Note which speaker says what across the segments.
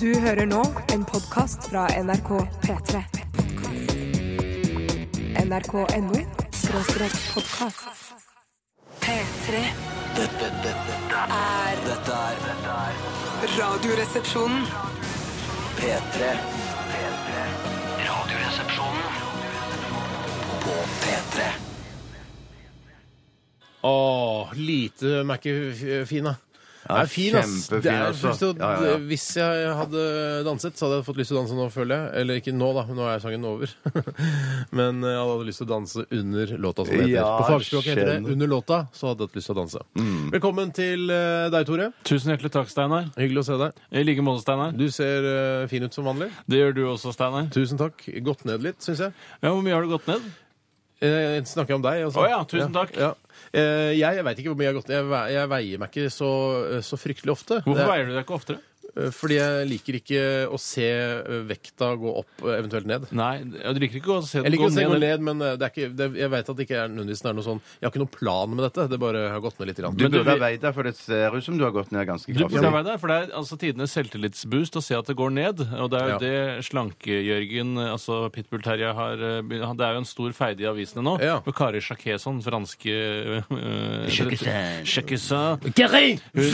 Speaker 1: Du hører nå en podkast fra NRK P3. NRK.no skråstrek podkast. P3
Speaker 2: Dette, dette, dette,
Speaker 1: er
Speaker 2: dette er dette er
Speaker 1: Radioresepsjonen.
Speaker 2: P3. P3. Radioresepsjonen på P3.
Speaker 3: Åh, lite Mac-fin, da. Ja, er fin, ass.
Speaker 4: kjempefin,
Speaker 3: Det er,
Speaker 4: altså.
Speaker 3: så-
Speaker 4: Ja, ja, ja.
Speaker 3: Hvis jeg hadde danset, så hadde jeg fått lyst til å danse nå, føler jeg. Eller ikke nå, da. Nå er sangen over. Men eh, jeg hadde lyst til å danse under låta, som det heter.
Speaker 4: Ja,
Speaker 3: På fagspråket heter det
Speaker 4: skjønner. Mm.
Speaker 3: 'under låta', så hadde jeg hatt lyst til å danse. Velkommen til eh, deg, Tore.
Speaker 5: Tusen hjertelig takk, Steinar.
Speaker 3: Hyggelig å se deg.
Speaker 5: I like måte, Steinar.
Speaker 3: Du ser eh, fin ut som vanlig.
Speaker 5: Det gjør du også, Steinar.
Speaker 3: Tusen takk. Gått ned litt, syns jeg.
Speaker 5: Ja, hvor mye har du gått ned?
Speaker 3: Eh, snakker jeg om deg, altså.
Speaker 5: Å ja, tusen takk.
Speaker 3: Ja. Eh, jeg jeg veit ikke hvor mye jeg har gått ned. Jeg, ve jeg veier meg ikke så, så fryktelig ofte.
Speaker 5: Hvorfor
Speaker 3: Det-
Speaker 5: veier du deg ikke oftere?
Speaker 3: Eh, Fordi jeg liker ikke å se eh, vekta gå opp, eh, eventuelt ned.
Speaker 5: Nei, ja, du liker ikke å se
Speaker 3: Jeg
Speaker 5: den
Speaker 3: liker
Speaker 5: gå
Speaker 3: å se den
Speaker 5: ned.
Speaker 3: gå
Speaker 5: eller-
Speaker 3: ned, men eh, det er ikke, det, jeg vet at det ikke er nødvendigvis det er noe sånn Jeg har ikke noen plan med dette. Det bare har gått ned litt. Grann.
Speaker 4: Du
Speaker 5: Men
Speaker 4: burde
Speaker 5: du-
Speaker 4: ha veid deg, for det ser ut som du har gått ned ganske
Speaker 5: Du burde
Speaker 4: kraftig.
Speaker 5: veie deg, for det er altså tidenes selvtillitsboost å se at det går ned. Og det er jo
Speaker 3: Ja.
Speaker 5: det Slanke-Jørgen, altså Pitbull Terje, har eh, be- han- Det er jo en stor feide i avisene nå.
Speaker 3: Ja.
Speaker 5: Med Kari Sjakeson, franske eh,
Speaker 4: Sjakeson.
Speaker 5: Sjakeson.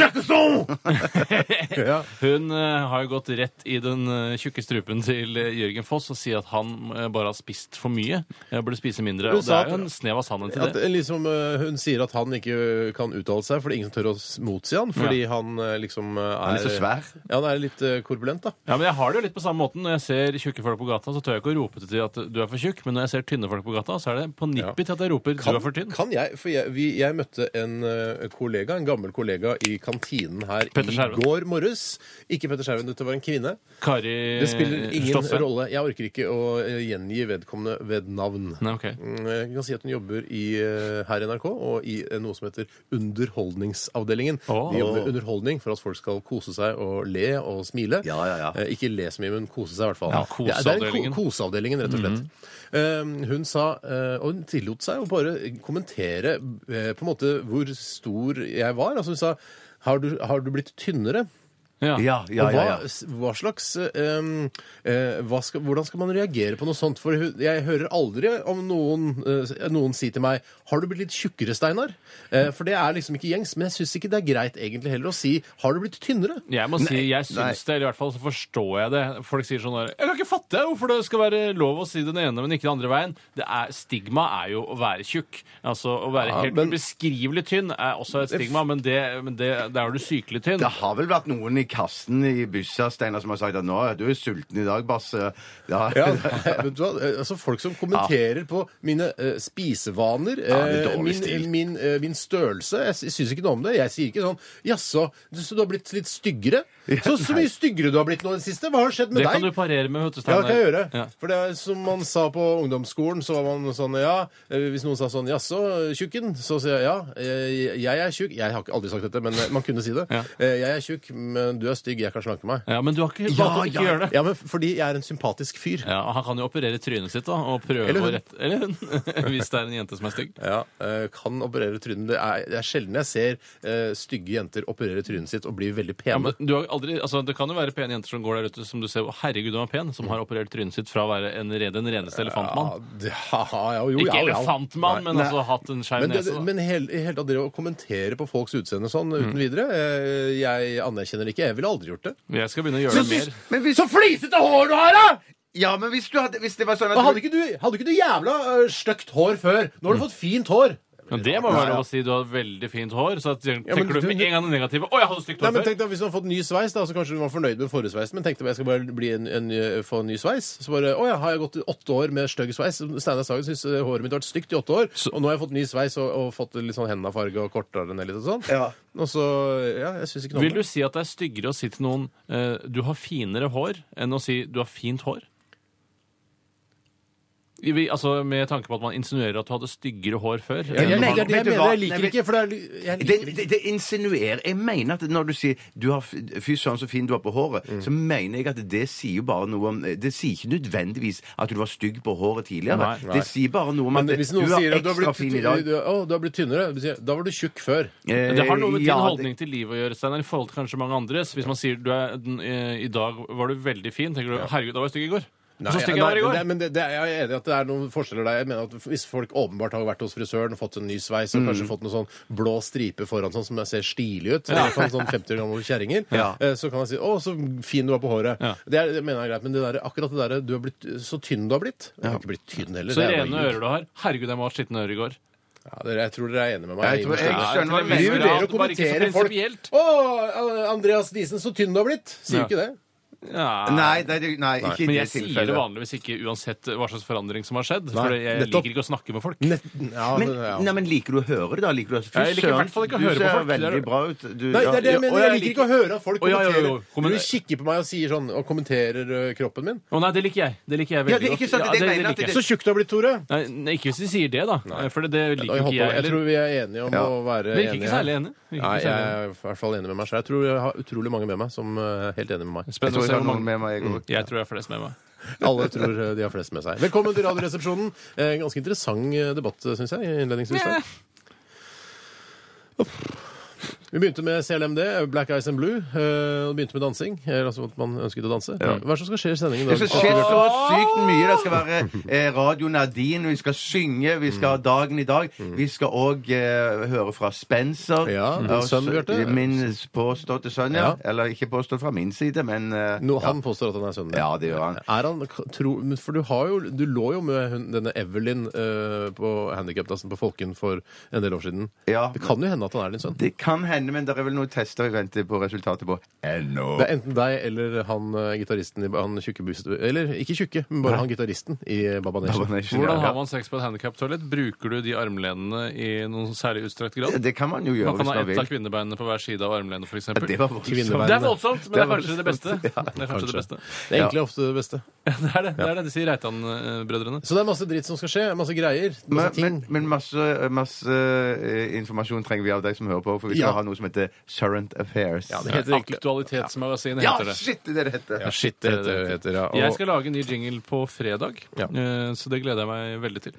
Speaker 3: ja.
Speaker 5: Hun eh, har jo gått rett i den eh, tjukke strupen til eh, Jørgen Foss og sier at han eh, bare har spist for mye. Jeg burde spise mindre.
Speaker 3: Hun
Speaker 5: Og det
Speaker 3: sa
Speaker 5: er jo
Speaker 3: at-
Speaker 5: en snev av sannhet i
Speaker 3: At,
Speaker 5: det.
Speaker 3: eh, liksom, eh, hun sier at han ikke eh, kan uttale seg, fordi ingen tør å s- motsi han. Fordi han eh, liksom eh, er
Speaker 4: Han er så svær.
Speaker 3: Ja, han er litt eh, korpulent, da.
Speaker 5: Ja, men Jeg har det jo litt på samme måten. Når jeg ser tjukke folk på gata, så tør jeg ikke å rope til dem at du er for tjukk. Men når jeg ser tynne folk på gata, så er det på nippet til at jeg roper du er for tynn.
Speaker 3: kan jeg, for jeg, vi, jeg møtte en eh, kollega, en gammel kollega i kantinen her
Speaker 5: Petter
Speaker 3: i
Speaker 5: Skjerven.
Speaker 3: går morges. Ikke Petter Skjerven, dette var en kvinne.
Speaker 5: Kari
Speaker 3: Det spiller ingen
Speaker 5: Stoffe.
Speaker 3: rolle. Jeg orker ikke å eh, gjengi vedkommende ved navn.
Speaker 5: Nei, ok.
Speaker 3: Mm, Jeg kan si at hun jobber i, eh, her i NRK og i eh, noe som heter Underholdningsavdelingen.
Speaker 5: Åh.
Speaker 3: Vi jobber med underholdning for at folk skal kose seg og le og smile.
Speaker 4: Ja, ja, ja.
Speaker 3: Eh, Ikke le så mye, men kose seg i hvert fall.
Speaker 5: Ja,
Speaker 3: det er- det er
Speaker 5: koseavdelingen. Mhm.
Speaker 3: ko- koseavdelingen, rett og slett. Eh, Hun sa, eh, og hun tillot seg å bare kommentere eh, på en måte hvor stor jeg var. Altså hun sa, har du, har du blitt tynnere?
Speaker 5: Ja.
Speaker 4: Ja, ja,
Speaker 3: og hva,
Speaker 4: ja. ja.
Speaker 3: s- hva slags ehm, eh, hva skal, Hvordan skal man reagere på noe sånt? For hu- jeg hører aldri om noen, eh, noen si til meg 'Har du blitt litt tjukkere, Steinar?' Eh, for det er liksom ikke gjengs. Men jeg syns ikke det er greit egentlig heller å si 'Har du blitt tynnere?'
Speaker 5: Jeg må si, jeg syns
Speaker 4: nei.
Speaker 5: det, eller i hvert fall så forstår jeg det. Folk sier sånn der, Jeg kan ikke fatte hvorfor det skal være lov å si den ene, men ikke den andre veien. Det er, stigma er jo å være tjukk. Altså Å
Speaker 3: Ja,
Speaker 5: være helt
Speaker 3: men-
Speaker 5: ubeskrivelig tynn er også et stigma, men det, men det, det er jo du sykelig tynn.
Speaker 4: Det har vel vært noen i kassen i byssa, Steinar, som har sagt at nå er du sulten i dag, Basse. Ja.
Speaker 3: Ja, vet du hva? Eh, altså Folk som kommenterer på mine eh, spisevaner,
Speaker 4: det er
Speaker 3: eh,
Speaker 4: dårlig
Speaker 3: min,
Speaker 4: stil.
Speaker 3: min, eh, min størrelse Jeg sy- syns ikke noe om det. Jeg sier ikke sånn 'Jaså, så du har blitt litt styggere?' Så, så mye styggere du har blitt nå i det siste. Hva har skjedd med
Speaker 5: det
Speaker 3: deg?
Speaker 5: kan du parere med, vet du,
Speaker 3: Ja,
Speaker 5: Steinar.
Speaker 3: det kan jeg gjøre.
Speaker 5: Ja.
Speaker 3: For det er som man sa på ungdomsskolen, så var man sånn ja eh, Hvis noen sa sånn jaså, tjukken, så sier jeg ja, eh, jeg er tjukk. Jeg har ikke aldri sagt dette, men eh, man kunne si det.
Speaker 5: Ja.
Speaker 3: Eh, Jeg er tjukk, men du er stygg, jeg kan slanke meg.
Speaker 5: Ja, men du har ikke
Speaker 4: Ja,
Speaker 5: valgt å ikke
Speaker 4: ja.
Speaker 5: gjøre det.
Speaker 3: Ja, men fordi jeg er en sympatisk fyr.
Speaker 5: Ja, Han kan jo operere trynet sitt da, og prøve
Speaker 3: Eller hun.
Speaker 5: å rette Eller hun. Hvis det er en jente som er stygg.
Speaker 3: Ja, eh, kan operere trynet. Det er, det er sjelden jeg ser eh, stygge jenter operere trynet sitt og bli veldig
Speaker 5: Ja,
Speaker 3: pene.
Speaker 5: men du har jo aldri, altså Det kan jo være pene jenter som går der ute som du ser «Å, herregud, hun er pen, som har operert trynet sitt fra å være en, re- den reneste elefantmann.
Speaker 3: Ja, det- ja, ja, jo,
Speaker 5: Ikke
Speaker 3: ja, ja.
Speaker 5: elefantmann, men
Speaker 4: Nei.
Speaker 5: altså hatt en skeiv
Speaker 3: Men, det,
Speaker 5: nese. da.
Speaker 3: men hele, hele tatt det å kommentere på folks utseende sånn uten videre eh, Jeg anerkjenner det ikke. Jeg ville aldri gjort det.
Speaker 5: Jeg skal begynne å gjøre det mer.
Speaker 4: Men hvis, så flisete hår du har, da! Ja, men hvis, du hadde, hvis det var sånn at
Speaker 3: Men hadde
Speaker 4: du,
Speaker 3: ikke du, hadde ikke du jævla øh, stygt hår før? Nå har du fått fint hår.
Speaker 5: Men det må være lov å si. Du har veldig fint hår. Så tenker
Speaker 3: men
Speaker 5: du
Speaker 3: du-
Speaker 5: med en gang det negative. Å, jeg hadde stygt
Speaker 3: Nei,
Speaker 5: hår
Speaker 3: men
Speaker 5: før!
Speaker 3: tenk deg, Hvis du har fått ny sveis, da, så kanskje du var fornøyd med forrige sveis, men tenkte bare, jeg skal bare bli en, en, øh, få en ny sveis. Så bare Å ja, har jeg gått i åtte år med stygg sveis? Steinar Sagen syns øh, håret mitt har vært stygt i åtte år, og nå har jeg fått ny sveis og, og fått litt sånn hendene farge og kortere ned litt og sånn.
Speaker 4: Ja.
Speaker 3: Og så Ja, jeg syns ikke noe
Speaker 5: Vil
Speaker 3: om
Speaker 5: du
Speaker 3: det.
Speaker 5: si at det er styggere å si til noen eh, du har finere hår, enn å si du har fint hår? Vi, altså, med tanke på at man insinuerer at du hadde styggere hår før.
Speaker 3: Jeg, jeg,
Speaker 5: enn
Speaker 3: det er
Speaker 5: du har-
Speaker 3: det
Speaker 4: Vet
Speaker 3: jeg
Speaker 4: du
Speaker 3: mener.
Speaker 4: hva?
Speaker 3: Jeg
Speaker 4: Nei,
Speaker 3: liker
Speaker 4: men-
Speaker 3: det ikke, for det er, jeg
Speaker 4: Det,
Speaker 3: liker det ikke.
Speaker 4: det, det insinuerer Jeg mener at når du sier du har, f- 'fy søren, så fin du var på håret', så mener jeg at det sier jo bare noe om Det sier ikke nødvendigvis at du var stygg på håret tidligere.
Speaker 5: Nei,
Speaker 3: nei.
Speaker 4: Det sier bare noe om
Speaker 3: Men
Speaker 4: at
Speaker 3: hvis noen
Speaker 4: du
Speaker 3: sier
Speaker 4: er
Speaker 3: at du har
Speaker 4: ekstra
Speaker 3: blitt,
Speaker 4: fin i
Speaker 3: du,
Speaker 4: dag.
Speaker 3: du, å, du har blitt tynnere, du sier, da var du tjukk før.
Speaker 4: Eh,
Speaker 5: Det har noe med din
Speaker 4: ja, det-
Speaker 5: holdning til livet å gjøre, Steinar, i forhold til kanskje mange andres. Hvis man sier du er, den, eh, i dag var du veldig fin, tenker du herregud, da var jeg stygg i går. Og så stygg
Speaker 3: nei,
Speaker 5: jeg var i
Speaker 3: men
Speaker 5: går.
Speaker 3: det, men det, det, jeg er enig i at det er noen forskjeller der. Jeg mener at Hvis folk åpenbart har vært hos frisøren og fått en ny sveis og kanskje fått noen sånn blå stripe foran sånn som jeg ser stilig ut, i hvert fall sånn 50 år gamle kjerringer,
Speaker 4: Ja.
Speaker 3: eh, så kan jeg si 'Å, så fin du var på håret'.
Speaker 5: Ja.
Speaker 3: Det, er, det mener jeg er greit. Men det der, akkurat det derre 'du har blitt så tynn du har blitt' Jeg har ikke blitt tynn heller.
Speaker 5: Så
Speaker 3: det er bare
Speaker 5: rene
Speaker 3: ljug.
Speaker 5: ører du har. Herregud, jeg må ha skitne ører i går.
Speaker 3: Ja, dere, jeg tror dere er enige med meg.
Speaker 4: Jeg tror- jeg
Speaker 3: Ja,
Speaker 4: skjønner hva du
Speaker 3: Vi
Speaker 4: mener.
Speaker 3: vurderer å
Speaker 5: Bare ikke så
Speaker 3: kommentere folk.
Speaker 5: prinsipielt.
Speaker 3: 'Å, eh, Andreas Disen, så tynn du har blitt'. Sier jo
Speaker 5: Ja.
Speaker 3: ikke det.
Speaker 5: Ja.
Speaker 4: Nei, nei, det- nei, ikke i
Speaker 5: Men
Speaker 4: det
Speaker 5: jeg
Speaker 4: tilfellet.
Speaker 5: sier det vanligvis ikke uansett hva slags forandring som har skjedd. For jeg
Speaker 3: nettopp.
Speaker 5: liker ikke å snakke med folk.
Speaker 3: Nett, ja,
Speaker 4: Men,
Speaker 3: Altså, ja.
Speaker 4: nei, men liker du å høre det, da? Liker du at, fy
Speaker 5: Jeg liker i
Speaker 4: søren,
Speaker 5: hvert fall ikke å høre
Speaker 4: du
Speaker 5: på
Speaker 4: ser
Speaker 5: folk. Det er-
Speaker 4: veldig bra ut. Du,
Speaker 3: Nei, det er det
Speaker 5: Ja,
Speaker 3: jeg mener.
Speaker 5: og
Speaker 3: Jeg
Speaker 5: jeg
Speaker 3: liker
Speaker 5: liker
Speaker 3: ikke å høre at folk
Speaker 5: Å, ja, ja, ja,
Speaker 3: kommenterer.
Speaker 5: ja, kommenter.
Speaker 3: Du kikker på meg og sier sånn, og kommenterer ø, kroppen min.
Speaker 5: Å nei, det liker jeg. Det liker
Speaker 4: Ja,
Speaker 5: jeg veldig
Speaker 4: det- ikke sant,
Speaker 5: godt.
Speaker 4: det mener jeg at
Speaker 5: liker jeg.
Speaker 3: Så tjukk du har blitt, Tore.
Speaker 5: Nei, nei, ikke hvis de sier det, da. For det, det
Speaker 3: Jeg,
Speaker 5: liker ikke
Speaker 3: håper,
Speaker 5: jeg.
Speaker 3: jeg
Speaker 5: Eller,
Speaker 3: tror vi er enige om
Speaker 4: Ja.
Speaker 3: å være
Speaker 5: vi liker ikke
Speaker 3: her.
Speaker 5: særlig enig. Vi liker
Speaker 3: Nei,
Speaker 5: ikke
Speaker 3: jeg
Speaker 5: særlig enig.
Speaker 3: er i hvert fall enig med meg selv. Jeg tror jeg har utrolig mange med meg som ø, er helt enig med meg.
Speaker 4: Jeg tror jeg
Speaker 5: Spennende å se
Speaker 4: har
Speaker 5: hvor
Speaker 4: noen
Speaker 5: mange
Speaker 4: med meg, jeg også.
Speaker 5: Jeg tror jeg er flest med meg.
Speaker 3: Alle tror ø, de har flest med seg. Velkommen til Radioresepsjonen. Eh, ganske interessant ø, debatt, syns jeg, innledningsvis. der. Vi begynte med CLMD, Black Eyes and Blue, ø, og begynte med dansing. Eller altså at man ønsket å danse. Hva er det som skal skje i sendingen i
Speaker 4: Det
Speaker 3: dag?
Speaker 4: skal skje så sykt mye. Det skal være eh, Radio Nadine, vi skal synge, vi skal ha Dagen i dag. Vi skal òg eh, høre fra Spencer.
Speaker 3: Ja, din
Speaker 4: Og
Speaker 3: sønn,
Speaker 4: så-
Speaker 3: Bjarte.
Speaker 4: Min påståtte sønn, ja.
Speaker 3: Ja.
Speaker 4: Eller ikke påstått fra min side, men eh,
Speaker 3: No, han påstår at han er sønnen din.
Speaker 4: Ja, det gjør han.
Speaker 3: Er han k- tro, men for du, har jo, du lå jo med hun, denne Evelyn eh, på handikapdassen på Folken for en del år siden.
Speaker 4: Ja.
Speaker 3: Det kan jo hende at han er din sønn.
Speaker 4: Det kan hende, men det er vel noen tester vi venter på resultatet på ennå.
Speaker 3: Det er enten deg eller han eh, gitaristen i han tjukke bus- Eller ikke tjukke, men bare han gitaristen i Babanesha.
Speaker 5: Hvordan har man sex på et handikaptoalett? Bruker du de armlenene i noen særlig utstrakt grad?
Speaker 4: Det kan man jo gjøre
Speaker 5: Man
Speaker 4: hvis
Speaker 5: kan ha
Speaker 4: man
Speaker 5: ett av
Speaker 4: vil.
Speaker 5: kvinnebeinene på hver side av armlenet, f.eks.
Speaker 4: Ja, Det var voldsomt.
Speaker 3: Kvinnevernet.
Speaker 5: Det er voldsomt, men det
Speaker 4: Det
Speaker 5: er
Speaker 4: er
Speaker 5: kanskje det beste. Det er kanskje det beste.
Speaker 3: Det er egentlig ofte det beste.
Speaker 5: Ja, det er det. Det er det de sier Reitan-brødrene.
Speaker 3: Så det er masse dritt som skal skje. Masse greier. Masse
Speaker 4: Men,
Speaker 3: ting.
Speaker 4: men, men masse, masse eh, informasjon trenger vi av deg som hører på, for vi skal
Speaker 3: Ja.
Speaker 4: ha noe som heter Surrent Affairs.
Speaker 3: det heter egentlig-
Speaker 5: Aktualitetsmagasinet
Speaker 4: Ja,
Speaker 5: heter det.
Speaker 4: shit, det er det det heter.
Speaker 3: Ja, shit, det heter, heter ja. Og,
Speaker 5: Jeg skal lage en ny jingle på fredag,
Speaker 3: Ja. Mm,
Speaker 5: eh, så det gleder jeg meg veldig til.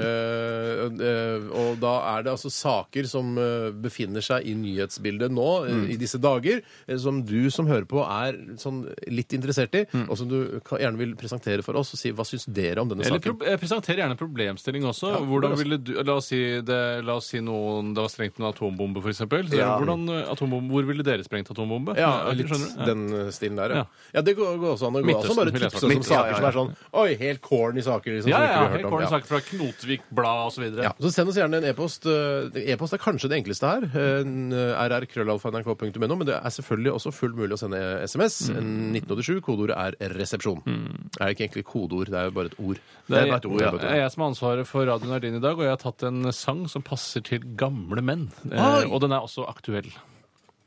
Speaker 3: Eh, eh, og da er det altså saker som eh, befinner seg i nyhetsbildet nå eh, i disse dager, eh, som du som hører på er sånn litt interessert i, og som du ka- gjerne vil presentere for oss og si hva syns dere om denne
Speaker 5: Eller
Speaker 3: saken?
Speaker 5: pro eh, presenter gjerne problemstilling også. Hvordan ville du, la, oss si det, la oss si noen det var strengt med en atombombe, f.eks.
Speaker 4: Ja.
Speaker 5: eh, Hvor ville dere sprengt atombombe?
Speaker 3: Ja,
Speaker 5: Eh,
Speaker 3: litt
Speaker 5: skjønner du? Ja.
Speaker 3: den eh, stilen der, ja.
Speaker 5: Ja.
Speaker 3: ja. det går, går også an å gå av.
Speaker 5: Midtøsten,
Speaker 3: Så bare
Speaker 5: vil jeg
Speaker 3: tipse oss
Speaker 5: svare.
Speaker 3: om
Speaker 4: Midtøsten,
Speaker 3: saker som
Speaker 4: ja,
Speaker 3: er sånn Oi, helt corny saker, liksom.
Speaker 5: Ja,
Speaker 3: som
Speaker 5: ja,
Speaker 3: ikke vi har
Speaker 5: helt
Speaker 3: hørt om.
Speaker 5: corny
Speaker 3: Ja.
Speaker 5: saker fra Knotvik Blad osv.
Speaker 3: Ja, så Send oss gjerne en e-post. Eh, E-post er kanskje det enkleste her. eh, rrkrøllalfa.nrk.no. Men det er selvfølgelig også fullt mulig å sende SMS.
Speaker 5: Mm.
Speaker 3: 1987. Kodeordet er 'resepsjon'. Er det ikke egentlig kodeord? Det er jo bare et ord.
Speaker 5: Det er,
Speaker 4: bare et ord, ja.
Speaker 5: det er jeg som har ansvaret for Radio Nardin i dag, og jeg har tatt en sang som passer til gamle menn. Eh,
Speaker 3: Oi!
Speaker 5: og den er også aktuell.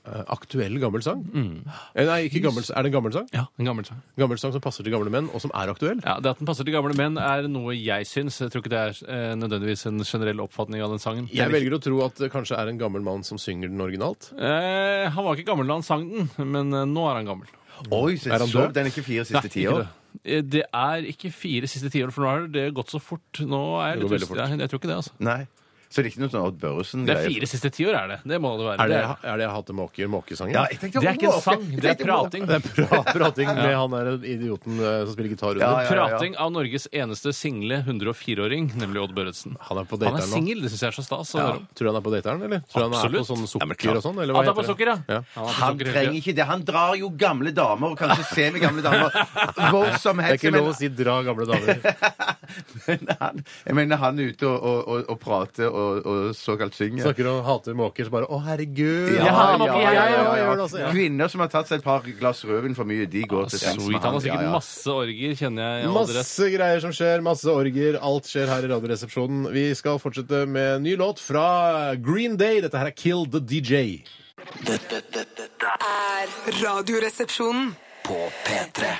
Speaker 3: Eh, Aktuell gammel sang?
Speaker 5: Mm.
Speaker 3: Eh, Nei, ikke gammel, er det en gammel sang?
Speaker 5: Ja, en gammel sang.
Speaker 3: Gammel sang som passer til gamle menn, og som er aktuell?
Speaker 5: Ja, Det at den passer til gamle menn, er noe jeg syns. Jeg tror ikke det er eh, nødvendigvis en generell oppfatning av den sangen.
Speaker 3: Jeg velger å tro at det kanskje er en gammel mann som synger den originalt.
Speaker 5: Eh, han var ikke gammel da han sang den, men eh, nå er han gammel.
Speaker 4: Oi, så
Speaker 3: Er han
Speaker 4: så
Speaker 3: død?
Speaker 4: den er ikke fire
Speaker 5: Nei,
Speaker 4: siste
Speaker 5: ikke
Speaker 4: tiår.
Speaker 5: det. Eh, Det er ikke fire siste tiår, for nå har det gått så fort. Nå er jeg
Speaker 3: Det går
Speaker 5: litt
Speaker 3: veldig fort.
Speaker 5: usikker. Jeg, jeg tror ikke det, altså.
Speaker 4: Nei. Så det er ikke noe sånn Odd Børresen
Speaker 5: Det er fire siste tiår, er det. Det må det være.
Speaker 3: Er det, er det Hatte Måke måkesangen?
Speaker 4: Ja, jeg tenkte
Speaker 5: Det er ikke en sang, det er prating.
Speaker 3: Det er pra prating med han der idioten eh, som spiller gitar under.
Speaker 4: Ja, ja.
Speaker 5: Prating av Norges eneste single 104-åring, nemlig Odd Børretzen.
Speaker 3: Han er på
Speaker 5: Han er
Speaker 3: dateren nå.
Speaker 5: singel, det syns jeg er så stas. å
Speaker 3: Ja.
Speaker 5: høre om.
Speaker 3: Tror du han er på dateren, eller? Tror du han er på
Speaker 5: Absolutt.
Speaker 3: sånn
Speaker 5: Ja, men
Speaker 3: sukker
Speaker 5: klart.
Speaker 3: og sånn? Eller hva
Speaker 5: Han er på
Speaker 3: heter
Speaker 5: sukker,
Speaker 3: det?
Speaker 5: ja. Han er på
Speaker 4: Han
Speaker 5: sukker hele
Speaker 4: trenger
Speaker 5: tiden.
Speaker 4: ikke det. Han drar jo gamle damer, og kanskje semigamle damer, hvor som
Speaker 3: Det er
Speaker 4: helst.
Speaker 3: ikke lov å si 'dra gamle damer'.
Speaker 4: Men han, jeg mener han er ute og, og, og, og prater og, og såkalt synger.
Speaker 3: Snakker og hater måker, så bare 'å, herregud'.
Speaker 5: Ja, hater
Speaker 3: ja,
Speaker 5: måker,
Speaker 3: ja, ja,
Speaker 5: jeg
Speaker 3: ja,
Speaker 5: også.
Speaker 3: gjør det også, ja.
Speaker 4: Kvinner som har tatt seg et par glass rødvin for mye, de går til sengs
Speaker 5: Altså, Sweet.
Speaker 4: med
Speaker 5: Han har
Speaker 4: han.
Speaker 5: sikkert
Speaker 4: Ja, ja.
Speaker 5: masse orgier, kjenner jeg allerede.
Speaker 3: Masse greier som skjer, masse orger. Alt skjer her i Radioresepsjonen. Vi skal fortsette med en ny låt fra Green Day. Dette her er 'Kill The DJ'.
Speaker 2: Dette, dette, dette er
Speaker 1: Er Radioresepsjonen
Speaker 2: på P3.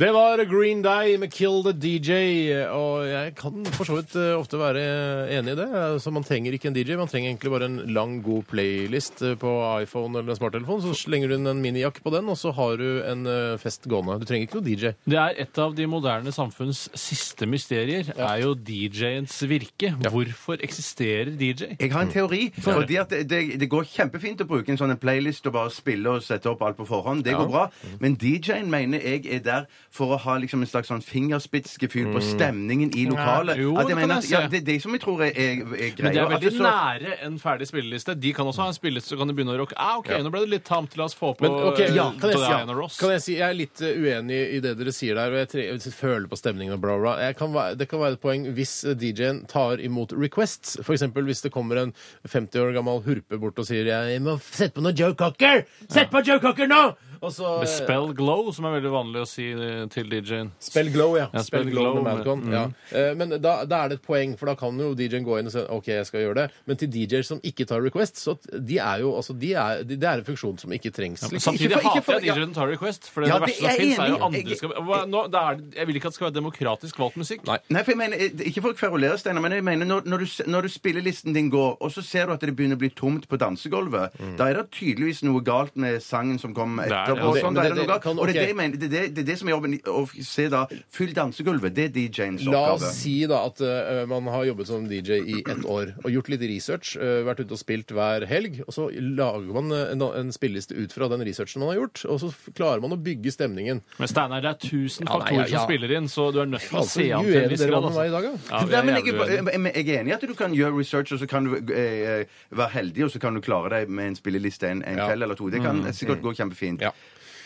Speaker 3: Det var Green Day med 'Kill the DJ'. Og jeg kan for så vidt eh, ofte være enig i det. Altså, man trenger ikke en DJ, man trenger egentlig bare en lang, god playlist eh, på iPhone eller en smarttelefon. Så slenger du inn en minijakke på den, og så har du en eh, fest gående. Du trenger ikke noe DJ.
Speaker 5: Det er et av de moderne samfunns siste mysterier, er jo DJ-ens virke. Hvorfor eksisterer DJ?
Speaker 4: Jeg har en teori.
Speaker 5: Mm.
Speaker 4: fordi at det, det, det går kjempefint å bruke en sånn en playlist og bare spille og sette opp alt på forhånd. Det går bra.
Speaker 5: Mm.
Speaker 4: Men DJ-en mener jeg er der for å ha liksom en slags sånn fingerspitzgefühl på stemningen i lokalet.
Speaker 5: Nei, Mm. jo,
Speaker 4: at
Speaker 5: det
Speaker 4: jeg
Speaker 5: kan
Speaker 4: mener
Speaker 5: jeg
Speaker 4: at, ja,
Speaker 5: se.
Speaker 4: det er de som jeg tror er, er, er
Speaker 5: Men det
Speaker 4: greia.
Speaker 5: er
Speaker 4: At
Speaker 5: veldig
Speaker 4: det så-
Speaker 5: nære en ferdig spilleliste. De kan også ha en spilleliste, så kan de begynne å rocke. Ah, ok, nå ble det litt tamt. La oss få på
Speaker 3: Men ok,
Speaker 5: eh,
Speaker 3: ja, kan, jeg, si-
Speaker 5: Diana Ross.
Speaker 3: kan jeg si Jeg er litt eh, uenig i det dere sier der, og jeg, tre, jeg føler på stemningen og bla, bla. Jeg kan, væ- det kan være et poeng hvis eh, DJ-en tar imot requests. For eksempel hvis det kommer en 50 år gammel hurpe bort og sier Jeg må sette på noe Joe Cocker! Sett på Joe Cocker nå! Og så eh,
Speaker 5: Spell glow, som er veldig vanlig å si eh, til DJ-en.
Speaker 3: Spell Glow, ja.
Speaker 5: Ja,
Speaker 3: Spell
Speaker 5: Spell
Speaker 3: Glow med
Speaker 5: Glow med- mm.
Speaker 3: Madcon. Ja. Eh, Men da, da er det et poeng, for da kan jo DJ-en gå inn og si OK, jeg skal gjøre det. Men til DJ-er som ikke tar requests, så de er jo altså, de er, de, Det er en funksjon som ikke trengs.
Speaker 5: Men
Speaker 3: Ikke-
Speaker 5: Samtidig
Speaker 3: ikke for- ikke for-
Speaker 5: hater jeg
Speaker 3: ja.
Speaker 5: DJ som tar request, for det,
Speaker 4: Ja,
Speaker 5: det verste
Speaker 4: det er
Speaker 5: som fins, er jo
Speaker 4: jeg enig i.
Speaker 5: andre skal Hva- nå, det er, Jeg vil ikke at det skal være demokratisk valgt musikk.
Speaker 4: Nei, for jeg mener, eh, Ikke for å kverulere, Steinar, men jeg mener når, når, du, s- når du spillelisten din går, og så ser du at det begynner å bli tomt på dansegulvet, da er det tydeligvis noe galt med sangen som kom
Speaker 5: er det.
Speaker 4: etterpå. og
Speaker 3: Mm. Det-
Speaker 4: sånn,
Speaker 3: men
Speaker 4: da er
Speaker 3: det-
Speaker 4: det noe
Speaker 3: det
Speaker 4: galt.
Speaker 3: kan-
Speaker 4: Og det er
Speaker 3: ok.
Speaker 4: det jeg mener, det er det, det er det som er jobben, i- å se da, fyll dansegulvet. Det er DJ-ens
Speaker 3: La
Speaker 4: oppgave.
Speaker 3: oss si da at eh, man har jobbet som DJ i ett år og gjort litt research, eh, vært ute og spilt hver helg, og så lager man eh, en, en spilleliste ut fra den researchen man har gjort, og så f- klarer man å bygge stemningen.
Speaker 5: Men Steinar, det er 1000
Speaker 3: Ja, nei,
Speaker 5: faktorer
Speaker 3: ja, ja.
Speaker 5: som spiller inn, så du er nødt til å
Speaker 3: Altså,
Speaker 5: se an til en
Speaker 3: uenig
Speaker 5: viss
Speaker 3: dere var
Speaker 5: grad.
Speaker 3: med meg i dag,
Speaker 5: altså.
Speaker 3: da.
Speaker 5: Ja, vi
Speaker 4: Nei,
Speaker 5: er
Speaker 4: men
Speaker 5: jævlig
Speaker 4: jeg, er-
Speaker 5: uenige.
Speaker 4: jeg, jeg er enig i at du kan gjøre research, og så kan du eh, være heldig, og så kan du klare deg med en spilleliste en, en
Speaker 3: Ja. Mm.
Speaker 4: kveld eller to. Det kan sikkert gå kjempefint.
Speaker 3: Ja.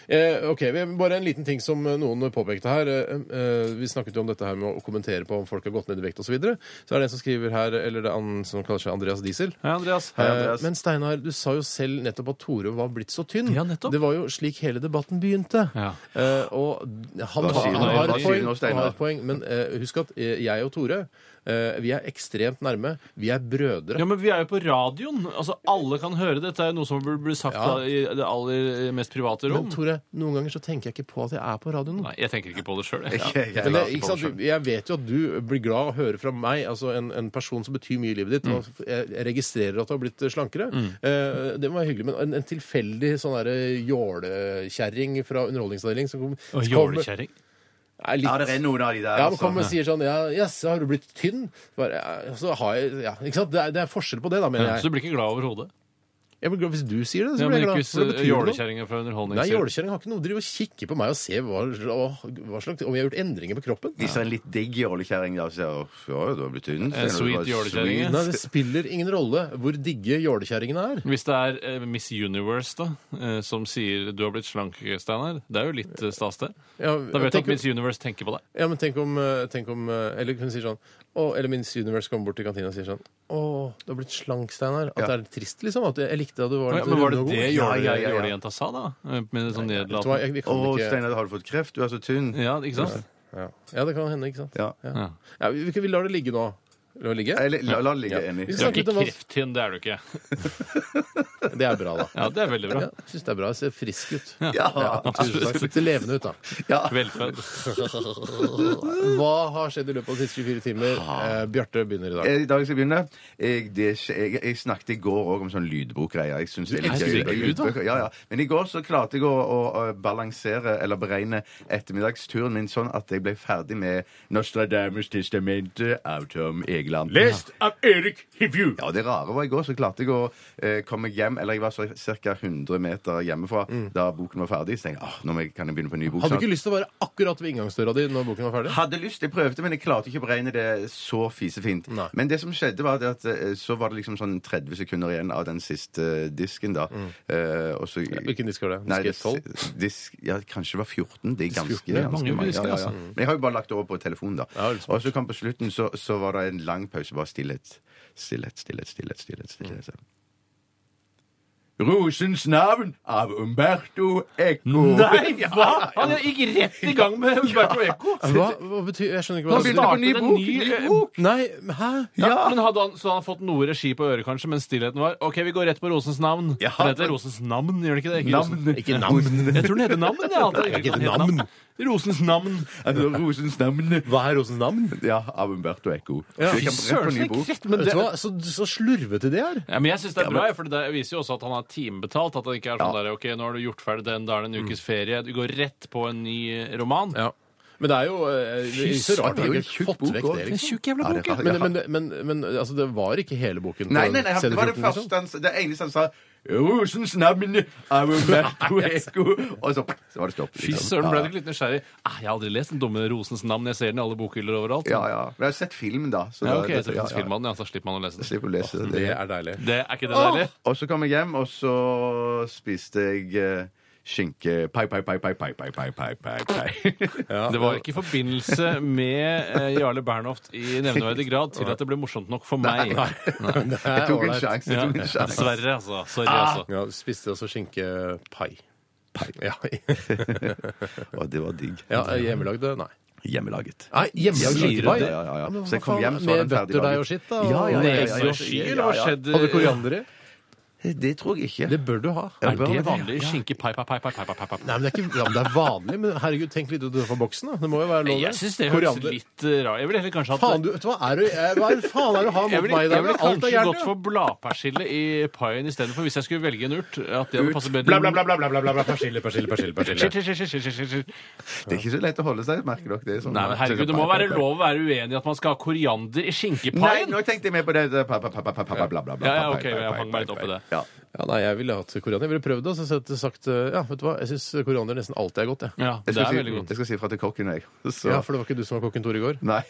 Speaker 3: Eh, ok, vi- Bare en liten ting som eh, noen påpekte her. Eh, eh, vi snakket jo om dette her med å kommentere på om folk har gått ned i vekt osv. Så, videre. så er det en som skriver her, eller det er han som kaller seg Andreas Diesel.
Speaker 5: Hei, Andreas.
Speaker 4: Hei, Andreas.
Speaker 3: Eh, Men Steinar, du sa jo selv nettopp at Tore var blitt så tynn.
Speaker 5: Ja, nettopp.
Speaker 3: Det var jo slik hele debatten begynte.
Speaker 5: Ja.
Speaker 3: Eh, og han,
Speaker 4: Hva
Speaker 3: har-
Speaker 4: sier du
Speaker 3: han
Speaker 4: nå?
Speaker 3: har
Speaker 4: Hva
Speaker 3: et
Speaker 4: sier du
Speaker 3: poeng,
Speaker 4: nå, Steinar?
Speaker 3: han har et poeng, men eh, husk at eh, jeg og Tore eh, vi er ekstremt nærme. Vi er brødre.
Speaker 5: Ja, men vi er jo på radioen. Altså, Alle kan høre det. Dette er jo noe som burde bli sagt
Speaker 3: Ja.
Speaker 5: da, i det aller mest private rom.
Speaker 3: men Tore, noen ganger så tenker jeg ikke på at jeg er på radioen.
Speaker 5: Nei, jeg tenker ikke på det sjøl.
Speaker 4: Jeg, jeg,
Speaker 3: Men det,
Speaker 4: jeg,
Speaker 3: ikke sant? du- Jeg vet jo at du blir glad å høre fra meg, altså en, en person som betyr mye i livet ditt.
Speaker 5: Mm.
Speaker 3: og Jeg jeg registrerer at du har blitt slankere. Eh, det må være hyggelig. Men en, en tilfeldig sånn derre jålekjerring fra underholdningsavdeling som kom- som kommer
Speaker 5: Jålekjerring.
Speaker 3: er litt-
Speaker 4: ja, det er noen av de der.
Speaker 3: ja, men
Speaker 4: altså.
Speaker 3: kommer og sier sånn ja, 'Yes, har du blitt tynn?' Bare, ja, så har jeg, ja, ikke sant? Det, er, det er forskjell på det, da, mener
Speaker 5: Ja, så
Speaker 3: jeg.
Speaker 5: du blir ikke glad over hodet?
Speaker 3: jeg blir glad, hvis du sier det, så
Speaker 5: Ja,
Speaker 3: blir
Speaker 5: men
Speaker 3: jeg
Speaker 5: ikke
Speaker 3: glad.
Speaker 5: hvis
Speaker 3: for det betyr noe.
Speaker 5: jålekjerringa fra
Speaker 3: Nei,
Speaker 5: Underholdningsserien
Speaker 3: Jålekjerring har ikke noe å drive og kikke på meg og se hva, hva slags, om jeg har gjort endringer på kroppen.
Speaker 4: De som er en litt digg jålekjerring, da. Så, «Uff, ja, du har blitt tynn.
Speaker 5: Eh, sweet jålekjerring, ja.
Speaker 3: Nei, det spiller ingen rolle hvor digge jålekjerringene er.
Speaker 5: Hvis det er eh, Miss Universe da, eh, som sier 'du har blitt slank', Steinar, det er jo litt eh, stas, det.
Speaker 3: Ja,
Speaker 5: Da vet du
Speaker 3: tenk,
Speaker 5: at Miss Universe tenker på deg.
Speaker 3: ja, men tenk om, eh, tenk om eh, Eller hun sier sånn å, Eller Miss Universe kommer bort til kantina og sier sånn Å, du har blitt slank, Steinar. At det er trist, liksom. At jeg, jeg likte at du var
Speaker 5: Ja,
Speaker 3: litt
Speaker 5: men var det
Speaker 3: rund og god.
Speaker 5: det
Speaker 4: Ja, ja, ja, ja.
Speaker 5: jålejenta sa, da? Eh, Med sånn
Speaker 3: Vet du hva,
Speaker 5: nedlatende
Speaker 3: jeg- vi
Speaker 4: Å,
Speaker 3: kan ikke
Speaker 4: Steinar, har du fått kreft? Du er så tynn.
Speaker 5: Ja, ikke sant?
Speaker 3: ja. ja, det kan hende, ikke sant?
Speaker 4: Ja.
Speaker 5: Ja.
Speaker 3: Ja, vi, vi lar det ligge nå. La det ligge?
Speaker 4: Eller, la, la det ligge,
Speaker 3: Ja.
Speaker 4: enig.
Speaker 3: Vi
Speaker 5: Du er
Speaker 3: snakket
Speaker 5: ikke
Speaker 3: om hva
Speaker 5: krefttynn, det er du ikke.
Speaker 3: Det er bra, da.
Speaker 5: Ja, det er veldig bra.
Speaker 3: Ja, jeg syns det er bra. Jeg ser frisk ut.
Speaker 4: Ja.
Speaker 3: Tusen takk. Sitter levende ut, da.
Speaker 5: Velfødd.
Speaker 3: Hva har skjedd i løpet av de siste 24 timer? Eh, Bjarte begynner i dag.
Speaker 4: Eh, I dag skal jeg begynne. Jeg, det, skje- jeg, jeg snakket i går òg om sånn lydbokgreier. Jeg synes det er
Speaker 5: Nei,
Speaker 4: litt
Speaker 5: skal
Speaker 4: gøy.
Speaker 5: du legge ut, da?
Speaker 4: Lydbøker, Ja, ja. Men i går så klarte jeg å, å, å balansere eller beregne ettermiddagsturen min sånn at jeg ble ferdig med Nostradamus testamente av Tom Egeland.
Speaker 5: av Erik Hivju.
Speaker 4: Ja, og det rare var i går så klarte jeg å eh, komme hjem Eller jeg var så ca. 100 meter hjemmefra da boken var ferdig. Så tenkte jeg, ah, nå må jeg- kan jeg begynne på en ny
Speaker 3: Mm.
Speaker 4: bok.
Speaker 3: Hadde
Speaker 4: snart».
Speaker 3: du ikke lyst til å være akkurat ved inngangsdøra di når boken var ferdig?
Speaker 4: Hadde lyst, jeg prøvde, men jeg klarte ikke å beregne det så fisefint.
Speaker 3: Nei.
Speaker 4: Men det som skjedde, var det at eh, så var det liksom sånn 30 sekunder igjen av den siste disken, da. Eh, og så
Speaker 3: Mm. Hvilken disk var det?
Speaker 4: Nei,
Speaker 3: Diskett 12?
Speaker 4: dis- Disk, ja, kanskje det var 14. Det er ganske,
Speaker 3: 14, ja,
Speaker 4: ganske
Speaker 5: mange
Speaker 4: mange.
Speaker 5: disker,
Speaker 4: Ja, ja,
Speaker 5: altså.
Speaker 4: ja. Men jeg har jo bare lagt det over på telefonen, da.
Speaker 3: Ja, det er smart.
Speaker 4: og så kom på slutten, så, så var det en lang pause. Bare stillhet. Stillhet, stillhet, stillhet. stillhet, stillhet. Rosens navn av Umberto Eco.
Speaker 5: Nei, hva?! Han gikk rett i gang med Humberto Eco.
Speaker 3: Hva, hva betyr Jeg skjønner ikke hva
Speaker 4: Han
Speaker 5: Han
Speaker 4: begynte på
Speaker 5: startet
Speaker 4: ny
Speaker 5: en
Speaker 4: bok,
Speaker 5: ny,
Speaker 4: ny
Speaker 5: eh,
Speaker 4: bok.
Speaker 3: Nei, men hæ?
Speaker 5: Ja. men hadde han, Så han har fått noe regi på øret, kanskje, mens stillheten var OK, vi går rett på Rosens navn.
Speaker 4: Ja.
Speaker 5: For Det heter Rosens navn, gjør det ikke det? Ikke Rosen-
Speaker 3: Ikke navn.
Speaker 5: Jeg tror den heter Navn. Jeg, alltid,
Speaker 3: Ikke navn.
Speaker 5: Rosens navn.
Speaker 4: Altså, Rosens navn
Speaker 3: Hva er rosens navn?
Speaker 4: Ja, av Umberto Eco.
Speaker 3: Ja.
Speaker 4: Så jeg kan rett
Speaker 5: Fy
Speaker 4: på
Speaker 5: søren,
Speaker 4: ny
Speaker 5: så
Speaker 4: bok.
Speaker 5: krett, men
Speaker 3: Vet
Speaker 5: det,
Speaker 3: du hva? Så, så slurvete det er.
Speaker 5: ja, men jeg syns det er bra, for det viser jo også at han er timebetalt. At det ikke er sånn
Speaker 4: Ja.
Speaker 5: der, ok, nå har du gjort ferdig den, da er det en ukes ferie. Du går rett på en ny eh, roman.
Speaker 3: Ja. Men det er jo eh, det er så
Speaker 4: søren,
Speaker 3: rart vi
Speaker 4: det er jo
Speaker 3: har
Speaker 4: en
Speaker 3: ikke
Speaker 4: tjukk
Speaker 3: fått
Speaker 4: bok
Speaker 3: vekk
Speaker 4: også.
Speaker 3: det.
Speaker 5: Det er
Speaker 3: Liksom.
Speaker 5: tjukk jævla
Speaker 4: Ja, det
Speaker 5: bok, ja.
Speaker 4: kan-
Speaker 3: Men, men, men, men altså, det var ikke hele boken. på
Speaker 4: Nei,
Speaker 3: den
Speaker 4: nei, nei, han- det var det
Speaker 3: CD14, liksom.
Speaker 4: første han sa. Det eneste han sa. sånn Rosens navn av Umberto Eco. Og så, så var det stopp.
Speaker 5: Fy
Speaker 4: liksom.
Speaker 5: søren, ble
Speaker 4: Ja.
Speaker 5: du ikke litt nysgjerrig? Ah, jeg har aldri lest Den dumme rosens navn. Jeg ser den i alle bokhyller overalt.
Speaker 4: Ja, ja. Men jeg har sett filmen, da. Så
Speaker 5: Ja,
Speaker 4: da-
Speaker 5: ok, så
Speaker 4: ja,
Speaker 5: finnes
Speaker 4: ja.
Speaker 5: filmen, ja, så slipper man å lese den.
Speaker 4: Slipp å lese det.
Speaker 3: Det er deilig.
Speaker 5: Det, er ikke det deilig?
Speaker 4: Og så kom jeg hjem, og så spiste jeg eh, skinke Pai, pai, pai, pai, pai, pai, pai, pai, pai, pai.
Speaker 5: Det var ikke i forbindelse med eh, Jarle Bernhoft i nevneverdig grad til at det ble morsomt nok for meg.
Speaker 3: Det er
Speaker 4: Jeg tok en
Speaker 3: ålreit.
Speaker 4: sjanse. Jeg
Speaker 5: Ja,
Speaker 4: tok en sjanse.
Speaker 5: dessverre, altså. Sorry, altså.
Speaker 3: Ja, du spiste også skinkepai. Ja,
Speaker 4: Og det var digg.
Speaker 3: ja, hjemmelagde Nei.
Speaker 4: Hjemmelaget.
Speaker 3: Nei, hjemmelagd
Speaker 5: Sier du
Speaker 3: skinkepai?
Speaker 5: det?
Speaker 4: Ja, ja, ja.
Speaker 3: men
Speaker 4: Så jeg
Speaker 3: hva
Speaker 4: kom
Speaker 3: faen,
Speaker 4: hjem, så var
Speaker 3: Med
Speaker 4: den ferdig
Speaker 3: bøtterdeig
Speaker 4: laget.
Speaker 3: og skitt, da?
Speaker 4: Ja, ja, ja, ja, ja,
Speaker 5: Egg og sky, eller hva skjedde?
Speaker 3: Hadde du koriander i?
Speaker 4: Eh, Det tror jeg ikke.
Speaker 3: Det bør du ha.
Speaker 5: Er det vanlig skinke pai, pai, pai, pai, pai, pai, pai?
Speaker 3: Nei, men det er, ikke, ja, men det er vanlig, men herregud, tenk litt utenfor boksen. da. Det må jo være lov.
Speaker 5: Jeg syns det høres litt eh, rart Jeg ville heller kanskje hatt
Speaker 3: Faen, du, vet du hva er det hva er det faen er det du har
Speaker 5: Jeg
Speaker 3: mot
Speaker 5: ville,
Speaker 3: meg i
Speaker 5: jeg
Speaker 3: dag?
Speaker 5: ville
Speaker 3: Alt
Speaker 5: kanskje
Speaker 3: er gærent.
Speaker 5: gått for bladpersille i paien istedenfor, hvis jeg skulle velge en urt. At det hadde passet bedre.
Speaker 3: Bla, bla, bla, bla, bla, bla, bla, persille, persille, persille.
Speaker 5: Skjer,
Speaker 3: persille.
Speaker 5: skjer, skjer, skjer, skjer, skjer.
Speaker 4: Det er ikke så lett å holde seg, merker dere. Det er sånn-
Speaker 5: Nei, men herregud, Det må være lov å være uenig i at man skal ha koriander i
Speaker 4: Nei,
Speaker 5: skinkepaien.
Speaker 4: nå tenkte jeg mer på det det- pa, pa, pa, pa, pa, pa, bla, bla, bla,
Speaker 5: Ja, ja,
Speaker 4: pa,
Speaker 5: ok,
Speaker 4: pa, pa,
Speaker 5: jeg
Speaker 4: pa,
Speaker 5: hang meg litt
Speaker 4: pa,
Speaker 5: opp i det.
Speaker 4: pa. Ja.
Speaker 3: Ja, nei, jeg ville hatt koriander. Jeg ville prøvd det, og så sett- sagt eh, ja, vet du hva, jeg syns koriander nesten alltid er godt, jeg.
Speaker 5: Ja,
Speaker 4: Jeg
Speaker 5: det
Speaker 4: skal,
Speaker 5: er
Speaker 4: si,
Speaker 5: veldig godt.
Speaker 4: jeg skal si fra til kokken, jeg. Så.
Speaker 3: Ja, for det var ikke du som var kokken Tor i går?
Speaker 4: Nei.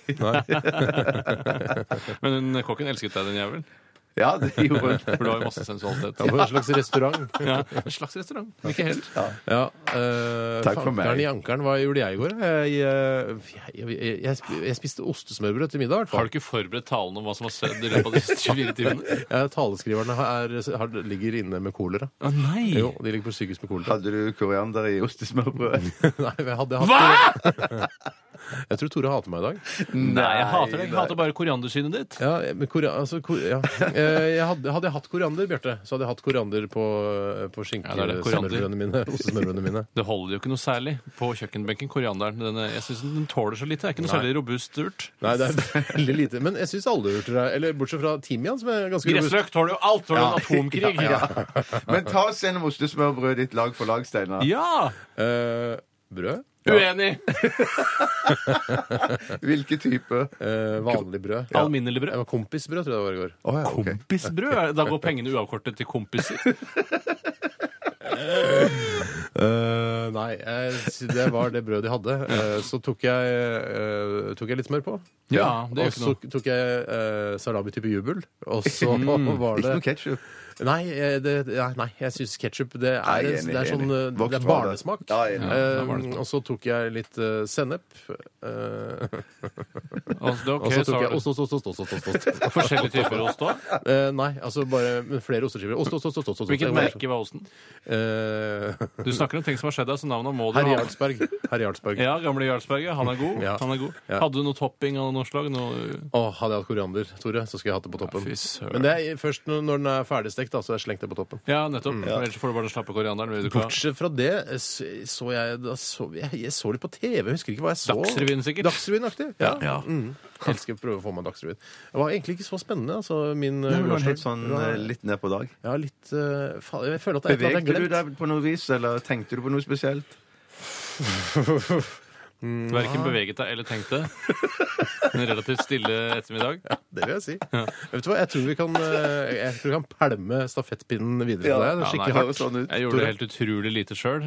Speaker 5: Men den kokken elsket deg, den jævelen.
Speaker 4: Ja, det gjorde hun.
Speaker 5: For du har jo masse sensualitet.
Speaker 3: Ja, på en slags restaurant.
Speaker 5: Ja, En slags restaurant, men ikke helt.
Speaker 3: Ja, eh,
Speaker 4: Takk for meg.
Speaker 3: fankeren i ankeren, hva gjorde jeg i går? Jeg, eh, jeg, jeg, jeg, sp- jeg spiste ostesmørbrød til middag. i hvert fall.
Speaker 5: Har du ikke forberedt talen om hva som har skjedd i løpet av de siste 24 timene?
Speaker 3: Ja, taleskriverne har, har, ligger inne med kolera.
Speaker 5: Å nei!
Speaker 3: Jo, de ligger på sykehus med kolera.
Speaker 4: Hadde du koriander i ostesmørbrød?
Speaker 3: Nei, jeg hadde hatt Jeg tror Tore hater meg i dag.
Speaker 5: Nei, jeg hater det. Jeg hater bare koriandersynet ditt.
Speaker 3: Ja, men korea, altså, kor- ja. Eh, jeg hadde, hadde jeg hatt koriander, Bjarte, så hadde jeg hatt koriander på, på
Speaker 5: Ja, det er det,
Speaker 3: skinkesmørbrødene mine. Ostesmørbrødene mine.
Speaker 5: Det holder jo ikke noe særlig på kjøkkenbenken, korianderen. Den, er- jeg synes den tåler så lite. Det er ikke noe særlig robust urt.
Speaker 3: Nei, det er veldig lite. Men jeg syns alle urter er Eller bortsett fra timian, som er ganske robust.
Speaker 5: Gressløk tåler jo alt! Tåler en atomkrig! Ja,
Speaker 4: Men ta oss gjennom ostesmørbrødet ditt lag for lag, Steinar.
Speaker 3: Eh, brød.
Speaker 5: Uenig!
Speaker 4: Hvilke type?
Speaker 3: Eh, vanlig brød.
Speaker 5: Alminnelig brød.
Speaker 3: Jeg var kompisbrød, tror jeg det var i går.
Speaker 4: Å, ja, ok.
Speaker 5: Kompisbrød? Da går pengene uavkortet til kompiser.
Speaker 3: Eh, nei, eh, s- det var det brødet jeg hadde. Eh, så tok jeg, eh, tok jeg litt smør på.
Speaker 5: Ja, det
Speaker 3: og
Speaker 5: gjør ikke
Speaker 3: så
Speaker 5: noe.
Speaker 3: tok jeg eh, salami type jubel. Og så var
Speaker 4: Ikke noe
Speaker 3: det
Speaker 4: ketsjup.
Speaker 3: Nei, eh, det, ja, nei jeg syns ketsjup det, er
Speaker 4: Nei,
Speaker 3: en-
Speaker 4: enig,
Speaker 3: det er sånn
Speaker 4: enig.
Speaker 3: eh, Det er
Speaker 4: Vokst var det.
Speaker 3: barnesmak.
Speaker 4: Ja, enig.
Speaker 3: Eh,
Speaker 5: Ja, barnesmak.
Speaker 3: og så tok jeg litt eh, sennep. eh,
Speaker 5: Altså,
Speaker 3: og
Speaker 5: ok,
Speaker 3: så
Speaker 5: så
Speaker 3: tok jeg
Speaker 5: har
Speaker 3: ost, ost, ost, ost, ost, ost, ost.
Speaker 5: du forskjellige typer ost òg.
Speaker 3: Eh, nei, altså bare men flere osteskiver. Ost, ost, ost, ost, ost, ost. Jeg
Speaker 5: Hvilket
Speaker 3: var-
Speaker 5: merke var osten?
Speaker 3: Eh,
Speaker 5: Du snakker om ting som har skjedd deg, så navnet må du
Speaker 3: Herr
Speaker 5: ha.
Speaker 3: Jarlsberg. Herr Jarlsberg.
Speaker 5: Ja, gamle Jarlsberg. ja. Han er god.
Speaker 3: Ja.
Speaker 5: Han er god.
Speaker 3: Ja.
Speaker 5: Hadde du noe topping av noe slag? Noe...
Speaker 3: Å, hadde jeg hatt koriander, Tore, så skulle jeg hatt det på toppen.
Speaker 5: Ja, fy søren.
Speaker 3: Men det er først når når den er ferdigstekt, da, så har jeg slengt det på toppen.
Speaker 5: Ja, nettopp. Ellers får du bare den slappe korianderen. Vil du ikke
Speaker 3: Mm.
Speaker 5: ha.
Speaker 3: Bortsett fra det eh, så så jeg, da så jeg, jeg så litt på TV. Jeg husker ikke hva jeg så.
Speaker 5: Dagsrevyen, sikkert.
Speaker 3: Dagsrevyen-aktig. Ja. Mm. Jeg skal prøve å få meg Dagsrevyen. Det var egentlig ikke så spennende, altså. Min eh,
Speaker 4: Nei, men det var
Speaker 3: gårsdag.
Speaker 4: helt sånn
Speaker 3: Det var-
Speaker 4: eh, litt ned på dag.
Speaker 3: Ja, litt eh, faen, Jeg føler at det er et eller annet
Speaker 4: Bevegte
Speaker 3: jeg
Speaker 4: du
Speaker 3: har glemt.
Speaker 4: deg på noe vis, eller tenkte du på noe spesielt?
Speaker 5: Verken beveget deg eller tenkte. En relativt stille ettermiddag.
Speaker 3: Det vil jeg si. Vet du hva, jeg tror vi kan, eh, jeg tror vi kan pælme stafettpinnen videre til deg. Det
Speaker 5: Ja,
Speaker 3: er
Speaker 5: nei,
Speaker 3: skikkelig
Speaker 5: det
Speaker 3: hardt.
Speaker 4: høres sånn ut.
Speaker 5: Jeg gjorde det helt utrolig lite sjøl.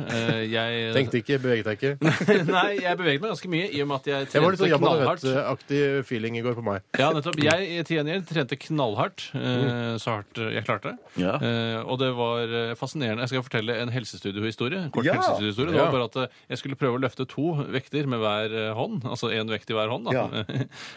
Speaker 5: Jeg
Speaker 3: Tenkte ikke, beveget deg ikke.
Speaker 5: Nei, jeg beveget meg ganske mye i og med at jeg
Speaker 3: Jeg var litt
Speaker 5: trente
Speaker 3: sånn Jabba
Speaker 5: knallhardt.
Speaker 3: Davet-aktig feeling i går på meg.
Speaker 5: Ja, nettopp. Jeg til gjengjeld trente knallhardt, eh, så hardt jeg klarte.
Speaker 4: Ja.
Speaker 5: Eh, og det var eh, fascinerende. Jeg skal fortelle en helsestudiehistorie. Kort
Speaker 4: Ja.
Speaker 5: helsestudiehistorie. Det var
Speaker 3: Ja.
Speaker 5: bare at eh, jeg skulle prøve å løfte to vekter med hver eh, hånd. Altså én vekt i hver hånd. Da.
Speaker 4: Ja.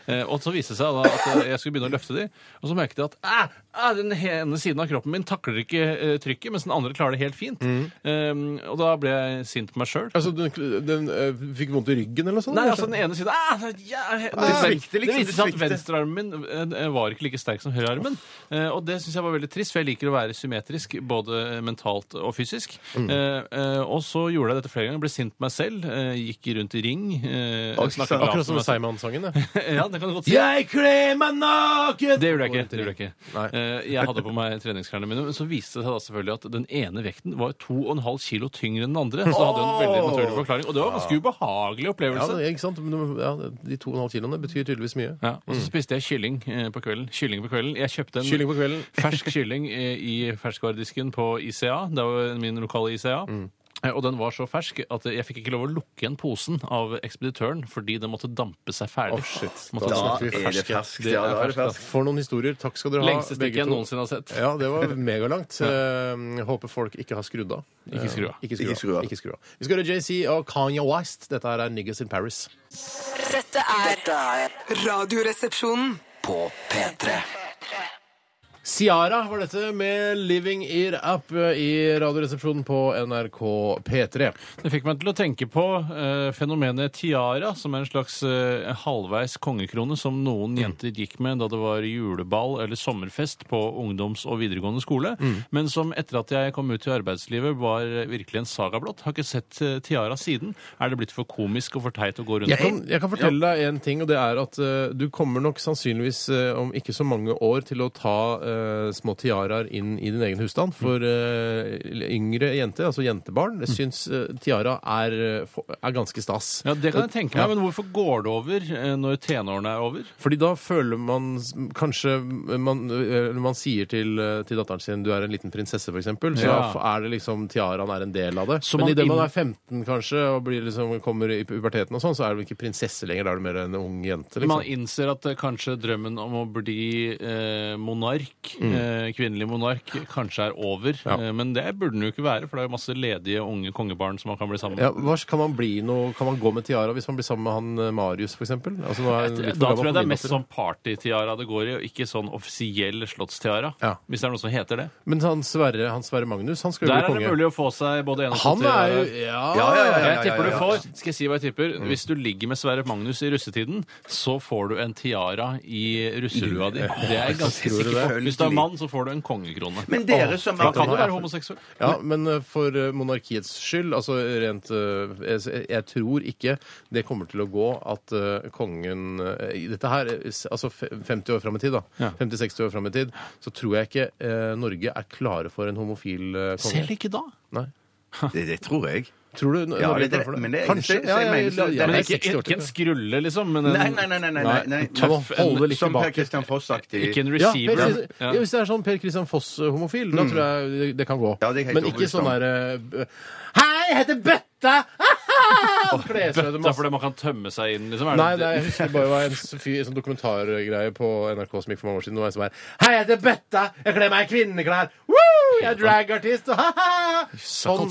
Speaker 5: Eh, og så viste det seg da at eh, jeg skulle begynne å løfte de, og så merket jeg at æ, æ, den ene siden av kroppen min takler ikke eh, trykket, mens den andre klarer det helt fint.
Speaker 4: Mm.
Speaker 5: Eh, og da ble jeg sint på meg sjøl.
Speaker 3: Altså, den, den eh, fikk vondt i ryggen eller noe sånt?
Speaker 5: Nei,
Speaker 3: kanskje?
Speaker 5: altså den ene siden ah, det, ja, det,
Speaker 4: svikter liksom,
Speaker 5: det viste seg
Speaker 4: det
Speaker 5: at
Speaker 4: svikter.
Speaker 5: venstrearmen min eh, var ikke like sterk som høyrearmen. Eh, Og det syns jeg var veldig trist, for jeg liker å være symmetrisk både mentalt og fysisk.
Speaker 3: Mm.
Speaker 5: Eh, eh, Og så gjorde jeg dette flere ganger. Ble sint på meg selv. eh, Gikk rundt i ring. eh, snakket lavt
Speaker 3: Akkurat som
Speaker 5: med
Speaker 3: med Seigmann-sangen. ja.
Speaker 5: meg selv. Ja, det kan du godt si.
Speaker 3: Jeg kler meg naken!
Speaker 5: Det gjorde jeg ikke. Det gjorde jeg, ikke.
Speaker 3: Nei.
Speaker 5: Eh, jeg hadde på meg treningsklærne mine, men så viste det seg da selvfølgelig at den ene vekten var 2,5 kilo tyngre enn den andre. Så det hadde en veldig naturlig forklaring. Og det var en ganske ubehagelig
Speaker 3: Ja,
Speaker 5: opplevelse.
Speaker 3: det, ikke sant? Men, ja, de 2,5 kiloene betyr tydeligvis mye.
Speaker 5: Ja, og så spiste jeg kylling eh, på kvelden. Kylling på kvelden. Jeg kjøpte en
Speaker 3: Kylling på kvelden.
Speaker 5: fersk kylling eh, i ferskvaredisken på ICA. Det var min lokale ICA.
Speaker 3: Mm.
Speaker 5: Eh, Og den var så fersk at jeg fikk ikke lov å lukke igjen posen av ekspeditøren fordi den måtte dampe seg ferdig.
Speaker 3: Å, shit.
Speaker 5: Måtte
Speaker 3: Da
Speaker 4: er
Speaker 5: dampe.
Speaker 4: det
Speaker 3: ferske.
Speaker 4: ferskt.
Speaker 5: Det
Speaker 4: Ja, da
Speaker 5: er
Speaker 4: er det
Speaker 5: ferskt,
Speaker 4: ferskt.
Speaker 3: For noen historier. Takk skal dere ha,
Speaker 5: Lengste stikket jeg noensinne har sett.
Speaker 3: Ja, det var megalangt. Eh, håper folk ikke har skrudd av.
Speaker 5: Ikke skru av.
Speaker 3: Eh, Ikke skru
Speaker 4: Ikke skru
Speaker 3: av.
Speaker 4: av.
Speaker 3: Ikke skru av. Vi skal høre JC og Kanye West. Dette her er Niggas in Paris.
Speaker 6: Dette er
Speaker 2: Dette er
Speaker 6: Radioresepsjonen.
Speaker 2: på P3.
Speaker 3: Ciara var dette med 'Living It Up' eh, i Radioresepsjonen på NRK P3.
Speaker 5: Det fikk meg til å tenke på eh, fenomenet tiara, som er en slags eh, halvveis kongekrone som
Speaker 3: Mm.
Speaker 5: noen jenter gikk med da det var juleball eller sommerfest på ungdoms- og videregående skole,
Speaker 3: Mm.
Speaker 5: men som etter at jeg kom ut i arbeidslivet var eh, virkelig en saga blott. Har ikke sett eh, tiara siden. Er det blitt for komisk og for teit å gå rundt
Speaker 3: Jeg kan, jeg kan fortelle deg en ting, og det er at eh, du kommer nok sannsynligvis eh, om ikke så mange år til å ta eh, små tiaraer inn i din egen
Speaker 5: Mm.
Speaker 3: husstand. For eh, yngre jenter, altså jentebarn, syns eh, tiara er, eh, for- er ganske stas.
Speaker 5: Ja, det kan jeg tenke
Speaker 3: Ja.
Speaker 5: meg, men hvorfor går det over eh, når tenårene er over?
Speaker 3: Fordi da føler man s- kanskje man, eh, Når man sier til, eh, til datteren sin du er en liten prinsesse, f.eks., så
Speaker 5: Ja.
Speaker 3: f- er det liksom tiaraen er en del av det.
Speaker 5: Så
Speaker 3: Men
Speaker 5: man
Speaker 3: idet man
Speaker 5: inn-
Speaker 3: er 15 kanskje og blir liksom, kommer i puberteten, og sånn, så er du ikke prinsesse lenger. Da er du mer en ung jente.
Speaker 5: Man
Speaker 3: Liksom.
Speaker 5: innser at eh, kanskje drømmen om å bli eh, monark, eh, kvinnelig monark, kanskje er over.
Speaker 3: Mm. Ja.
Speaker 5: Eh, men det burde den jo ikke være, for det er jo masse ledige unge kongebarn som man kan bli sammen med.
Speaker 3: Ja, hva, kan, man bli noe, kan man gå med tiara hvis man blir sammen med han eh, Marius, f.eks.? Altså, nå er jeg litt for gammel
Speaker 5: Da tror jeg
Speaker 3: for
Speaker 5: det er
Speaker 3: min
Speaker 5: mest
Speaker 3: datter.
Speaker 5: sånn partytiara det går i, og ikke sånn offisiell slottstiara.
Speaker 3: Ja.
Speaker 5: Hvis det er noe som heter det.
Speaker 3: Men han Sverre, han Sverre Magnus, han skal jo
Speaker 5: Der
Speaker 3: bli
Speaker 5: er det
Speaker 3: konge.
Speaker 5: mulig å få seg både en og to
Speaker 3: Han er jo
Speaker 5: tiaraer.
Speaker 3: ja, Mm.
Speaker 4: Ja, ja, ja, ja,
Speaker 5: Jeg tipper du
Speaker 4: ja, ja.
Speaker 5: får, skal jeg si hva jeg tipper, Hvis du ligger med Sverre Magnus i russetiden, så får du en tiara i russelua di. Det er jeg ganske
Speaker 3: Tror du
Speaker 5: sikker på.
Speaker 4: det?
Speaker 5: Hvis du er mann, så får du en kongekrone.
Speaker 4: Men dere som
Speaker 5: Da kan
Speaker 4: er
Speaker 5: du være homoseksuell.
Speaker 3: Ja, men eh, for eh, monarkiets skyld, altså rent eh, Jeg, jeg tror ikke det kommer til å gå at eh, kongen eh, i Dette her, eh, s- altså fe- 50 år fram i tid, da.
Speaker 5: Ja.
Speaker 3: 50-60 år fram i tid. Så tror jeg ikke eh, Norge er klare for en homofil eh, konge.
Speaker 5: Selv ikke da.
Speaker 3: Nei.
Speaker 4: Det, det tror jeg.
Speaker 3: Tror du Norge
Speaker 4: Ja,
Speaker 3: er
Speaker 4: det-
Speaker 3: klar for det?
Speaker 4: men det er-
Speaker 3: Kanskje.
Speaker 4: så- så jeg mener så- det er
Speaker 5: Men
Speaker 3: det er
Speaker 5: ikke,
Speaker 3: 60 år
Speaker 5: ikke en
Speaker 3: til.
Speaker 5: skrulle, liksom. Men en,
Speaker 4: Nei, nei, nei. nei, nei, nei, nei.
Speaker 3: Ta og holde litt
Speaker 4: som Per
Speaker 3: tilbake.
Speaker 4: Christian Foss-aktig.
Speaker 5: Ikke en
Speaker 3: Ja, Per,
Speaker 5: receiver.
Speaker 3: Christian- ja, hvis det er sånn Per Christian Foss-homofil,
Speaker 5: Mm.
Speaker 3: da tror jeg det, det kan gå.
Speaker 4: Ja, det er helt
Speaker 3: Men ikke
Speaker 4: overbevist
Speaker 3: sånn
Speaker 4: om.
Speaker 3: derre Hei, jeg heter Bøtta! Kle seg ut
Speaker 5: Bøtta
Speaker 3: masse.
Speaker 5: fordi man kan tømme seg inn, liksom.
Speaker 3: Nei, nei, jeg husker bare det var en s- fyr, en sånn dokumentargreie på NRK som gikk for mange år siden. Det var en som er Hei, jeg heter Bøtta! Jeg kler meg i kvinneklær! Woo! Jeg er dragartist! og ha-ha!»
Speaker 5: kalte seg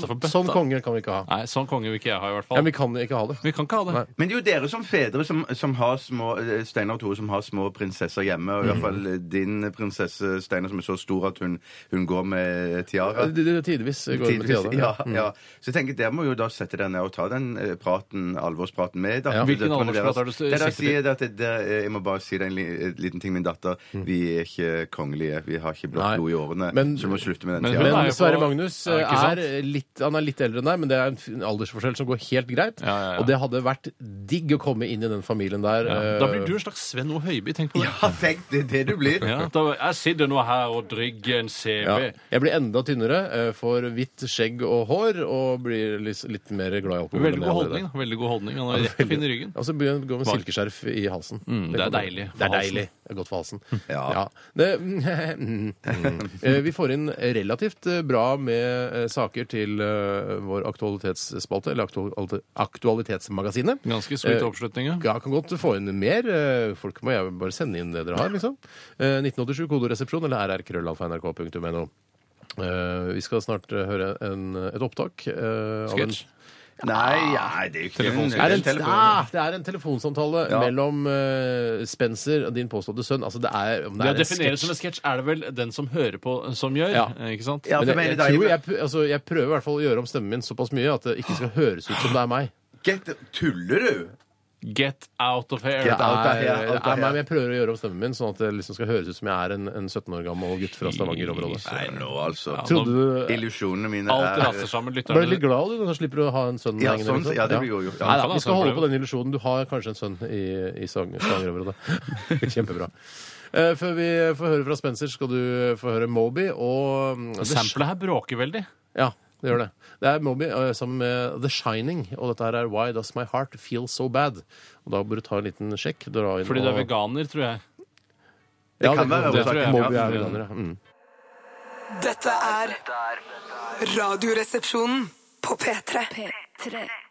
Speaker 3: Sånn,
Speaker 5: for Bøtta.
Speaker 3: sånn konge kan vi ikke ha.
Speaker 5: Nei, sånn konge vil ikke jeg ha, i hvert
Speaker 3: Ja,
Speaker 5: fall.
Speaker 3: vi kan ikke ha det.
Speaker 5: Vi kan ikke ha det.
Speaker 3: Nei.
Speaker 4: Men det er jo dere som fedre som, som har små eh, Steinar og Tore som har små prinsesser hjemme. Og i
Speaker 3: Mm.
Speaker 4: hvert fall eh, din prinsesse Steinar som er så stor at hun, hun går med tiara.
Speaker 3: Det- det- det Tidvis går det med
Speaker 4: Tidvis,
Speaker 3: tiara. Mm.
Speaker 4: ja, ja. Så jeg tenker Dere må jo da sette deg ned og ta den eh, praten, alvorspraten med datteren.
Speaker 5: Hvilken
Speaker 4: Det tror jeg
Speaker 5: alvorsprat
Speaker 4: dere-
Speaker 5: er det
Speaker 4: Det
Speaker 5: du
Speaker 4: dere
Speaker 5: sikter til?
Speaker 4: sier, det at det, det, eh, Jeg må bare si deg en li, en liten ting, min datter. Vi er ikke kongelige. Vi har ikke
Speaker 3: Mm. Nei.
Speaker 4: blått blod i årene.
Speaker 3: Men-
Speaker 4: så vi må slutte med
Speaker 5: Men
Speaker 4: den
Speaker 5: hun er
Speaker 4: tiaraen.
Speaker 5: jo
Speaker 3: Men
Speaker 5: på-
Speaker 3: Sverre Magnus
Speaker 5: Ja,
Speaker 3: eh,
Speaker 5: ikke sant?
Speaker 3: er litt, han er litt eldre enn deg, men det er en fin aldersforskjell som går helt greit.
Speaker 5: Ja, ja, ja.
Speaker 3: Og det hadde vært digg å komme inn i den familien der.
Speaker 5: Ja.
Speaker 3: eh,
Speaker 5: Da blir du en slags Sven O. Høiby, tenk på det.
Speaker 4: Ja, tenk, det er det du blir.
Speaker 5: Ja, da, jeg sitter nå her og drygger
Speaker 3: ja.
Speaker 5: en CV.
Speaker 3: Jeg blir enda tynnere, eh, får hvitt skjegg og hår, og blir litt, litt mer glad i alkohol.
Speaker 5: Veldig
Speaker 3: enn jeg
Speaker 5: god
Speaker 3: allerede
Speaker 5: holdning. da. Veldig god holdning. Han er rett og fin i ryggen.
Speaker 3: Og så begynner jeg å gå med
Speaker 5: Var-
Speaker 3: silkeskjerf i halsen.
Speaker 5: Mm, det er
Speaker 3: kommer-
Speaker 5: deilig for
Speaker 3: Det er
Speaker 5: halsen.
Speaker 3: deilig. Det er godt for halsen.
Speaker 4: Ja.
Speaker 3: Det, mm, mm. Eh, Vi får inn relativt eh, bra med eh, saker til eh, vår aktualitetsspalte, eller aktual- Aktualitetsmagasinet.
Speaker 5: Ganske sweet
Speaker 3: Eh,
Speaker 5: oppslutning, ja.
Speaker 3: Ja, kan godt få inn mer. Eh, Folk må jeg bare sende inn det dere har, liksom. Eh, 1987 kodoresepsjon eller rrkrøllalfa.nrk.no. Eh, Vi skal snart eh, høre en, et opptak. eh, av en-
Speaker 5: Sketsj.
Speaker 4: Nei, nei, det er jo ikke
Speaker 5: Telefonsamtale.
Speaker 3: Det er en,
Speaker 4: en telefon.
Speaker 3: ah, det er en telefonsamtale
Speaker 4: Ja.
Speaker 3: mellom eh, Spencer og din påståtte sønn. Altså, det er, om det
Speaker 5: Det
Speaker 3: er en
Speaker 5: å
Speaker 3: sketsj
Speaker 5: definere som en sketsj er det vel den som hører på, som gjør.
Speaker 3: Ja.
Speaker 5: eh, Ikke sant?
Speaker 4: Ja, for
Speaker 3: Men jeg, jeg,
Speaker 4: mener det er jo-
Speaker 3: tror jeg, pr- altså, jeg prøver i hvert fall å gjøre om stemmen min såpass mye at det ikke skal høres ut som det er meg.
Speaker 4: Get, tuller du?
Speaker 5: Get out of here.
Speaker 3: Det
Speaker 4: out
Speaker 3: er,
Speaker 4: of here, out
Speaker 3: det er meg,
Speaker 4: of here.
Speaker 3: men jeg prøver å gjøre om stemmen min sånn at det liksom skal høres ut som jeg er en, en 17 år gammel gutt fra Stavanger-området.
Speaker 4: Nei, nå altså.
Speaker 3: Trodde du
Speaker 4: Illusjonene mine
Speaker 5: Alt
Speaker 4: er
Speaker 5: raser sammen.
Speaker 3: Ble du
Speaker 5: Lytterne
Speaker 3: litt glad du, når du slipper å ha en sønn
Speaker 4: Ja,
Speaker 3: hengende
Speaker 4: sånn,
Speaker 3: rundt?
Speaker 4: ja, det blir jo gjort. Ja,
Speaker 3: Nei, da, vi
Speaker 5: kan
Speaker 3: skal
Speaker 5: altså
Speaker 3: holde
Speaker 5: prøve.
Speaker 3: på den illusjonen. Du har kanskje en sønn i, i Stavanger- Stavanger-området. Kjempebra. Eh, Før vi får høre fra Spencer, skal du få høre Moby og mm, The Sh-
Speaker 5: Samplet her bråker veldig.
Speaker 3: Ja, det gjør det. Det er Moby eh, sammen med The Shining, og dette her er Why Does My Heart Feel So Bad? Og Da bør du ta en liten sjekk. Dra inn
Speaker 5: Fordi du er
Speaker 3: og-
Speaker 5: veganer, tror jeg.
Speaker 3: Ja, det
Speaker 4: kan være
Speaker 3: det,
Speaker 4: årsaken,
Speaker 5: ja.
Speaker 3: Moby er veganer, ja. Mm.
Speaker 6: Dette er Radioresepsjonen på P3.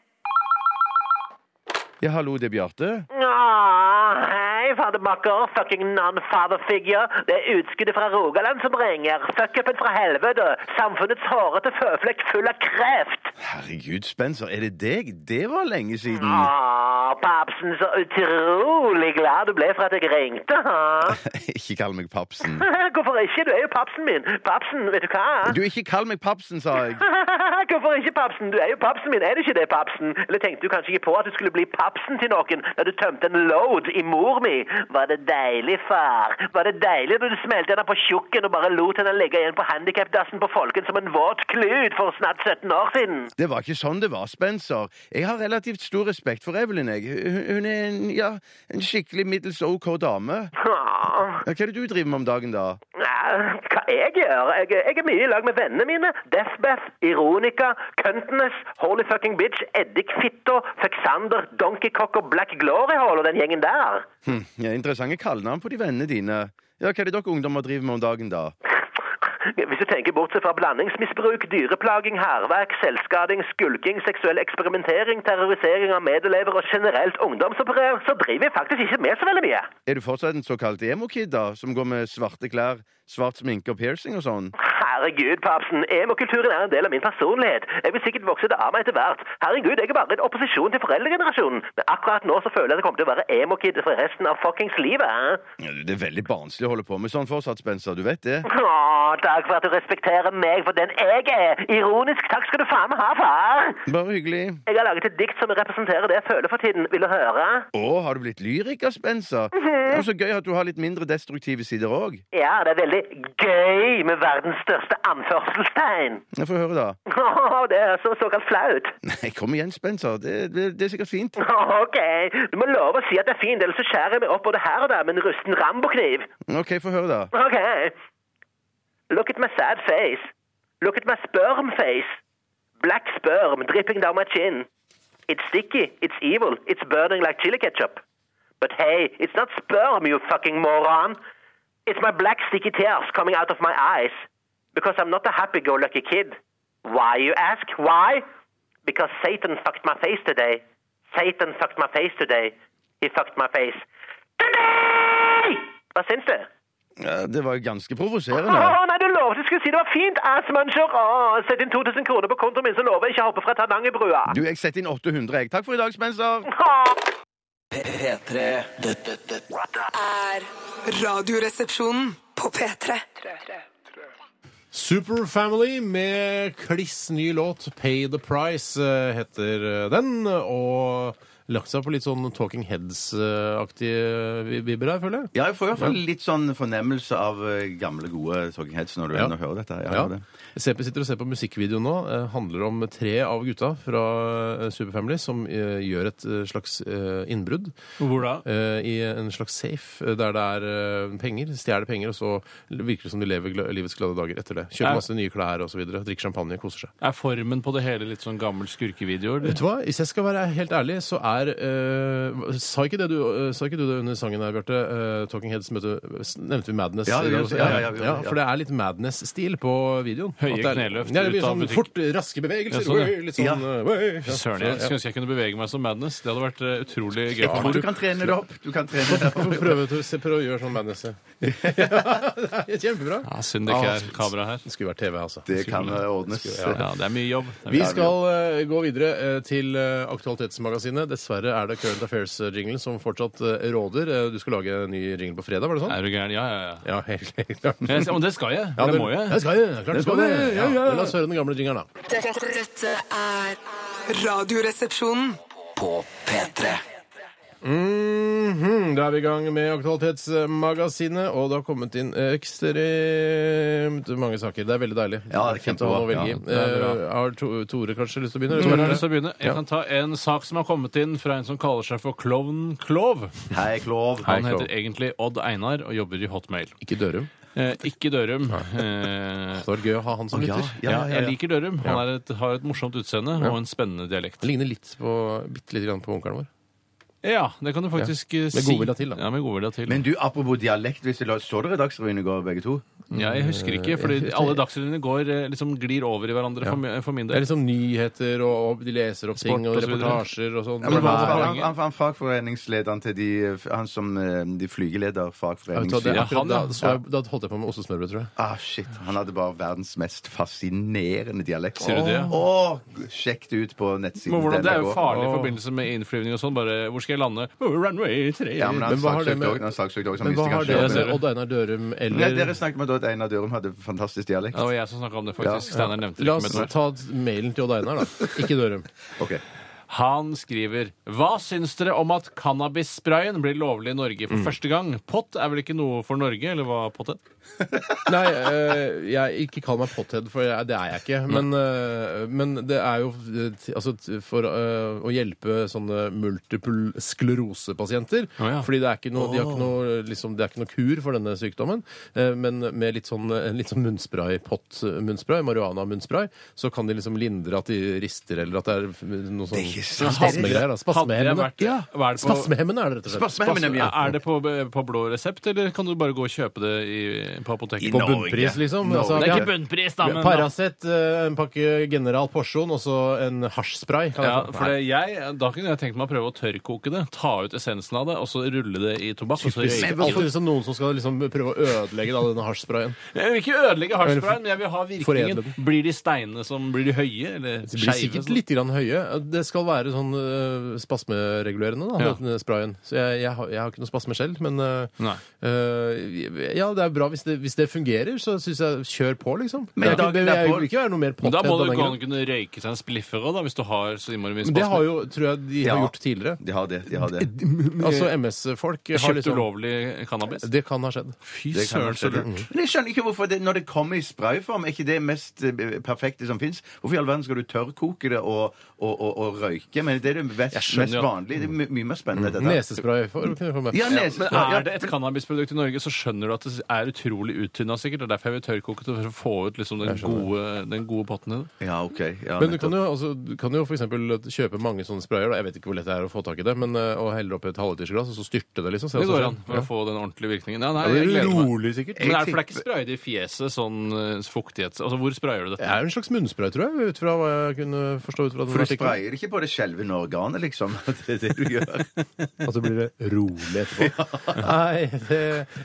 Speaker 4: Ja, hallo, det er Bjarte.
Speaker 7: Åh, hei, fadermakker. Fucking non-father figure. Det er utskuddet fra Rogaland som ringer. Fuck-upen fra helvete. Samfunnets hårete føflekk full av kreft.
Speaker 4: Herregud, Spencer, er det deg? Det var lenge siden.
Speaker 7: Åh, papsen, så utrolig glad du ble for at jeg ringte. hæ?
Speaker 4: Ikke kall meg Papsen.
Speaker 7: Hvorfor ikke? Du er jo papsen min. Papsen, vet du hva?
Speaker 4: Du, ikke kall meg Papsen, sa jeg.
Speaker 7: Hvorfor ikke papsen? Du er jo papsen min, er du ikke det, papsen? Eller tenkte du kanskje ikke på at du skulle bli papsen til noen da du tømte en load i mor mi? Var det deilig, far? Var det deilig da du smelte henne på tjukken og bare lot henne ligge igjen på handikapdassen på folken som en våt klut for snart 17 år siden?
Speaker 4: Det var ikke sånn det var, Spencer. Jeg har relativt stor respekt for Evelyn, jeg. Hun, hun er en, ja, en skikkelig middels OK dame.
Speaker 7: Åh.
Speaker 4: Ja, Hva er det du driver med om dagen, da?
Speaker 7: Ja, Hva jeg gjør? Jeg, jeg er mye i lag med vennene mine. Deathbeth, Ironica, Cuntness, Holy Fucking Bitch, Eddikfitta, Fexander, Donkey Cock og Black Glory Hall og den gjengen der.
Speaker 4: Hm, ja, interessante kallenavn på de vennene dine. Ja, Hva er det dere ungdommer driver med om dagen, da?
Speaker 7: Hvis du tenker bortsett fra blandingsmisbruk, dyreplaging, hærverk, selvskading, skulking, seksuell eksperimentering, terrorisering av medelever og generelt ungdomsopprør, så driver jeg faktisk ikke med så veldig mye.
Speaker 4: Er du fortsatt en såkalt emo-kid, da? Som går med svarte klær, svart sminke og piercing og sånn?
Speaker 7: Herregud, papsen, emokulturen er en del av min personlighet. Jeg vil sikkert vokse det av meg etter hvert. Herregud, jeg er bare en opposisjon til foreldregenerasjonen. Men akkurat nå så føler jeg at jeg kommer til å være emo-kid for resten av fuckings livet. hæ?
Speaker 4: Ja, du, det er veldig barnslig å holde på med sånn fortsatt, Spencer. Du vet det?
Speaker 7: Åh, takk for at du respekterer meg for den jeg er. Ironisk takk skal du faen meg ha, far.
Speaker 4: Bare hyggelig.
Speaker 7: Jeg har laget et dikt som representerer det jeg føler for tiden. Vil du høre?
Speaker 4: Å, har du blitt lyriker, Spencer? Ja, så gøy at du har litt mindre destruktive sider òg.
Speaker 7: Ja, det er veldig gøy med verdens største anførselstegn.
Speaker 4: Få høre, da.
Speaker 7: Åh, det er så såkalt flaut.
Speaker 4: Nei, kom igjen, Spencer. Det, det, det er sikkert fint.
Speaker 7: Åh, ok, du må love å si at det er fint, ellers så skjærer jeg meg opp både her og der med en rusten rambokniv.
Speaker 4: OK, få høre, da.
Speaker 7: Ok. Look at my sad face. Look at my sperm face. Black sperm dripping down my chin. It's sticky, it's evil, it's burning like chili ketchup. But hey, it's not sperm, you fucking moron. It's my black sticky tears coming out of my eyes. Because I'm not a happy-go-lucky kid. Why, you ask? Why? Because Satan fucked my face today. Satan fucked my face today. He fucked my face. Today! Hva syns du?
Speaker 4: Ja, det var jo ganske provoserende.
Speaker 7: Åh, nei, Ah, du lovte jeg skulle si det var fint, assmuncher. Åh, Sett inn 2000 kroner på kontoen min, så lover jeg ikke å hoppe fra Tandangerbrua.
Speaker 4: Du, jeg setter inn 800, jeg. Takk for i dag, Spencer.
Speaker 7: Åh.
Speaker 2: P3. Dette, dette
Speaker 6: Er Radioresepsjonen på P3.
Speaker 3: Super Family med kliss ny låt. Pay the Price eh, heter eh, den. Og lagt seg på litt sånn Talking Heads-aktige vi- vibber her, føler jeg.
Speaker 4: Ja, jeg får i hvert fall litt sånn fornemmelse av eh, gamle, gode Talking Heads når du
Speaker 3: Ja.
Speaker 4: når du hører dette. her. Jeg
Speaker 3: Ja.
Speaker 4: hører det.
Speaker 3: CP sitter og ser på musikkvideoen nå. Eh, handler om tre av gutta fra eh, Super Family som eh, gjør et eh, slags eh, innbrudd.
Speaker 5: Hvor da?
Speaker 3: eh, I en slags safe eh, der det er eh, penger. Stjeler penger, og så virker det som de lever gla livets glade dager etter det.
Speaker 5: Ja.
Speaker 3: Kjøper masse nye klær osv. Drikker champagne, koser seg.
Speaker 5: Er formen på det hele litt sånn gammel skurkevideo? eller?
Speaker 3: Vet du hva? Hvis jeg skal være helt ærlig, så er er eh, Sa ikke, det du, eh, sa ikke du det under sangen her, Bjarte? Eh, Talking Heads møte, nevnte vi Madness?
Speaker 4: Ja, det
Speaker 3: i dag
Speaker 4: gjør-
Speaker 3: også?
Speaker 4: ja, ja, ja, vi gjør
Speaker 3: ja,
Speaker 4: det, ja.
Speaker 3: For det er litt Madness-stil på videoen.
Speaker 5: Høye
Speaker 3: At det er-
Speaker 5: kneløft
Speaker 3: Ja, det
Speaker 5: ut
Speaker 3: blir
Speaker 5: av
Speaker 3: sånn
Speaker 5: butikk.
Speaker 3: fort, raske bevegelser.
Speaker 5: Ja, sånn, ja.
Speaker 3: wøy, Litt sånn eh, wøy. Ja.
Speaker 5: Søren, jeg skulle ønske jeg kunne bevege meg som Madness. Det hadde vært eh, utrolig gøy.
Speaker 4: Jeg tror du kan trene det opp. Du kan trene det
Speaker 3: Prøv,
Speaker 4: opp.
Speaker 3: prøv, å- se- prøv å gjøre sånn Madness. ja. det er kjempebra.
Speaker 5: Ja, Synd det ikke er
Speaker 4: Ah.
Speaker 5: kamera her.
Speaker 3: Det skulle vært TV, altså.
Speaker 4: Det kan ordnes.
Speaker 5: Ja, Det er mye jobb. Det er
Speaker 3: Vi
Speaker 5: mye jobb.
Speaker 3: skal eh, gå videre eh, til eh, Aktualitetsmagasinet. Dessverre er det Current Affairs-jinglen som fortsatt eh, råder. Eh, du skal lage en ny jingle på fredag, var det sånn?
Speaker 5: Er du gæren? Ja, ja, ja.
Speaker 3: Ja, helt, helt klart.
Speaker 5: Men jeg sier, Om det skal jeg.
Speaker 3: Ja,
Speaker 5: det
Speaker 3: men-
Speaker 5: må
Speaker 3: Ja,
Speaker 5: jeg.
Speaker 3: skal jeg. Klart
Speaker 4: Det
Speaker 3: du skal
Speaker 4: skal
Speaker 3: det. Ja,
Speaker 4: jeg. Ja, ja,
Speaker 3: Men la oss høre den gamle jingeren, da.
Speaker 6: Dette, dette er Radioresepsjonen.
Speaker 2: På P3.
Speaker 3: Mhm, Da er vi i gang med Aktualitetsmagasinet, og det har kommet inn ekstremt mange saker. Det er veldig deilig.
Speaker 4: Ja, det er
Speaker 3: Fint å ha noe å
Speaker 4: kjempebra.
Speaker 3: velge i.
Speaker 4: Ja,
Speaker 5: det er bra.
Speaker 3: Eh, Har To- Tore kanskje lyst til å begynne?
Speaker 5: Tore,
Speaker 3: Eller?
Speaker 5: har du lyst til å begynne? Jeg kan ta en sak som har kommet inn fra en som kaller seg for Klovn Klov.
Speaker 4: Hei, Klov.
Speaker 5: Han heter egentlig Odd Einar og jobber i Hotmail.
Speaker 3: Ikke Dørum.
Speaker 5: Eh, ikke Dørum. Eh,
Speaker 3: Det var gøy å ha han som
Speaker 4: ja,
Speaker 3: lytter.
Speaker 4: ja,
Speaker 5: ja,
Speaker 4: ja,
Speaker 5: jeg
Speaker 4: ja.
Speaker 5: liker Dørum. Han er et, har et morsomt utseende og en spennende dialekt.
Speaker 3: Han ligner litt på, bitte lite grann på onkelen vår.
Speaker 5: Ja, det kan du faktisk eh, si.
Speaker 3: godvilja til, da.
Speaker 5: Ja, med godvilja til.
Speaker 4: Men du, apropos dialekt, hvis du la, så dere Dagsrevyen i går, begge to?
Speaker 5: Ja, jeg husker ikke, fordi alle dagsrevyene går eh, liksom glir over i hverandre for, mi- for min
Speaker 3: Det er
Speaker 5: del.
Speaker 3: liksom nyheter, og og de leser opp ting, og
Speaker 5: og så videre.
Speaker 3: reportasjer og sånn.
Speaker 4: Ja, men hva,
Speaker 5: var
Speaker 4: han,
Speaker 5: poenget?
Speaker 4: han, han fagforeningslederen til de Han som eh, de flygeleder
Speaker 3: Ja, vet du hva, det,
Speaker 4: fagforeningslederen.
Speaker 5: Ja,
Speaker 3: akkurat,
Speaker 5: han, ja.
Speaker 3: da, så jeg, da holdt jeg på med ostesmørbrød, tror jeg.
Speaker 4: Ah, shit. Han hadde bare verdens mest fascinerende dialekt.
Speaker 5: Sier du det, ja?
Speaker 4: Åh, sjekk det ut på nettsiden.
Speaker 5: Men hvordan,
Speaker 4: til
Speaker 5: Det er jo
Speaker 4: NRK.
Speaker 5: farlig i forbindelse med innflyvning og sånn. Bare Hvor skal jeg lande? Oh, Runway 3.
Speaker 4: Ja, men han
Speaker 3: Men hva har det
Speaker 4: saksøkte
Speaker 3: med-
Speaker 4: også- han saksøkte også, han
Speaker 3: Men hva
Speaker 4: visste
Speaker 3: har
Speaker 4: kanskje
Speaker 3: det
Speaker 5: det
Speaker 3: med
Speaker 5: med-
Speaker 3: Odd Einar Dørum
Speaker 4: Nei, Dere
Speaker 3: eller
Speaker 4: snakket med at Einar Dørum hadde fantastisk dialekt.
Speaker 5: Det var jeg som snakka om det, faktisk. Steinar nevnte det
Speaker 3: La
Speaker 5: ikke.
Speaker 3: oss
Speaker 5: med et ord.
Speaker 3: ta mailen til Odd Einar, da. Ikke Dørum.
Speaker 4: Ok.
Speaker 5: Han skriver Hva syns dere om at cannabissprayen blir lovlig i Norge for første gang? Pott er vel ikke noe for Norge, eller hva pott er?
Speaker 3: Nei, eh, jeg ikke kall meg pothead, for jeg, det er jeg ikke. Men, eh, men det er jo eh, t- altså, t- for eh, å hjelpe sånne multiple sklerosepasienter.
Speaker 5: Å, ja.
Speaker 3: Fordi det er ikke noe, de har ikke noe, liksom, det er ikke noe kur for denne sykdommen. eh, men med litt sånn, en litt sånn munnspray, pott-munnspray, marihuana-munnspray, så kan de liksom lindre at de rister, eller at det er noe sånn spasmegreier. da.
Speaker 5: Hadde jeg
Speaker 3: Spasmehemmende.
Speaker 5: vært- hva er det på-
Speaker 3: Spasmehemmende er det rett og slett.
Speaker 4: Spasmehemmende, ja.
Speaker 5: Er det på, på blå resept, eller kan du bare gå og kjøpe det i, på apoteket?
Speaker 4: I
Speaker 3: På
Speaker 4: Norge.
Speaker 3: bunnpris, liksom.
Speaker 4: Norge.
Speaker 5: Det er
Speaker 3: ja.
Speaker 5: ikke bunnpris, da, men
Speaker 3: Paracet, eh, en pakke General porsjon og så en hasjspray. kan jeg
Speaker 5: Ja,
Speaker 3: få.
Speaker 5: for det, jeg, Da kunne jeg tenkt meg å prøve å tørrkoke det. Ta ut essensen av det, og så rulle det i tobakk. Og så
Speaker 3: Nei,
Speaker 5: røyke.
Speaker 3: det er Alltid liksom noen som skal liksom prøve å ødelegge da, denne hasjsprayen.
Speaker 5: Jeg vil ikke ødelegge hasjsprayen, men jeg vil ha
Speaker 3: Foredle
Speaker 5: virkningen.
Speaker 3: den.
Speaker 5: Blir de steinene som Blir de høye, eller
Speaker 3: Det blir
Speaker 5: skeive?
Speaker 3: sikkert
Speaker 5: sånn?
Speaker 3: litt grann høye. Det skal være sånn eh, spasmeregulerende, da,
Speaker 5: Ja.
Speaker 3: denne sprayen. Så jeg, jeg, har, jeg har ikke noe spasme selv, men eh,
Speaker 5: Nei.
Speaker 3: eh, Ja, det er bra hvis det, hvis det fungerer, så syns jeg kjør på, liksom.
Speaker 4: Men
Speaker 3: jeg, er ikke-
Speaker 4: dagen
Speaker 3: jeg,
Speaker 4: derpå-
Speaker 3: vil ikke være noe mer
Speaker 5: Men Da
Speaker 3: pothead
Speaker 5: må
Speaker 3: av
Speaker 5: det
Speaker 3: den
Speaker 5: gå an
Speaker 3: grunn.
Speaker 5: å kunne røyke seg en spliffer òg, da, hvis du har så innmari mye
Speaker 3: Men Det har
Speaker 5: spasme.
Speaker 3: jo, tror jeg, de har
Speaker 4: Ja.
Speaker 3: gjort tidligere.
Speaker 4: De har det. de har det.
Speaker 3: Altså MS-folk har
Speaker 5: Kjøpt
Speaker 3: liksom
Speaker 5: ulovlig cannabis?
Speaker 3: Det kan ha skjedd.
Speaker 5: Fy
Speaker 4: Det Mm. kan
Speaker 5: søren, så
Speaker 4: være.
Speaker 5: lurt.
Speaker 4: Men jeg skjønner ikke hvorfor det, når det kommer i sprayform, er ikke det mest eh, perfekte som fins? Hvorfor i all verden skal du tørrkoke det og, og, og, og røyke? Men det er det best,
Speaker 5: skjønner
Speaker 4: mest
Speaker 5: jo at-
Speaker 4: vanlige. Det er my- mye mer spennende. dette.
Speaker 3: Nesespray for, kunne komme.
Speaker 4: Ja,
Speaker 5: Mm. Men
Speaker 4: nesespray.
Speaker 5: er det et cannabisprodukt i Norge, så skjønner du at det er utrolig uttynna, sikkert. Det er derfor jeg vil tørrkoke det, for å få ut liksom den, gode, den gode potten i det.
Speaker 4: Ja, ok. Ja,
Speaker 3: Men du kan
Speaker 4: nettopp.
Speaker 3: jo, altså, du kan jo for eksempel kjøpe mange sånne sprayer. Da. Jeg vet ikke hvor lett det er å få tak i det, men eh, å helle oppi et halvlitersglass og så styrte det, liksom. Se
Speaker 5: Det
Speaker 3: hva som
Speaker 5: går an
Speaker 3: skjer.
Speaker 5: for å få den ordentlige virkningen. Ja, nei,
Speaker 3: Ja, det
Speaker 5: jeg
Speaker 3: er
Speaker 5: gleder meg.
Speaker 3: rolig, sikkert.
Speaker 5: Men er det, for det er ikke sprayet i fjeset, sånn eh, fuktighets... Altså, hvor sprayer du
Speaker 3: Det
Speaker 5: dette?
Speaker 3: er jo en slags munnspray, tror jeg, ut fra hva jeg kunne forstå ut fra den
Speaker 4: For du
Speaker 3: artikkelen.
Speaker 4: sprayer ikke på det skjelvende organet, liksom. Det er det du gjør.
Speaker 3: Og så blir det rolig etterpå. Nei, det,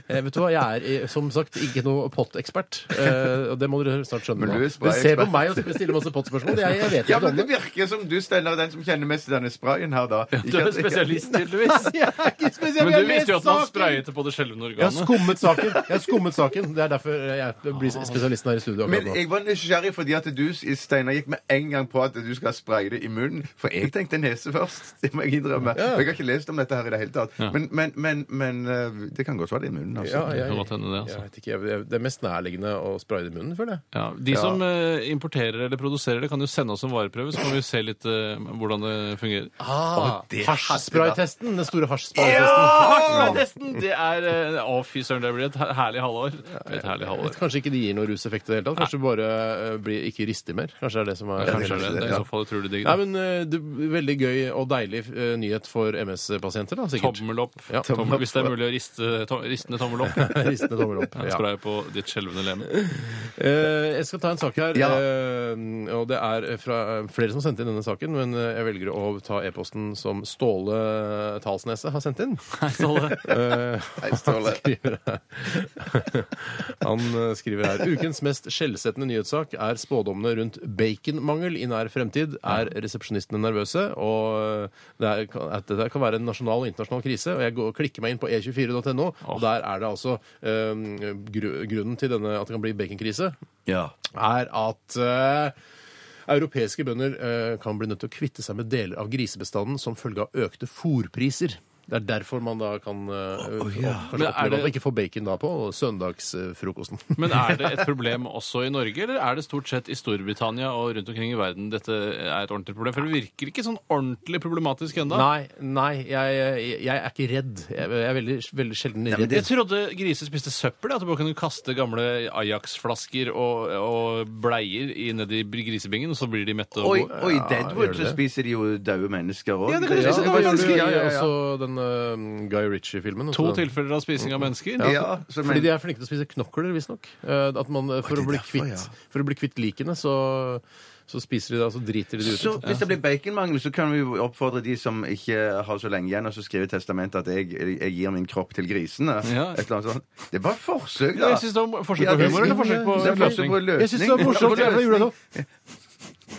Speaker 3: eh, vet du hva, jeg er eh, som sagt ikke noe pottekspert. Eh, Og det må dere snart skjønne.
Speaker 4: Men du
Speaker 3: nå.
Speaker 4: er
Speaker 3: Dere ser på
Speaker 4: sprayekspert.
Speaker 3: meg og stiller masse pottspørsmål. Jeg, jeg vet
Speaker 4: Ja,
Speaker 3: ikke
Speaker 4: men
Speaker 3: om
Speaker 4: det
Speaker 3: det.
Speaker 4: virker som du, Steinar, er den som kjenner mest til denne sprayen her, da.
Speaker 5: Du er spesialist, tydeligvis.
Speaker 3: Jeg er ikke spesiell,
Speaker 5: Men
Speaker 3: jeg
Speaker 5: du
Speaker 3: har lest
Speaker 5: visste jo at man
Speaker 3: saken.
Speaker 5: sprayet det på det skjelvende
Speaker 3: Jeg har
Speaker 5: organet.
Speaker 3: skummet saken. Jeg har skummet saken. Det er derfor jeg blir spesialisten her i studio.
Speaker 4: Men
Speaker 3: akkurat nå.
Speaker 4: jeg var nysgjerrig fordi at du, Steinar, gikk med en gang på at du skal spraye det i munnen. For jeg tenkte nese først. Det må jeg innrømme. Og Jeg har ikke lest om dette her i det hele tatt. Men, men, men, men eh, det kan godt være det i munnen, altså.
Speaker 3: Ja, jeg,
Speaker 5: Det kan godt hende det, altså.
Speaker 3: jeg vet ikke, jeg, jeg- det er mest nærliggende å spraye det i munnen, føler jeg.
Speaker 5: Ja, de som eh, importerer eller produserer det, kan jo sende oss en vareprøve, så kan vi se litt eh, hvordan det fungerer.
Speaker 3: Ah,
Speaker 4: det
Speaker 3: Hasjspraytesten. Den store hasjspraytesten.
Speaker 4: Ah,
Speaker 5: Hartmann-testen! Det er eh, Å, fy søren, det blir et her- herlig halvår. Et herlig halvår.
Speaker 3: Kanskje ikke det gir noen ruseffekt i det hele tatt. Kanskje du bare eh, blir ikke rister mer. Kanskje det er det som er
Speaker 5: Kanskje det. Det er i så fall utrolig digg.
Speaker 3: Nei,
Speaker 5: da.
Speaker 3: men eh, du, veldig gøy og deilig eh, nyhet for MS-pasienter, da, sikkert.
Speaker 5: Tommel opp.
Speaker 3: Ja,
Speaker 5: tommel,
Speaker 3: tommel opp.
Speaker 5: hvis det er mulig å riste to, ristende tommel opp.
Speaker 3: Ristende tommel opp.
Speaker 5: Jeg
Speaker 3: Ja.
Speaker 5: Spray på ditt skjelvende lem.
Speaker 3: Eh, jeg skal ta en sak her.
Speaker 4: Ja.
Speaker 3: eh, og det er fra eh, flere som sendte inn denne saken, men eh, jeg velger å ta e-posten som Ståle Talsneset har sendt inn.
Speaker 5: Nei, Ståle.
Speaker 3: Eh,
Speaker 4: Hei, Ståle.
Speaker 3: Han skriver her, han eh, skriver her Ukens mest skjellsettende nyhetssak er spådommene rundt baconmangel i nær fremtid. Er resepsjonistene nervøse? Og eh, det er, kan- at dette kan være en nasjonal og internasjonal krise. Og jeg går, klikker meg inn på e e24.no, og der er det altså eh, gru, grunnen til denne, at det kan bli baconkrise,
Speaker 4: Ja.
Speaker 3: er at eh, europeiske bønder eh, kan bli nødt til å kvitte seg med deler av grisebestanden som følge av økte fôrpriser. Det er derfor man da kan eh, opp-
Speaker 5: Men
Speaker 3: kanskje
Speaker 5: er
Speaker 3: oppleve at
Speaker 5: det-
Speaker 3: man ikke får bacon da på søndagsfrokosten.
Speaker 5: Men er det et problem også i Norge, eller er det stort sett i Storbritannia og rundt omkring i verden dette er et ordentlig problem? For det virker ikke sånn ordentlig problematisk ennå.
Speaker 3: Nei, nei, jeg, jeg, jeg er ikke redd. Jeg, jeg er veldig, veldig sjelden redd.
Speaker 5: Jeg trodde griser spiste søppel. At du bare kunne kaste gamle Ajax-flasker og, og bleier i- nedi grisebingen, og så blir de mette
Speaker 4: Og, i-
Speaker 5: og
Speaker 4: og i
Speaker 3: Ja, gjør
Speaker 4: Deadwood
Speaker 3: det
Speaker 4: så
Speaker 3: det?
Speaker 4: spiser de jo døde mennesker òg.
Speaker 3: Ja, det kan du
Speaker 5: Ja,
Speaker 3: si.
Speaker 5: det
Speaker 3: Da
Speaker 5: var
Speaker 3: gjør du
Speaker 5: faktisk- ja,
Speaker 3: også den eh, Guy Ritchie-filmen. altså
Speaker 5: To
Speaker 3: også.
Speaker 5: tilfeller av spising av mennesker.
Speaker 4: Ja, så men-
Speaker 3: Fordi de er flinke til å spise knokler, visstnok. Eh, At man, eh, for,
Speaker 4: det
Speaker 3: å
Speaker 4: er
Speaker 3: bli
Speaker 4: derfor,
Speaker 3: kvitt,
Speaker 4: ja.
Speaker 3: for å bli kvitt likene, så, så spiser de det, og så driter de det ut. liksom.
Speaker 4: Så hvis det blir baconmangel, så kan vi jo oppfordre de som ikke har så lenge igjen, og så skrive i testamentet at jeg, jeg gir min kropp til grisene.
Speaker 5: Ja.
Speaker 4: Et eller annet sånt. Det er bare forsøk, da.
Speaker 5: Jeg synes det var forsøk
Speaker 4: Ja,
Speaker 5: på
Speaker 4: det-
Speaker 5: humor eller forsøk på
Speaker 4: Det er forsøk på løsning.
Speaker 3: Jeg syns det var morsomt.
Speaker 4: Forsøk på
Speaker 3: Jeg
Speaker 4: løsning.
Speaker 3: gjorde det nå.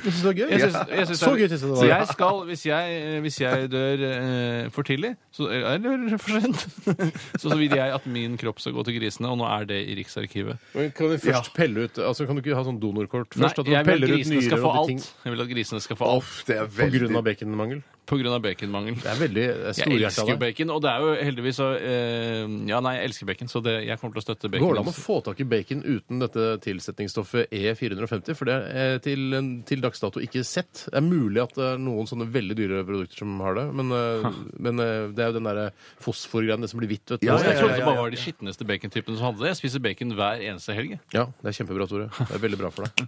Speaker 3: Jeg syns det var gøy.
Speaker 5: Jeg synes- jeg synes
Speaker 3: Så
Speaker 5: det
Speaker 3: gøy
Speaker 5: er-
Speaker 3: synes jeg det
Speaker 5: Så
Speaker 3: var.
Speaker 5: jeg skal, hvis jeg, hvis jeg dør eh, for tidlig, så, eller for sent, så, så vil jeg at min kropp skal gå til grisene, og nå er det i Riksarkivet.
Speaker 3: Men Kan du først pelle ut Altså kan du ikke ha sånn donorkort først? at
Speaker 5: Nei, jeg
Speaker 3: du
Speaker 5: vil at
Speaker 3: peller ut
Speaker 5: grisene skal
Speaker 3: nyrer
Speaker 5: få
Speaker 3: og de ting
Speaker 5: alt. Jeg vil at grisene skal få alt
Speaker 4: Det er
Speaker 3: på
Speaker 4: veldig
Speaker 3: grunn av baconmangel?
Speaker 5: på grunn av baconmangel.
Speaker 3: Det er veldig
Speaker 5: Jeg elsker jo
Speaker 3: storhjerta.
Speaker 5: bacon, og det er jo heldigvis så eh, Ja, nei, jeg elsker bacon, så det, jeg kommer til å støtte bacon. altså?
Speaker 3: Går det an å få tak i bacon uten dette tilsetningsstoffet E E450? For det er eh, til, til dags dato ikke sett. Det er mulig at det er noen sånne veldig dyre produkter som har det, men, eh, men eh, det er jo den derre fosforgreien, det som blir hvitt, vet du.
Speaker 4: Ja,
Speaker 5: jeg trodde det
Speaker 4: ja, ja.
Speaker 5: bare var de skitneste bacontypene som hadde det. Jeg spiser bacon hver eneste helg. jeg.
Speaker 3: Ja, det er kjempebra, Tore. Det er veldig bra for deg.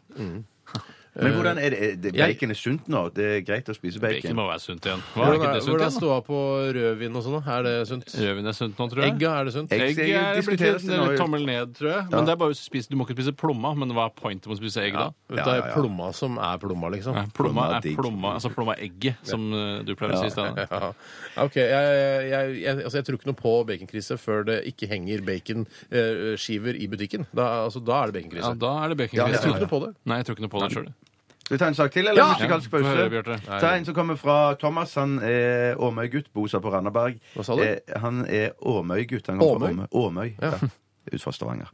Speaker 4: Men hvordan er det, er det
Speaker 3: Jeg-
Speaker 4: Bacon er sunt nå? Det er greit å spise bacon?
Speaker 5: Bacon må være sunt igjen. Hva er
Speaker 3: Hvordan
Speaker 5: ikke
Speaker 3: er,
Speaker 5: det sunt
Speaker 3: hvordan
Speaker 5: igjen? da?
Speaker 3: ståa på rødvin og sånn? da? Er det sunt?
Speaker 5: Rødvin er sunt nå, tror jeg.
Speaker 3: Egga, er det sunt?
Speaker 4: Egg.
Speaker 5: Egg
Speaker 4: Egg
Speaker 5: er blitt
Speaker 4: diskuteres
Speaker 5: litt
Speaker 4: det nå, jo.
Speaker 5: tommel ned, tror jeg. Men det er bare å spise, Du må ikke spise plomma, men hva er pointet med å spise egg da?
Speaker 3: Det er plomma som er plomma, liksom.
Speaker 5: Nei, Plomma
Speaker 4: Plomma er
Speaker 5: er
Speaker 4: digg.
Speaker 5: plomma, altså plomma er egget, som eh, du pleier å si i stedet.
Speaker 3: Ja. OK. Jeg, jeg, jeg, altså jeg tror ikke noe på baconkrise før det ikke henger baconskiver i butikken. Da, altså, da er det
Speaker 5: Ja,
Speaker 3: baconkrise.
Speaker 5: da er det
Speaker 3: Ja, jeg
Speaker 5: baconkrise.
Speaker 3: tror ikke noe på det.
Speaker 5: Nei, jeg tror ikke noe på det sjøl.
Speaker 4: Skal vi ta en sak til, eller
Speaker 3: Ja!
Speaker 4: musikalsk
Speaker 5: Ja, få høre,
Speaker 4: pause?
Speaker 5: Bjarte.
Speaker 4: ta en som kommer fra Thomas. Han er Åmøy-gutt, bosatt på Randaberg.
Speaker 3: Hva sa du?
Speaker 4: Eh, han er Åmøy-gutt. Han kommer fra
Speaker 3: Åmøy?
Speaker 4: Åmøy. Åmøy, ja. Ut fra Stavanger.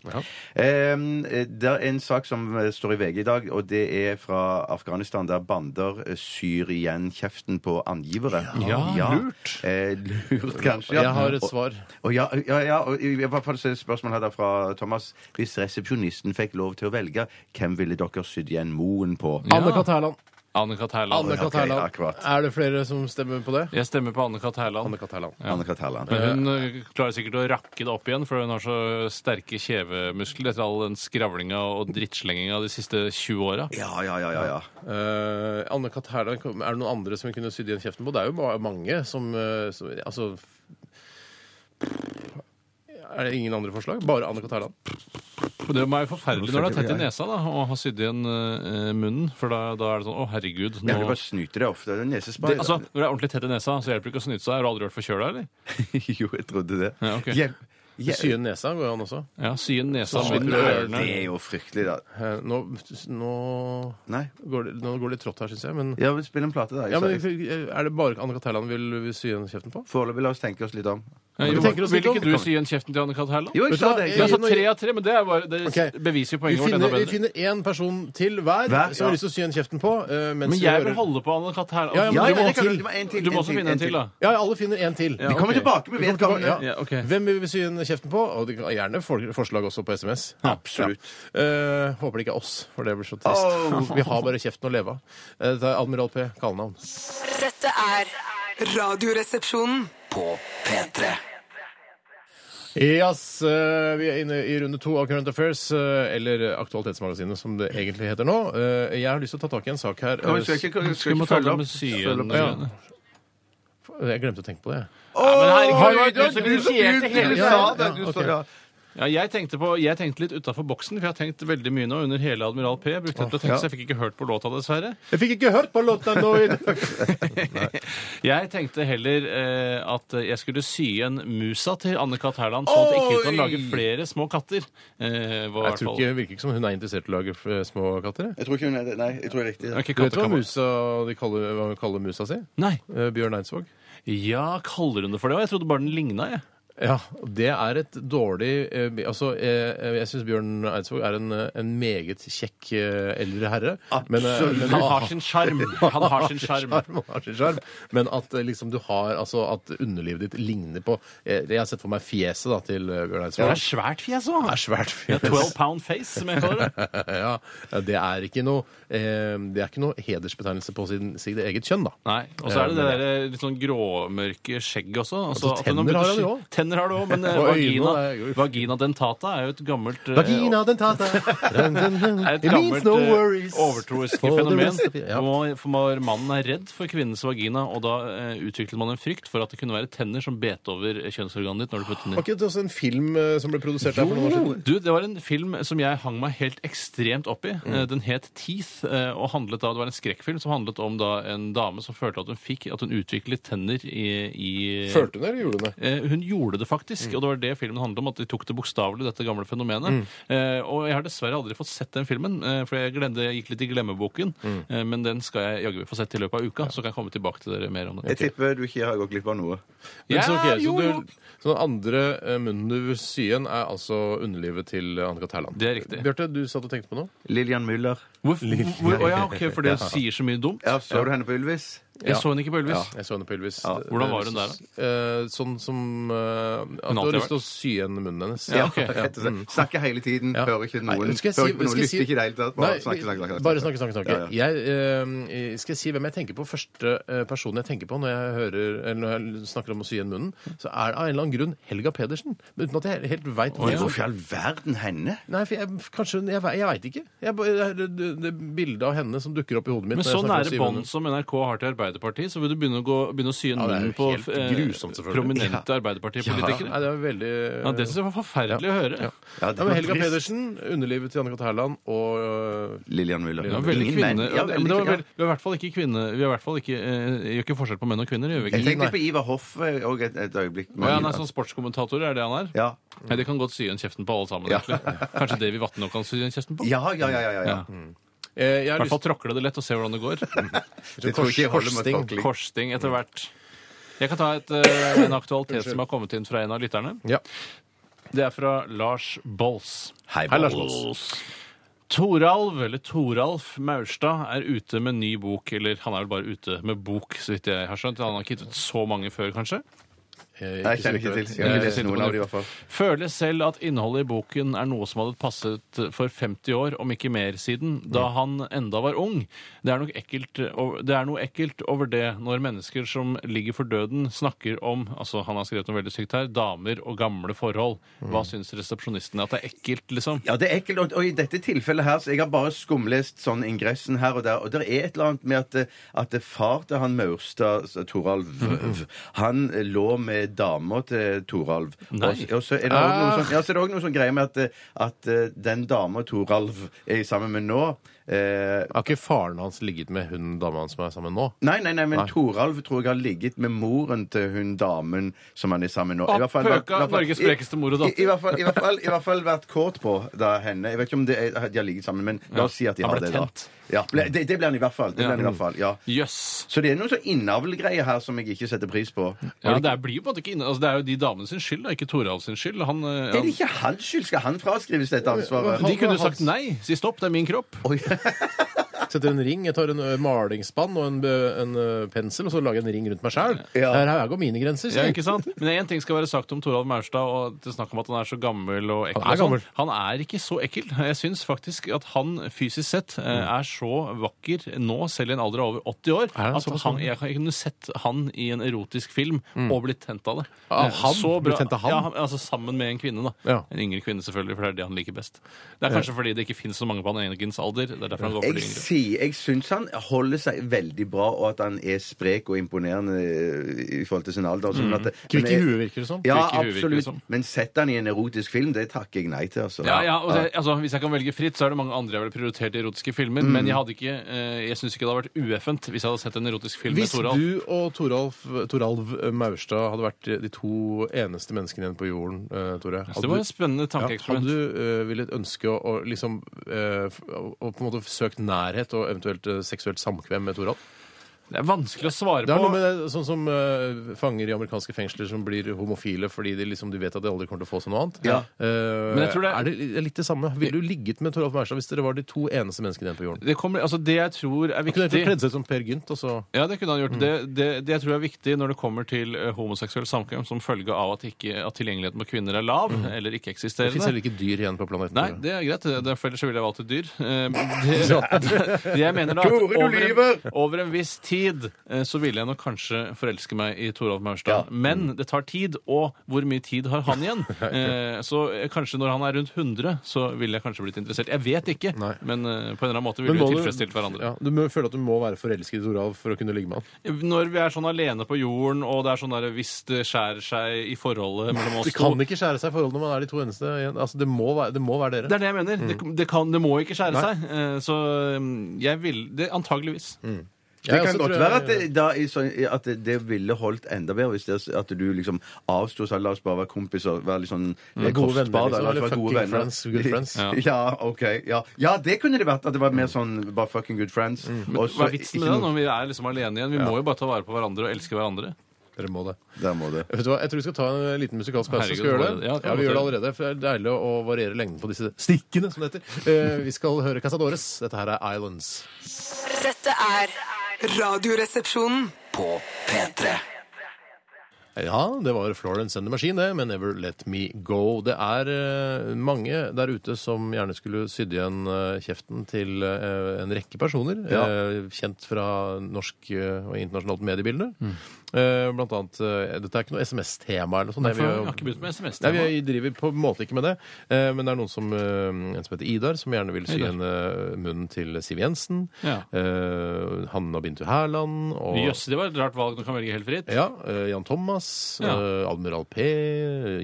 Speaker 4: Em, eh, det er en sak som eh, står i VG i dag, og det er fra Afghanistan, der bander eh, syr igjen kjeften på angivere.
Speaker 5: Ja, lurt.
Speaker 4: Eh, lurt, kanskje.
Speaker 3: Jeg har et svar.
Speaker 4: Og ja, ja, ja, og i i hvert fall så er spørsmålet her da fra Thomas. Hvis resepsjonisten fikk lov til å velge, hvem ville dere sydd igjen moen på?
Speaker 3: Anne-Kat. Hærland.
Speaker 5: Anne-Kat. Hærland.
Speaker 3: Anne-Kat.
Speaker 4: ok,
Speaker 3: Hærland.
Speaker 4: akkurat.
Speaker 3: Er det flere som stemmer på det?
Speaker 5: Jeg stemmer på Anne-Kat. Hærland.
Speaker 3: Anne-Kat. Hærland.
Speaker 4: Anne-Kat. Hærland.
Speaker 5: Men hun eh, klarer sikkert å rakke det opp igjen, for hun har så sterke kjevemuskler etter all den skravlinga og drittslenginga de siste 20 åra.
Speaker 4: Ja, ja, ja, ja, ja.
Speaker 3: Eh, Anne-Kat. Hærland, er det noen andre som vi kunne sydd igjen kjeften på? Det er jo bare mange som, eh, som Altså Er det ingen andre forslag? Bare Anne-Kat. Hærland?
Speaker 5: Og Det må være forferdelig når det er tett i nesa da, og har sydd igjen eh, munnen, for da, da er det sånn Å, herregud.
Speaker 4: Men du
Speaker 5: Nå...
Speaker 4: bare snyter deg ofte. Det er nesespray.
Speaker 5: Det, altså, når det er ordentlig tett i nesa, så hjelper det ikke å snyte seg. Har du aldri vært forkjøla, eller?
Speaker 4: jo, jeg trodde det.
Speaker 5: altså- Ja, ok.
Speaker 4: Hjelp- hjelp-
Speaker 3: Sye nesa går jo an også.
Speaker 5: Ja, Syen
Speaker 3: Så
Speaker 5: nesa, munnen,
Speaker 3: slipper du å gjøre
Speaker 5: ørene.
Speaker 4: Det er jo fryktelig, da.
Speaker 3: Eh, Nå, nå,
Speaker 4: Nei.
Speaker 3: går det, nå går det litt trått her, syns jeg. Men,
Speaker 4: Ja, vi spiller en plate, da.
Speaker 3: ja, men eh, er det bare Anne-Kat. Hærland vil, vil sy igjen kjeften på?
Speaker 4: Foreløpig, la oss tenke oss litt om.
Speaker 5: Ja,
Speaker 3: Vi
Speaker 5: jo,
Speaker 3: tenker oss
Speaker 5: vil
Speaker 3: litt om.
Speaker 5: ikke du sy igjen kjeften til Anne-Kat. Hærland?
Speaker 4: Jo, jeg
Speaker 3: Vet du
Speaker 4: sa
Speaker 3: hva?
Speaker 4: det.
Speaker 5: Ja,
Speaker 4: Jeg,
Speaker 5: altså tre av tre, men det, er bare, det
Speaker 3: Ok.
Speaker 5: beviser jo
Speaker 3: Vi
Speaker 5: poenget vårt enda
Speaker 3: finner, vi
Speaker 5: bedre.
Speaker 3: finner én person til hver,
Speaker 4: Hver,
Speaker 3: som
Speaker 4: ja.
Speaker 3: har lyst til å sy igjen kjeften på. eh, mens
Speaker 5: Men
Speaker 3: vi
Speaker 5: jeg vil
Speaker 3: hører-
Speaker 5: holde på Anne-Kat. Hærland.
Speaker 3: Ja, ja, men
Speaker 4: ja,
Speaker 3: du
Speaker 4: ja,
Speaker 3: må
Speaker 4: det kan
Speaker 3: til.
Speaker 4: du- du må en til.
Speaker 5: Du
Speaker 4: en
Speaker 5: må også
Speaker 4: til,
Speaker 5: finne en til, da.
Speaker 3: Ja, alle finner én til.
Speaker 4: Vi kommer
Speaker 3: ok.
Speaker 4: tilbake med
Speaker 3: Vi kommer tilbake,
Speaker 4: vedkommende.
Speaker 5: Ja, ok.
Speaker 3: Hvem vil vi sy igjen kjeften på? Og det kan- gjerne for- forslag også på SMS.
Speaker 4: Absolutt.
Speaker 3: Ja. Eh, håper det ikke er oss, for det blir så trist.
Speaker 4: Oh.
Speaker 3: Vi har bare kjeften å leve av. Eh, Dette er Admiral P. Kallenavn.
Speaker 6: Dette er Radioresepsjonen.
Speaker 2: På P3.
Speaker 3: Yes, eh, vi er inne i runde to av Current Affairs, eh, eller Aktualitetsmagasinet som det egentlig heter nå. Eh, Jeg har lyst til å ta tak i en sak her. Eh,
Speaker 4: Nå, jeg skal ikke, jeg skal
Speaker 5: Skal vi
Speaker 4: ikke
Speaker 5: ta
Speaker 4: følge
Speaker 5: det
Speaker 4: opp.
Speaker 5: med syen?
Speaker 4: Følge opp.
Speaker 5: igjen?
Speaker 3: Jeg glemte å tenke på det. jeg.
Speaker 5: Ja, men herregud,
Speaker 4: Oi,
Speaker 5: det var du som initierte hele
Speaker 4: Du sa det, du
Speaker 3: Ja,
Speaker 4: sa
Speaker 3: ok.
Speaker 4: ja.
Speaker 5: Ja, jeg tenkte, på, jeg tenkte litt utafor boksen, for jeg har tenkt veldig mye nå under hele Admiral P. Jeg brukte det til å tenke, så jeg fikk ikke hørt på låta, dessverre.
Speaker 3: Jeg fikk ikke hørt på låta nå i dag!
Speaker 5: Jeg tenkte heller eh, at jeg skulle sy en musa til Anne-Kat. Hærland, sånn at ikke hun kan
Speaker 4: Oi!
Speaker 5: lage flere små katter. Eh, var
Speaker 3: Jeg tror ikke, det virker ikke som hun er interessert i å lage f- eh, små katter. jeg.
Speaker 4: Jeg tror ikke hun er det. Nei, jeg tror det er riktig.
Speaker 5: ikke
Speaker 3: Du vet hva, musa, de kaller, hva hun kaller musa si?
Speaker 5: Nei.
Speaker 3: Eh, Bjørn Eidsvåg?
Speaker 5: Ja, kaller hun det for det? Og Jeg trodde bare den ligna, jeg.
Speaker 3: Ja, det er et dårlig eh, bi- Altså, eh, jeg syns Bjørn Eidsvåg er en, eh, en meget kjekk eh, eldre herre. Men, eh, men-
Speaker 5: Han har sin sjarm. Han har sin sjarm.
Speaker 3: Han har sin sjarm. Men at eh, liksom du har Altså at underlivet ditt ligner på eh, Jeg har sett for meg fjeset da til eh, Bjørn
Speaker 5: Det
Speaker 3: Eidsvåg.
Speaker 5: er svært fjes òg.
Speaker 3: er svært
Speaker 5: Ja,
Speaker 3: fjes.
Speaker 5: 12 pound face, som jeg kaller det.
Speaker 3: ja, det er ikke noe eh, Det er ikke noe hedersbetegnelse på sin, sitt eget kjønn, da.
Speaker 5: Nei, Og så er det det der litt sånn gråmørke skjegget også.
Speaker 3: Altså,
Speaker 5: Altså, at hun
Speaker 3: tenner
Speaker 5: begynt å
Speaker 3: har hun
Speaker 5: sky-
Speaker 3: jo også.
Speaker 5: Tenner har du òg, men eh,
Speaker 3: Og øyne,
Speaker 5: vagina,
Speaker 3: det er-
Speaker 5: vagina dentata er jo et gammelt eh,
Speaker 3: Vagina dentata. Dun, dun, dun.
Speaker 5: er et
Speaker 3: It means
Speaker 5: gammelt
Speaker 3: no
Speaker 5: eh,
Speaker 3: worries.
Speaker 5: overtroisk
Speaker 3: For the
Speaker 5: fenomen.
Speaker 3: rest of it. Ja.
Speaker 5: Hvor- For når mannen er redd for kvinnens vagina, og da eh, utviklet man en frykt for at det kunne være tenner som bet over eh, kjønnsorganet ditt når du puttet den inn.
Speaker 3: Var ikke det også en film eh, som ble produsert der for noen år siden?
Speaker 5: Du, Det var en film som jeg hang meg helt ekstremt opp
Speaker 3: Mm.
Speaker 5: i. Eh, Den het Teeth. eh, og handlet da, Det var en skrekkfilm som handlet om da en dame som følte at hun fikk, at hun utviklet tenner i, i
Speaker 3: Følte hun det, eller gjorde hun det?
Speaker 5: Eh, Hun gjorde det faktisk,
Speaker 3: Mm.
Speaker 5: og det var det filmen handlet om. At de tok det bokstavelig, dette gamle fenomenet. Eh, og jeg har dessverre aldri fått sett den filmen, eh, for jeg, glemte, jeg gikk litt i glemmeboken.
Speaker 3: Mm.
Speaker 5: Eh, men den skal jeg jaggu få sett i løpet av uka, så kan jeg komme tilbake til dere mer om det.
Speaker 4: Jeg tipper du ikke har gått glipp av noe.
Speaker 3: Men
Speaker 5: Ja,
Speaker 3: så, ok,
Speaker 5: jo,
Speaker 3: så,
Speaker 5: jo.
Speaker 3: du, så den andre eh, munnen du vil sy igjen, er altså underlivet til eh, Anne-Kat. Hærland.
Speaker 5: Det er riktig.
Speaker 3: Bjarte, du satt og tenkte på noe?
Speaker 4: Lillian Müller.
Speaker 5: Hvor, hvor, å ja, ok, for det sier så mye dumt.
Speaker 4: Ja, så du henne på Ylvis?
Speaker 5: Jeg så henne ikke på
Speaker 3: Ja,
Speaker 5: Elvis.
Speaker 3: jeg så henne på Ylvis.
Speaker 4: Ja.
Speaker 3: Det-
Speaker 5: Hvordan
Speaker 3: det-
Speaker 5: var hun der,
Speaker 3: eh, sånn som eh, At
Speaker 5: Hun
Speaker 3: du
Speaker 5: alltid
Speaker 3: har
Speaker 5: har
Speaker 3: lyst til å sy igjen munnen hennes.
Speaker 5: Ja, ok.
Speaker 4: Rett og slett. Snakker hele tiden,
Speaker 3: Ja.
Speaker 4: hører ikke
Speaker 3: Nei,
Speaker 4: noen.
Speaker 3: skal jeg si-
Speaker 4: hører ikke på
Speaker 3: skal
Speaker 4: noen,
Speaker 3: jeg si-
Speaker 4: Lytter ikke i det hele tatt. Bare
Speaker 3: Nei,
Speaker 4: snakke, snakke, snakke.
Speaker 3: Bare snakke, snakke, snakke.
Speaker 4: Ja, ja.
Speaker 3: Jeg, eh, skal jeg si hvem jeg tenker på? Første eh, personen jeg tenker på når jeg, hører, eller når jeg snakker om å sy igjen munnen, så er det av en eller annen grunn Helga Pedersen. Men Uten at jeg helt veit
Speaker 4: Men Hvorfor i all verden henne?
Speaker 3: Nei, for jeg, kanskje, jeg, ve- jeg veit ikke. Jeg, bare- det, er det, det bildet av henne som dukker opp i hodet mitt.
Speaker 5: Med
Speaker 3: når jeg
Speaker 5: så
Speaker 3: snakker om
Speaker 5: nære
Speaker 3: Siv
Speaker 5: sånn bånd
Speaker 3: Ullmann.
Speaker 5: som NRK har til Arbeiderpartiet, så vil du begynne å, gå, begynne å sy inn
Speaker 3: Ja, det er jo
Speaker 5: munnen på
Speaker 3: helt
Speaker 5: eh,
Speaker 3: grusomt, selvfølgelig.
Speaker 5: prominente
Speaker 3: Nei,
Speaker 5: Arbeiderpartipolitikere.
Speaker 3: det er veldig
Speaker 5: Ja, det syns jeg var forferdelig å høre.
Speaker 4: Ja,
Speaker 3: Ja, men Helga
Speaker 4: trist.
Speaker 3: Pedersen, underlivet til Anne-Kat. Hærland og øh,
Speaker 4: Lillian Müller.
Speaker 5: Ja, veldig
Speaker 4: Ingen
Speaker 5: kvinne.
Speaker 4: menn.
Speaker 5: Ja,
Speaker 4: veldig
Speaker 5: men det var
Speaker 4: kvinne.
Speaker 5: vel- vi er i hvert fall ikke kvinne... Vi er i hvert fall ikke, eh, gjør ikke forskjell på menn og kvinner, gjør vi
Speaker 4: Jeg
Speaker 5: ikke?
Speaker 4: tenkte på Ivar Hoff òg et, et øyeblikk.
Speaker 5: Å ja, han er sånn sportskommentator, er det han er?
Speaker 4: ja.
Speaker 5: Nei, de kan godt sy igjen kjeften på alle sammen,
Speaker 4: Ja.
Speaker 5: egentlig. Kanskje Davy Vatne òg kan sy igjen kjeften på?
Speaker 4: Ja, ja, ja, ja, ja, ja.
Speaker 5: Ja.
Speaker 3: eh, jeg
Speaker 5: I
Speaker 3: har
Speaker 5: hvert fall
Speaker 3: lyst
Speaker 5: tråkle det lett og se hvordan det går.
Speaker 4: Det tror jeg ikke jeg holder med
Speaker 3: Korsting.
Speaker 4: tråkling.
Speaker 5: Korsting etter hvert. Jeg kan ta et, eh, en aktualitet som har kommet inn fra en av lytterne.
Speaker 3: ja.
Speaker 5: Det er fra Lars Bolls.
Speaker 4: Hei,
Speaker 3: Hei, Lars
Speaker 4: Bolls.
Speaker 5: Toralv, eller Toralf Maurstad, er ute med ny bok. Eller han er vel bare ute med bok, så vidt jeg har skjønt. Han har ikke gitt ut så mange før, kanskje?
Speaker 3: Eh,
Speaker 4: Nei, Jeg kjenner
Speaker 3: så
Speaker 4: ikke
Speaker 3: vidt jeg
Speaker 4: til.
Speaker 3: vet.
Speaker 4: Jeg har
Speaker 5: Ikke
Speaker 4: ikke
Speaker 5: til
Speaker 4: lest noen
Speaker 5: på
Speaker 4: av
Speaker 5: nytt.
Speaker 4: dem i hvert fall.
Speaker 5: Føler selv at innholdet i boken er noe som hadde passet for 50 år, om ikke mer siden, da han enda var ung. Det er, nok ekkelt, over- det er noe ekkelt over det når mennesker som ligger for døden, snakker om altså han har skrevet noe veldig sykt her, damer og gamle forhold. Hva syns resepsjonistene? At det er ekkelt, liksom?
Speaker 4: Ja, det er ekkelt. Og, og i dette tilfellet her, så jeg har bare skumlest sånn ingressen her og der, og det er et eller annet med at, eh, at det far til han Maurstad, så Toralv, han eh, lå med dama til Toralv.
Speaker 5: Nei.
Speaker 4: Og, s- og så er det også noe sånn, ja, så er det også noe sånn greie med at, eh, at eh, den dama Toralv er sammen med nå, eh,
Speaker 3: Har ikke faren hans ligget med hun dama hans som er sammen nå?
Speaker 4: Nei, nei, nei, men Toralv tror jeg har ligget med moren til hun damen som han er sammen med nå. I hvert fall-
Speaker 5: pøka,
Speaker 4: i hvert fall-
Speaker 5: Norges sprekeste mor og datter.
Speaker 4: I, i, hvert fall- i, hvert fall- I hvert fall vært kåt på da henne. Jeg vet ikke om det er, de har ligget sammen, men la oss si at de
Speaker 5: han
Speaker 4: har
Speaker 5: ble
Speaker 4: det. da.
Speaker 5: tent.
Speaker 4: Ja, ble, det, det ble han i hvert fall. Det
Speaker 5: Ja.
Speaker 4: ble han i hvert fall, ja.
Speaker 5: Jøss.
Speaker 4: Så det er noen sånn innavlgreier her som jeg ikke setter pris på.
Speaker 5: Ja, det, er- blir jo på en måte ikke inne, altså det er jo de damene sin skyld, da, ikke Toralv sin skyld. Han, eh,
Speaker 4: Er
Speaker 5: han,
Speaker 4: det ikke hans skyld? Skal han fraskrives dette ansvaret?
Speaker 5: de kunne jo sagt nei, si stopp, det er min kropp.
Speaker 3: Setter en ring, jeg tar en ø, malingsspann og en, ø, en ø, pensel, og så lager jeg en ring rundt meg sjæl. Her, her går mine grenser.
Speaker 5: Ja,
Speaker 3: sier jeg.
Speaker 5: ikke sant? Men én ting skal være sagt om Toralv Maurstad og til snakk om at han er så gammel og ekkel.
Speaker 3: Han er
Speaker 5: og sånn.
Speaker 3: gammel.
Speaker 5: Han er ikke så ekkel. Jeg syns faktisk at han fysisk sett eh, er så vakker nå, selv i en alder av over 80 år,
Speaker 3: Mm. han
Speaker 5: at
Speaker 3: såpass
Speaker 5: han,
Speaker 3: gammel?
Speaker 5: jeg kan- jeg kunne sett han i en erotisk film og blitt tent av det.
Speaker 3: Av
Speaker 5: Eh,
Speaker 3: Ah, han?
Speaker 5: så bra-
Speaker 3: Blitt tent av han?
Speaker 5: Ja, altså sammen med en kvinne, da.
Speaker 3: Ja.
Speaker 5: En yngre kvinne, selvfølgelig, for det er det han liker best. Det er kanskje fordi det ikke fins så mange på han egens alder. Det er derfor han går for
Speaker 4: Jeg,
Speaker 5: de yngre.
Speaker 4: sier- jeg syns han holder seg veldig bra, og at han er sprek og imponerende eh, i forhold til sin alder. og Sånn at,
Speaker 3: Kvikk i
Speaker 4: men jeg-
Speaker 3: Mm. huet, virker det som.
Speaker 4: Ja,
Speaker 5: Kvikk i huet, virker det
Speaker 4: absolutt.
Speaker 5: som.
Speaker 4: Men sett han i en erotisk film, det takker jeg nei til. Altså.
Speaker 5: Ja, ja, og det, altså, Hvis jeg kan velge fritt, så er det mange andre jeg ville prioritert i erotiske filmer.
Speaker 3: Mm.
Speaker 5: Men jeg, hadde ikke, eh, jeg syns ikke det hadde vært ueffent hvis jeg hadde sett en erotisk film
Speaker 3: Hvis
Speaker 5: med Toralf.
Speaker 3: du og Toralf, Toralv Maurstad hadde vært de to eneste menneskene igjen på jorden, eh, Tore
Speaker 5: Så det var et spennende
Speaker 3: ja, hadde
Speaker 5: tankeeksperiment.
Speaker 3: du eh, villet ønske å, å liksom eh, f- å, å på en måte søkt nærhet og eventuelt eh, seksuelt samkvem med Toralf?
Speaker 5: det er vanskelig å svare
Speaker 3: Det er
Speaker 5: på.
Speaker 3: noe med det, sånn som eh, fanger i amerikanske fengsler som blir homofile fordi de, liksom, de vet at de aldri kommer til å få seg noe annet.
Speaker 4: Ja.
Speaker 3: Eh,
Speaker 5: Men jeg tror det-
Speaker 3: er det li- litt det samme? Ville du ligget med Toralf Maurstad hvis dere var de to eneste menneskene igjen på jorden?
Speaker 5: Det, kommer, altså, det jeg tror er
Speaker 3: Du kunne Mm. egentlig
Speaker 5: viktig
Speaker 3: kledd seg ut som Per Gynt, og så
Speaker 5: ja, det kunne han gjort. Det, det, det jeg tror er viktig når det kommer til eh, homoseksuell samkvem som følge av at, ikke, at tilgjengeligheten på kvinner er lav eller
Speaker 3: Mm. Det fins
Speaker 5: ikke-eksisterende.
Speaker 3: heller ikke dyr igjen på planeten.
Speaker 5: Nei,
Speaker 3: Tore.
Speaker 5: det er greit. Det, det, for ellers så ville jeg valgt et dyr. Eh, Det, det jeg mener da, at
Speaker 4: Tore, du
Speaker 5: over en,
Speaker 4: lyver!
Speaker 5: over en viss tid eh, så ville jeg nok kanskje forelske meg i Toralf Maurstad. Men det tar tid, og hvor mye tid har han igjen? Eh, Så eh, kanskje når han er rundt 100, så ville jeg kanskje blitt interessert. Jeg vet ikke,
Speaker 3: Nei.
Speaker 5: men eh, på en eller annen måte
Speaker 3: Men
Speaker 5: ville vi
Speaker 3: må du-
Speaker 5: tilfredsstilt hverandre.
Speaker 3: Ja, du må føle at du må være forelsket i Toralf for å kunne ligge med han.
Speaker 5: Når vi er sånn alene på jorden, og det er sånn der hvis det skjærer seg i forholdet mellom oss
Speaker 3: Det kan ikke skjære seg i forhold når man er de to eneste igjen. Altså, det, må være, det må være dere.
Speaker 5: Det er det jeg mener.
Speaker 3: Mm.
Speaker 5: Det, det, kan, det må ikke skjære seg. Eh, Så mm, jeg vil det Antageligvis.
Speaker 3: Jeg
Speaker 4: Det kan
Speaker 3: også
Speaker 4: godt
Speaker 3: tror
Speaker 4: være
Speaker 3: jeg-
Speaker 4: at det, da, i sånn- at det- det ville holdt enda bedre hvis det, at du liksom avsto sånn La oss bare være kompiser. Være litt sånn eh,
Speaker 3: Mm. Gode venner,
Speaker 4: kostbar, da,
Speaker 3: liksom,
Speaker 4: la oss
Speaker 3: eller
Speaker 4: være gode
Speaker 3: fucking
Speaker 4: venner.
Speaker 3: friends, good friends.
Speaker 4: Ja. OK. Ja. ja, det kunne det vært. At det var
Speaker 3: Mm.
Speaker 4: mer sånn bare fucking good friends. og så
Speaker 5: Hva er
Speaker 4: ikke
Speaker 5: vitsen med det
Speaker 4: noe-
Speaker 5: når vi er liksom alene igjen? Vi må jo bare ta vare på hverandre og elske hverandre.
Speaker 3: Dere må det.
Speaker 4: Der må det.
Speaker 3: Vet du hva, Jeg tror vi skal ta en eh, liten musikalsk pause.
Speaker 5: Herregud,
Speaker 3: skal vi gjøre
Speaker 5: det
Speaker 3: det?
Speaker 5: var- ja, det
Speaker 3: Ja,
Speaker 5: var
Speaker 3: vi gjør det
Speaker 5: godt.
Speaker 3: allerede, for det er deilig å variere lengden på disse stikkene, som det heter. Eh, vi skal høre Casadores. Dette her er Islands.
Speaker 6: Dette er Radioresepsjonen.
Speaker 2: På P3.
Speaker 3: Eh, Ja, det var Florence and the Machine, det, med Never Let Me Go. Det er eh, mange der ute som gjerne skulle sydd igjen eh, kjeften til eh, en rekke personer, eh, kjent fra norsk eh, og internasjonalt mediebilde.
Speaker 5: Mm.
Speaker 3: Eh, blant annet eh, Dette er ikke noe SMS-tema eller noe sånt.
Speaker 5: Nei,
Speaker 3: det
Speaker 5: for
Speaker 3: er vi
Speaker 5: jeg
Speaker 3: jo-
Speaker 5: har ikke begynt med SMS.
Speaker 3: Nei, vi driver på en måte ikke med det. Eh, Men det er noen som, eh, en som heter Idar, som gjerne vil sy
Speaker 5: Idar.
Speaker 3: igjen eh, munnen til Siv Jensen.
Speaker 5: Ja.
Speaker 3: eh, Hanna Bintu Hærland. Og
Speaker 5: Jøss, det var et rart valg. Du kan velge helt fritt.
Speaker 3: ja, eh, Jan Thomas,
Speaker 5: Ja.
Speaker 3: eh, Admiral P,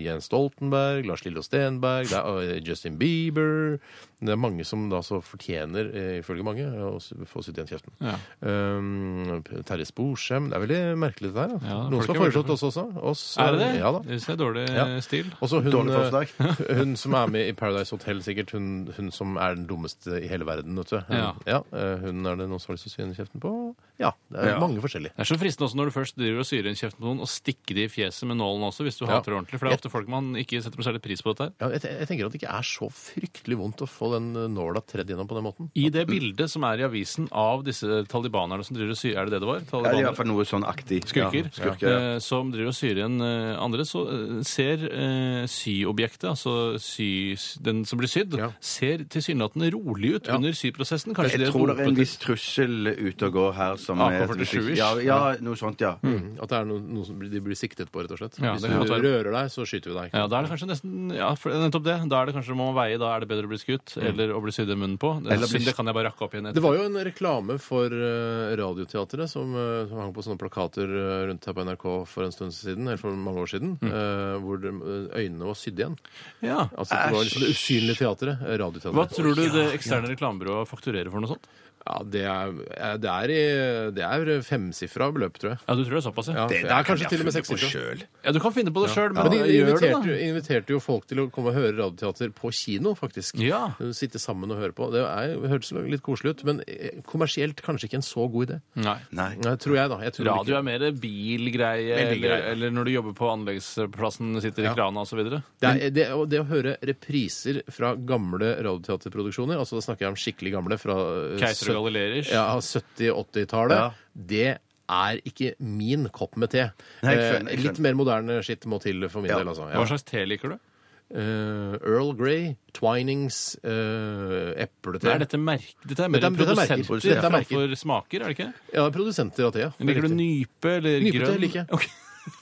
Speaker 3: Jens Stoltenberg, Lars Lillo Stenberg, det er, eh, Justin Bieber Det er mange som da så fortjener, eh, ifølge mange, å s- få sitt igjen kjeften.
Speaker 5: Ja.
Speaker 3: Um, Terje Sporsem Det er veldig merkelig, dette her. Da.
Speaker 5: Ja,
Speaker 3: Noen
Speaker 5: folk
Speaker 3: som
Speaker 5: er
Speaker 3: har
Speaker 5: veldig-
Speaker 3: foreslått oss også. Oss,
Speaker 5: Er det det?
Speaker 3: eh, Ja da.
Speaker 5: Det synes jeg er dårlig
Speaker 3: Ja.
Speaker 5: eh, stil.
Speaker 3: Også hun,
Speaker 4: Dårlig forslag.
Speaker 3: eh, hun som er med i Paradise Hotel, sikkert. Hun, hun som er den dummeste i hele verden, vet du. Hun,
Speaker 5: Ja.
Speaker 3: eh, hun er det noen som har lyst til å sy henne kjeften på? Ja. Det er
Speaker 5: Ja.
Speaker 3: mange forskjellige.
Speaker 5: Det er så fristende også når du først driver og syrer inn kjeften på noen, og stikke det i fjeset med nålen også, hvis du
Speaker 3: Ja.
Speaker 5: hater det ordentlig. For det er ofte folk man ikke setter noe særlig pris på dette her.
Speaker 3: Ja, jeg, te- jeg tenker at det ikke er så fryktelig vondt å få den eh, nåla tredd gjennom på den måten.
Speaker 5: I det bildet som er i avisen av disse talibanerne som driver og syr... Er det det det var?
Speaker 4: Ja, det er i
Speaker 5: Talibanere?
Speaker 4: hvert fall noe sånn aktig.
Speaker 5: skurker,
Speaker 4: Ja, skurker ja.
Speaker 5: eh, som driver og syr igjen eh, andre, så eh, ser eh, syobjektet, altså sy, den som blir sydd,
Speaker 3: Ja.
Speaker 5: ser tilsynelatende rolig ut under syprosessen. Kanskje
Speaker 4: Jeg
Speaker 5: det
Speaker 4: tror det er en
Speaker 5: roper til-
Speaker 4: viss trussel ute og går her som
Speaker 3: Ah,
Speaker 4: er-
Speaker 5: AK-47-ish.
Speaker 4: Ja, ja, noe sånt, ja.
Speaker 3: At det er noe, noe som blir- de blir siktet på, rett og slett.
Speaker 5: Ja,
Speaker 3: Hvis
Speaker 5: det
Speaker 3: du
Speaker 5: kan godt være.
Speaker 3: rører deg, så skyter vi deg.
Speaker 5: Ja, da er det kanskje nesten ja, for, nettopp det. Da er det kanskje må man veie, da er det bedre å bli skutt eller å bli sydd i munnen på. Det,
Speaker 4: Mm. Eller bli-
Speaker 5: det kan jeg bare rakke opp igjen
Speaker 3: Det
Speaker 5: etterpå.
Speaker 3: var jo en reklame for eh, Radioteatret som, eh, som hang på sånne plakater eh, rundt her på NRK for en stund siden, eller for mange år
Speaker 5: Mm.
Speaker 3: siden, eh, hvor de, eh, øynene var sydd igjen.
Speaker 5: Ja.
Speaker 3: Altså, det var liksom det usynlige teatret. eh, Radioteatret.
Speaker 5: Hva tror du det eksterne reklamebyrået fakturerer for noe sånt?
Speaker 3: Ja, det er, eh, det er, i, det er femsifra beløp, tror jeg.
Speaker 5: Ja, du tror det er såpass, ja?
Speaker 3: Ja, det, er kanskje til og med sekssifra.
Speaker 5: Ja, du kan finne på det sjøl,
Speaker 3: Men
Speaker 5: men
Speaker 3: de
Speaker 5: ja. gjør det,
Speaker 3: inviterte,
Speaker 5: da.
Speaker 3: jo- inviterte jo folk til å komme og høre radioteater på kino, faktisk. Eh,
Speaker 5: Ja.
Speaker 3: Sitte sammen og høre på. Det er, jo- hørtes litt koselig ut, men eh, kommersielt kanskje ikke en så god idé.
Speaker 5: Nei.
Speaker 4: Nei.
Speaker 3: Nei, tror jeg, da. Jeg tror
Speaker 5: Mm. Radio
Speaker 3: ikke.
Speaker 5: er mer bilgreie,
Speaker 3: Veldig
Speaker 5: eller,
Speaker 3: greie.
Speaker 5: eller når du jobber på anleggsplassen, sitter i
Speaker 3: Ja.
Speaker 5: krana osv.
Speaker 3: Det, er, det, og det å høre repriser fra gamle radioteaterproduksjoner, altså da snakker jeg om skikkelig gamle fra eh,
Speaker 5: Keiser Gule Galilerer.
Speaker 3: ja, 70-80-tallet,
Speaker 4: Ja.
Speaker 3: det er ikke min kopp med te.
Speaker 4: Nei, jeg skjønner, jeg
Speaker 3: Eh, Litt
Speaker 4: skjønner.
Speaker 3: mer moderne skitt må til for min
Speaker 4: Ja.
Speaker 3: del, altså. Ja.
Speaker 5: Hva slags te liker du?
Speaker 3: Eh, Earl Grey, Twinings, eh, eplete
Speaker 5: Nei, dette, er merk, dette er mer
Speaker 3: Dette er- dette er merker.
Speaker 5: produsenter
Speaker 3: Dette er merker.
Speaker 5: framfor smaker, er det ikke? det?
Speaker 3: Ja, produsenter av te. ja.
Speaker 5: Liker du nype eller
Speaker 3: Nypete
Speaker 5: grønn?
Speaker 3: liker jeg.
Speaker 5: Ok.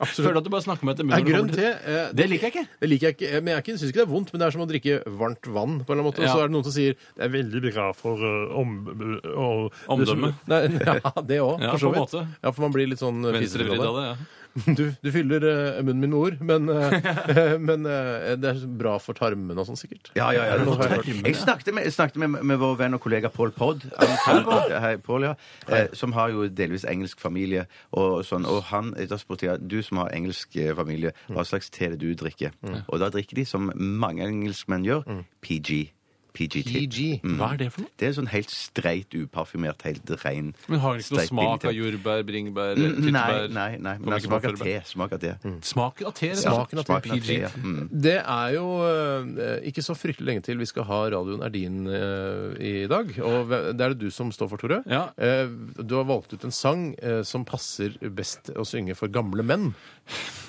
Speaker 5: Føler du at du bare snakker med etter
Speaker 3: Nei,
Speaker 5: munnen?
Speaker 3: grønn te eh,
Speaker 5: Det liker jeg ikke.
Speaker 3: Det liker jeg ikke, eh, men jeg syns ikke det er vondt, men det er som å drikke varmt vann. på en eller annen måte,
Speaker 5: Ja.
Speaker 3: Og så er det noen som sier det er veldig bra for eh, om, og-
Speaker 5: Omdømme.
Speaker 3: Nei, ja, det òg,
Speaker 5: Ja,
Speaker 3: for så
Speaker 5: på en
Speaker 3: vidt.
Speaker 5: måte.
Speaker 3: Ja, for man blir litt sånn eh,
Speaker 5: Venstrevridd
Speaker 3: fisefritt
Speaker 5: av det, ja.
Speaker 3: Du, du fyller eh, munnen min med ord, men, eh, men eh, det er bra for tarmene og sånn, sikkert.
Speaker 4: Ja, ja, ja.
Speaker 3: Nå har jeg hørt.
Speaker 4: Jeg snakket med, jeg snakket med, med vår venn og kollega Paul Podd, han- Hei, Paul, ja. eh, som har jo delvis engelsk familie. Og, sånn, og han da spurte jeg du som har engelsk eh, familie, hva slags te er det du drikker. Og da drikker de, som mange engelskmenn gjør, PG. PG-te.
Speaker 3: PG.
Speaker 5: Hva er det for noe?
Speaker 4: Det er sånn helt streit, uparfymert, helt rein
Speaker 5: Men har det ikke noe
Speaker 4: streit
Speaker 5: smak
Speaker 4: billig
Speaker 5: av
Speaker 4: te.
Speaker 5: jordbær, bringebær,
Speaker 3: Mm,
Speaker 4: Nei,
Speaker 5: tyttebær?
Speaker 4: nei, nei, men
Speaker 5: Kommer
Speaker 4: han
Speaker 5: ikke på
Speaker 4: smaker
Speaker 5: før, Mm.
Speaker 4: te. Smaker te.
Speaker 5: Smaken av te? rett og slett.
Speaker 3: Smaken av te.
Speaker 4: Smaken av te, ja.
Speaker 5: PG.
Speaker 4: Mm.
Speaker 3: Det er jo eh, ikke så fryktelig lenge til vi skal ha radioen er din eh, i dag. Og hve- det er det du som står for, Tore.
Speaker 5: Ja.
Speaker 3: Eh, du har valgt ut en sang eh, som passer best å synge for gamle menn.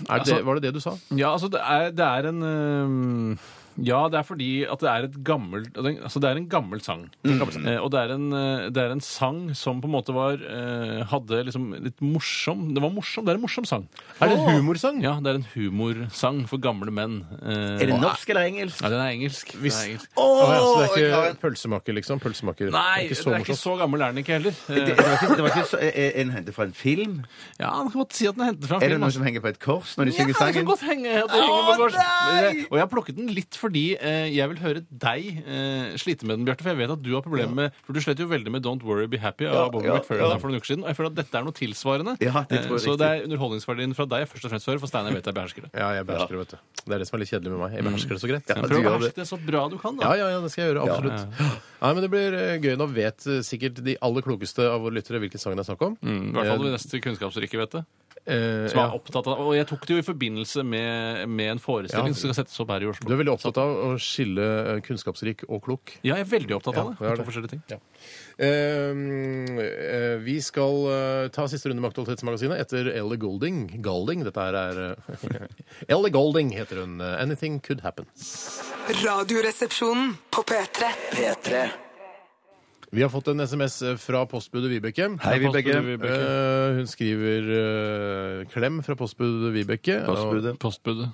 Speaker 3: Er det,
Speaker 5: Altså-
Speaker 3: var det det du sa?
Speaker 5: Ja, altså det er, det er en øhm, Ja, det er fordi at det er et gammelt Altså det er en gammel sang.
Speaker 3: Mm.
Speaker 5: Eh, og det er, en, eh, det er en sang som på en måte var eh, Hadde liksom litt morsom Det var morsom, det er en morsom sang.
Speaker 3: Er det en humorsang?
Speaker 5: Ja, det er en humorsang for gamle menn. Eh,
Speaker 4: Er det norsk eller engelsk?
Speaker 5: Ja, den er engelsk. Den
Speaker 3: Hvis-
Speaker 5: er engelsk.
Speaker 3: Å, ja, så det
Speaker 4: jeg
Speaker 3: er
Speaker 4: klarer-
Speaker 3: ikke pølsemaker, liksom? Pølsemaker. det
Speaker 5: Nei,
Speaker 3: er ikke
Speaker 5: den
Speaker 3: så
Speaker 5: er ikke
Speaker 3: morsomt.
Speaker 5: så gammel er den ikke heller. Eh,
Speaker 4: Det, det var ikke, det var ikke så, en, en hentet fra en film?
Speaker 5: ja, man kan godt si at den er hentet fra en
Speaker 4: Er det
Speaker 5: film.
Speaker 4: noen
Speaker 5: altså.
Speaker 4: som henger på et kors når de
Speaker 5: Ja,
Speaker 4: synger
Speaker 5: det
Speaker 4: sangen?
Speaker 5: kan godt henge. at det henger på kors. Men jeg- Og jeg har plukket den litt fordi eh, jeg vil høre deg eh, slite med den, Bjarte. For jeg vet at du har problemer med For du slet jo veldig med Don't Worry Be Happy av
Speaker 4: Ja,
Speaker 5: Bobby
Speaker 4: ja,
Speaker 5: McFerrin
Speaker 4: ja.
Speaker 5: her for noen uker siden. Og jeg føler at dette er noe tilsvarende.
Speaker 4: Ja, det tror jeg
Speaker 5: Eh, så
Speaker 4: riktig.
Speaker 5: det er underholdningsverdien fra deg jeg først og fremst hører, for Steinar vet jeg behersker det.
Speaker 3: Ja, jeg behersker det, vet du. Det er det som er litt kjedelig med meg. Jeg behersker det så greit.
Speaker 4: Ja,
Speaker 5: Men
Speaker 4: du
Speaker 5: Mm. prøv å
Speaker 4: gjør det.
Speaker 5: beherske det så bra du kan, da.
Speaker 3: Ja, ja, ja, det skal jeg gjøre. Absolutt. Nei, men Det blir eh, gøy. Nå vet eh, sikkert de aller klokeste av våre lyttere hvilken sang det er snakk om.
Speaker 5: I hvert fall de neste kunnskapsrike, vet
Speaker 3: Eh,
Speaker 5: du. Mm. Som
Speaker 3: ja.
Speaker 5: er opptatt av Og jeg tok det jo i forbindelse med, med en forestilling
Speaker 3: Ja.
Speaker 5: som skal settes opp her i Oslo.
Speaker 3: Du er veldig opptatt av å skille eh, kunnskapsrik og klok.
Speaker 5: Ja, jeg er veldig opptatt
Speaker 3: Ja,
Speaker 5: av det.
Speaker 3: det er det.
Speaker 5: To forskjellige ting.
Speaker 3: Ehm, eh, vi skal eh, ta siste runde med Aktualitetsmagasinet etter Ellie Golding. Golding, dette her er eh, Ellie Golding heter hun. Eh, 'Anything Could Happen'.
Speaker 6: Radioresepsjonen på P3.
Speaker 2: P3
Speaker 3: Vi har fått en SMS eh, fra postbudet Vibeke.
Speaker 4: Hei, Vibeke.
Speaker 3: Eh, hun skriver eh, 'klem' fra postbudet Vibeke.
Speaker 4: Postbudet.
Speaker 5: Postbudet.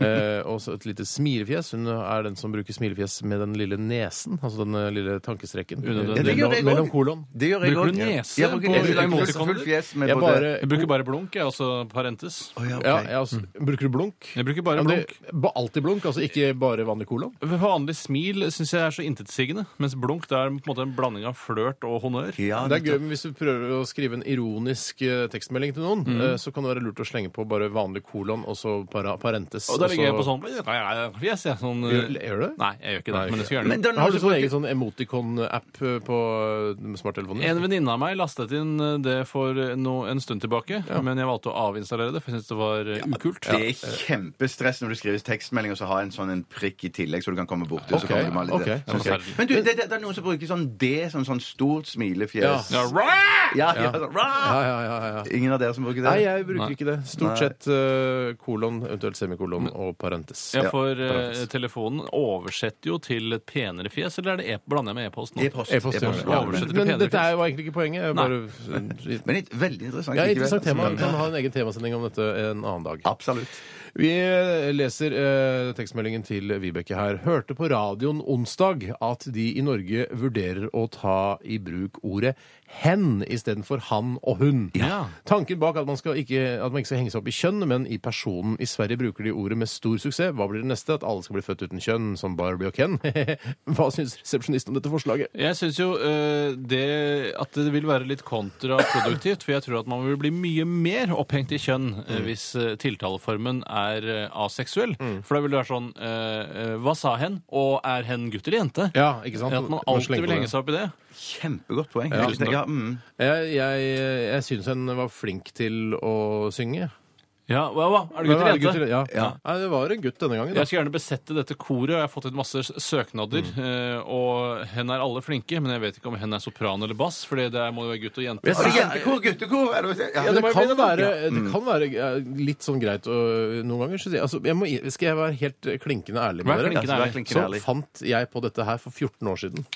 Speaker 3: Eh, og så et lite smilefjes. Hun er den som bruker smilefjes med den lille nesen. Altså den eh, lille tankestrekken.
Speaker 5: Unødvendig.
Speaker 4: Ja, det gjør jeg
Speaker 3: mellom,
Speaker 4: også.
Speaker 3: mellom kolon.
Speaker 4: Det gjør jeg
Speaker 5: Bruker
Speaker 4: også.
Speaker 5: du nese
Speaker 4: Jeg bruker
Speaker 5: på
Speaker 4: nese langs
Speaker 5: emotikoner?
Speaker 4: fullt fjes med
Speaker 3: Jeg
Speaker 4: både
Speaker 3: bare
Speaker 5: Jeg bruker bare blunk, jeg, også parentes.
Speaker 4: Å, ja, ok.
Speaker 3: ja, jeg også, Bruker du blunk?
Speaker 5: Jeg bruker bare
Speaker 3: Ja, men det- ba- alltid blunk, altså ikke bare vanlig kolon?
Speaker 5: Vanlig smil syns jeg er så intetsigende, mens blunk det er på en måte en blanding av flørt og honnør.
Speaker 4: Ja,
Speaker 3: Det er gøy men hvis du prøver å skrive en ironisk eh, tekstmelding til noen,
Speaker 5: Mm.
Speaker 3: eh, så kan det være lurt å slenge på bare vanlig kolon og så para, parentes.
Speaker 5: Og da ligger jeg på
Speaker 3: og så-
Speaker 5: sånn Yes, jeg sånn
Speaker 3: altså- Gjør, gjør du det?
Speaker 5: Nei, jeg gjør ikke det,
Speaker 3: Nei,
Speaker 5: men jeg skal gjerne
Speaker 4: Men det er noen
Speaker 3: Har du
Speaker 4: som
Speaker 3: sånn
Speaker 4: bruker-
Speaker 3: egen sånn emoticon-app eh, på eh, smarttelefonen? din?
Speaker 5: En venninne av meg lastet inn eh, det for no, en stund tilbake, men jeg valgte å avinstallere det, for jeg syntes det var eh, ukult.
Speaker 4: Det er kjempestress når du skriver tekstmelding og så har en sånn en prikk i tillegg, så du kan komme borti. og så
Speaker 3: Ok,
Speaker 4: kommer du med alle
Speaker 3: ok,
Speaker 4: de der.
Speaker 3: ok.
Speaker 4: Sånn- Men du, det, det, det er noen som bruker sånn D som sånn stort smilefjes.
Speaker 5: Ja, rah!
Speaker 4: Ja, ja, sånn, rah!
Speaker 3: Ja, ja, ja, ja, ja.
Speaker 4: Ingen av dere som bruker det?
Speaker 3: Nei, jeg bruker
Speaker 5: Nei.
Speaker 3: ikke det. Stort
Speaker 4: Nei.
Speaker 3: sett eh, kolon, eventuelt semikolon og parentes.
Speaker 5: Ja, for eh,
Speaker 3: parentes.
Speaker 5: telefonen oversetter jo til et penere fjes, eller er det e blander jeg med e-post nå?
Speaker 4: E-post.
Speaker 3: E-post, ja.
Speaker 4: E-post,
Speaker 3: Ja,
Speaker 5: Oversett
Speaker 3: men-
Speaker 5: til
Speaker 3: Men
Speaker 5: penere
Speaker 3: dette
Speaker 5: fjes.
Speaker 3: er jo egentlig ikke poenget. Jeg bare,
Speaker 4: Men et veldig interessant.
Speaker 3: ja,
Speaker 4: likevel.
Speaker 3: interessant tema. Vi
Speaker 4: Men-
Speaker 3: kan ha en egen temasending om dette en annen dag.
Speaker 4: Absolutt.
Speaker 3: Vi leser eh, tekstmeldingen til Vibeke her. Hørte på radioen onsdag at de i Norge vurderer å ta i bruk ordet hen istedenfor han og hun.
Speaker 5: Ja.
Speaker 3: Tanken bak at man, skal ikke, at man ikke skal henge seg opp i kjønn, men i personen. I Sverige bruker de ordet med stor suksess. Hva blir det neste? At alle skal bli født uten kjønn, som Barbie og Ken? Hva syns resepsjonisten om dette forslaget?
Speaker 5: Jeg syns jo eh, det at det vil være litt kontraproduktivt, for jeg tror at man vil bli mye mer opphengt i kjønn eh,
Speaker 3: Mm.
Speaker 5: hvis eh, tiltaleformen er eh, aseksuell. For da vil det være sånn eh, eh, Hva sa hen? Og er hen gutt eller jente?
Speaker 3: Ja, ikke sant?
Speaker 5: At man
Speaker 3: Man
Speaker 5: alltid
Speaker 3: slenger på
Speaker 5: vil henge
Speaker 3: det.
Speaker 5: seg opp i det.
Speaker 4: Kjempegodt poeng. Ja, ja, mm.
Speaker 3: Jeg, jeg, jeg syns hun var flink til å synge.
Speaker 5: Ja, hva, hva? Er det
Speaker 3: Men
Speaker 5: gutter
Speaker 3: er det
Speaker 5: eller jente?
Speaker 3: gutter? Ja. Nei, det var en gutt denne gangen. Da.
Speaker 5: Jeg skal gjerne besette dette koret, og jeg har fått inn masse s- søknader.
Speaker 3: Mm.
Speaker 5: eh, Og hen er alle flinke, men jeg vet ikke om hen er sopran eller bass, for det må jo være gutt og jente.
Speaker 3: Jeg
Speaker 4: Er det
Speaker 3: synes-
Speaker 4: jentekor, guttekor? Er det hva jeg sier?
Speaker 3: Ja,
Speaker 4: Ja.
Speaker 3: det,
Speaker 5: må jo
Speaker 3: kan
Speaker 5: bli det, da.
Speaker 3: være, det kan være eh, litt sånn greit å- noen ganger. Synes jeg. Altså, jeg må, skal jeg være helt eh, klinkende ærlig
Speaker 5: Vær
Speaker 3: med
Speaker 5: klinkende
Speaker 3: dere?
Speaker 5: ærlig.
Speaker 4: klinkende
Speaker 3: Så
Speaker 4: ærlig.
Speaker 3: fant jeg på dette her for 14 år siden.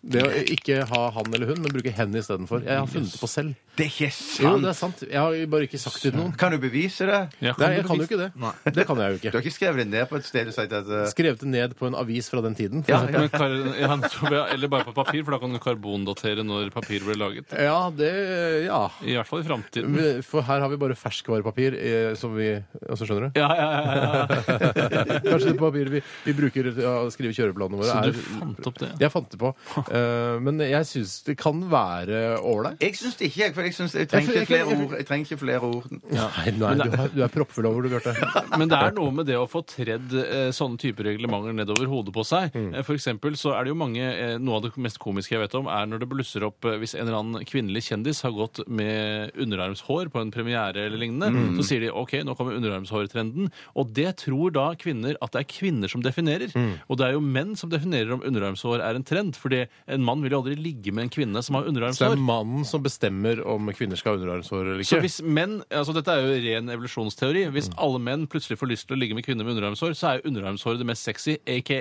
Speaker 3: Det å ikke ha han eller hun, men bruke hen istedenfor. Jeg har funnet det på selv.
Speaker 4: Det er ikke
Speaker 3: Jo, det
Speaker 4: sant!
Speaker 3: er sant. Jeg har bare ikke sagt det til noen.
Speaker 4: Kan du bevise det?
Speaker 5: Ja,
Speaker 3: Nei,
Speaker 5: du
Speaker 3: jeg kan jo
Speaker 5: bevise-
Speaker 3: ikke det. Det kan jeg jo
Speaker 4: Du har
Speaker 3: ikke.
Speaker 4: ikke skrevet det ned på et sted du sier at eh,
Speaker 3: Skrevet det ned på en avis fra den tiden. for
Speaker 4: Ja,
Speaker 3: eksempel.
Speaker 5: Men kar ja, så bra. eller bare på papir, for da kan du karbondatere når papir ble laget.
Speaker 3: ja, det Ja.
Speaker 5: I hvert fall i framtiden.
Speaker 3: For her har vi bare ferskvarepapir, eh, som vi Altså, skjønner du?
Speaker 5: Ja, ja, ja, ja, ja.
Speaker 3: Kanskje det papiret vi, vi bruker til å skrive kjøreplanene våre,
Speaker 5: Så
Speaker 3: er
Speaker 5: du fant opp det?
Speaker 3: Jeg fant det på. Eh, men jeg syns det kan være ålreit.
Speaker 4: Jeg syns det ikke, jeg, for jeg, synes, jeg,
Speaker 3: Jeg
Speaker 4: trenger
Speaker 3: føler-
Speaker 4: ikke flere
Speaker 3: jeg- jeg-
Speaker 4: ord. Jeg trenger ikke flere ord.
Speaker 3: Nei, nei, du, har- du er proppfull av ord, du, Bjarte.
Speaker 5: Men det er noe med det å få tredd eh, sånne typer reglementer nedover hodet på seg. Eh, For eksempel så er det jo mange eh, Noe av det mest komiske jeg vet om, er når det blusser opp eh, hvis en eller annen kvinnelig kjendis har gått med underarmshår på en premiere eller lignende. Så sier de OK, nå kommer underarmshårtrenden. Og det tror da kvinner at det er kvinner som definerer. Og det er jo menn som definerer om underarmshår er en trend. Fordi en mann vil jo aldri ligge med en kvinne som har
Speaker 3: Så det er
Speaker 5: underarmshår.
Speaker 3: mannen som bestemmer om kvinner skal ha underarmshår eller
Speaker 5: Så
Speaker 3: ikke.
Speaker 5: hvis menn, altså Dette er jo ren evolusjonsteori. Hvis
Speaker 3: Mm.
Speaker 5: alle menn plutselig får lyst til å ligge med kvinner med underarmshår, så er jo underarmshåret det mest sexy, aka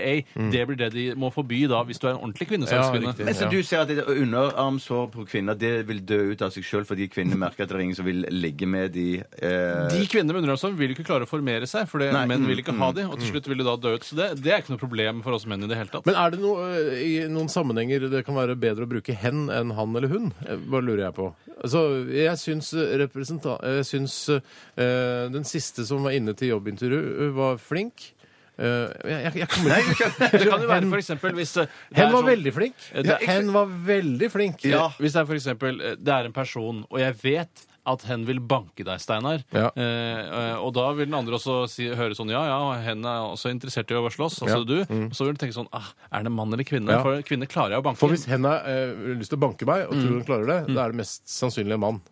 Speaker 5: det blir det de må forby da, hvis du er en ordentlig kvinnesalgskvinne.
Speaker 3: Mm. Ja, riktig.
Speaker 4: Men så du ser at det underarmshår på kvinner det vil dø ut av seg sjøl fordi kvinner merker at det er ingen som vil ligge med de eh,
Speaker 5: de kvinner med underarmshår vil jo ikke klare å formere seg, for det-
Speaker 4: Nei,
Speaker 5: menn
Speaker 4: mm,
Speaker 5: vil ikke ha de, og til slutt vil de da dø ut. Så det, det er ikke noe problem for oss menn i det hele tatt.
Speaker 3: Men er det noe, eh, i noen sammenhenger det kan være bedre å bruke hen enn han eller hun? Eh, Bare lurer jeg på. Altså, jeg syns, eh, representa- jeg syns eh, den siste som var inne til jobbintervju, eh, var flink. Eh, jeg, jeg, jeg kommer ikke
Speaker 5: det kan jo være for eksempel hvis eh, det
Speaker 3: Hen
Speaker 5: er
Speaker 3: var
Speaker 5: sånn-
Speaker 3: veldig flink.
Speaker 5: Eh, det er-
Speaker 3: Hen var veldig flink.
Speaker 5: Ja. Hvis det er for eksempel, eh, det er en person, og jeg vet at hen vil banke deg, Steinar.
Speaker 3: Ja.
Speaker 5: Eh, eh, og da vil den andre også si, høre sånn Ja, ja, og hen er også interessert i å slåss, altså du. Og så vil du tenke sånn ah, Er det mann eller kvinne?
Speaker 3: Ja.
Speaker 5: For kvinner klarer jeg å banke.
Speaker 3: For hvis hen har eh, lyst til å banke meg, og tror
Speaker 5: Mm.
Speaker 3: hun klarer det, da er det mest sannsynlig en mann.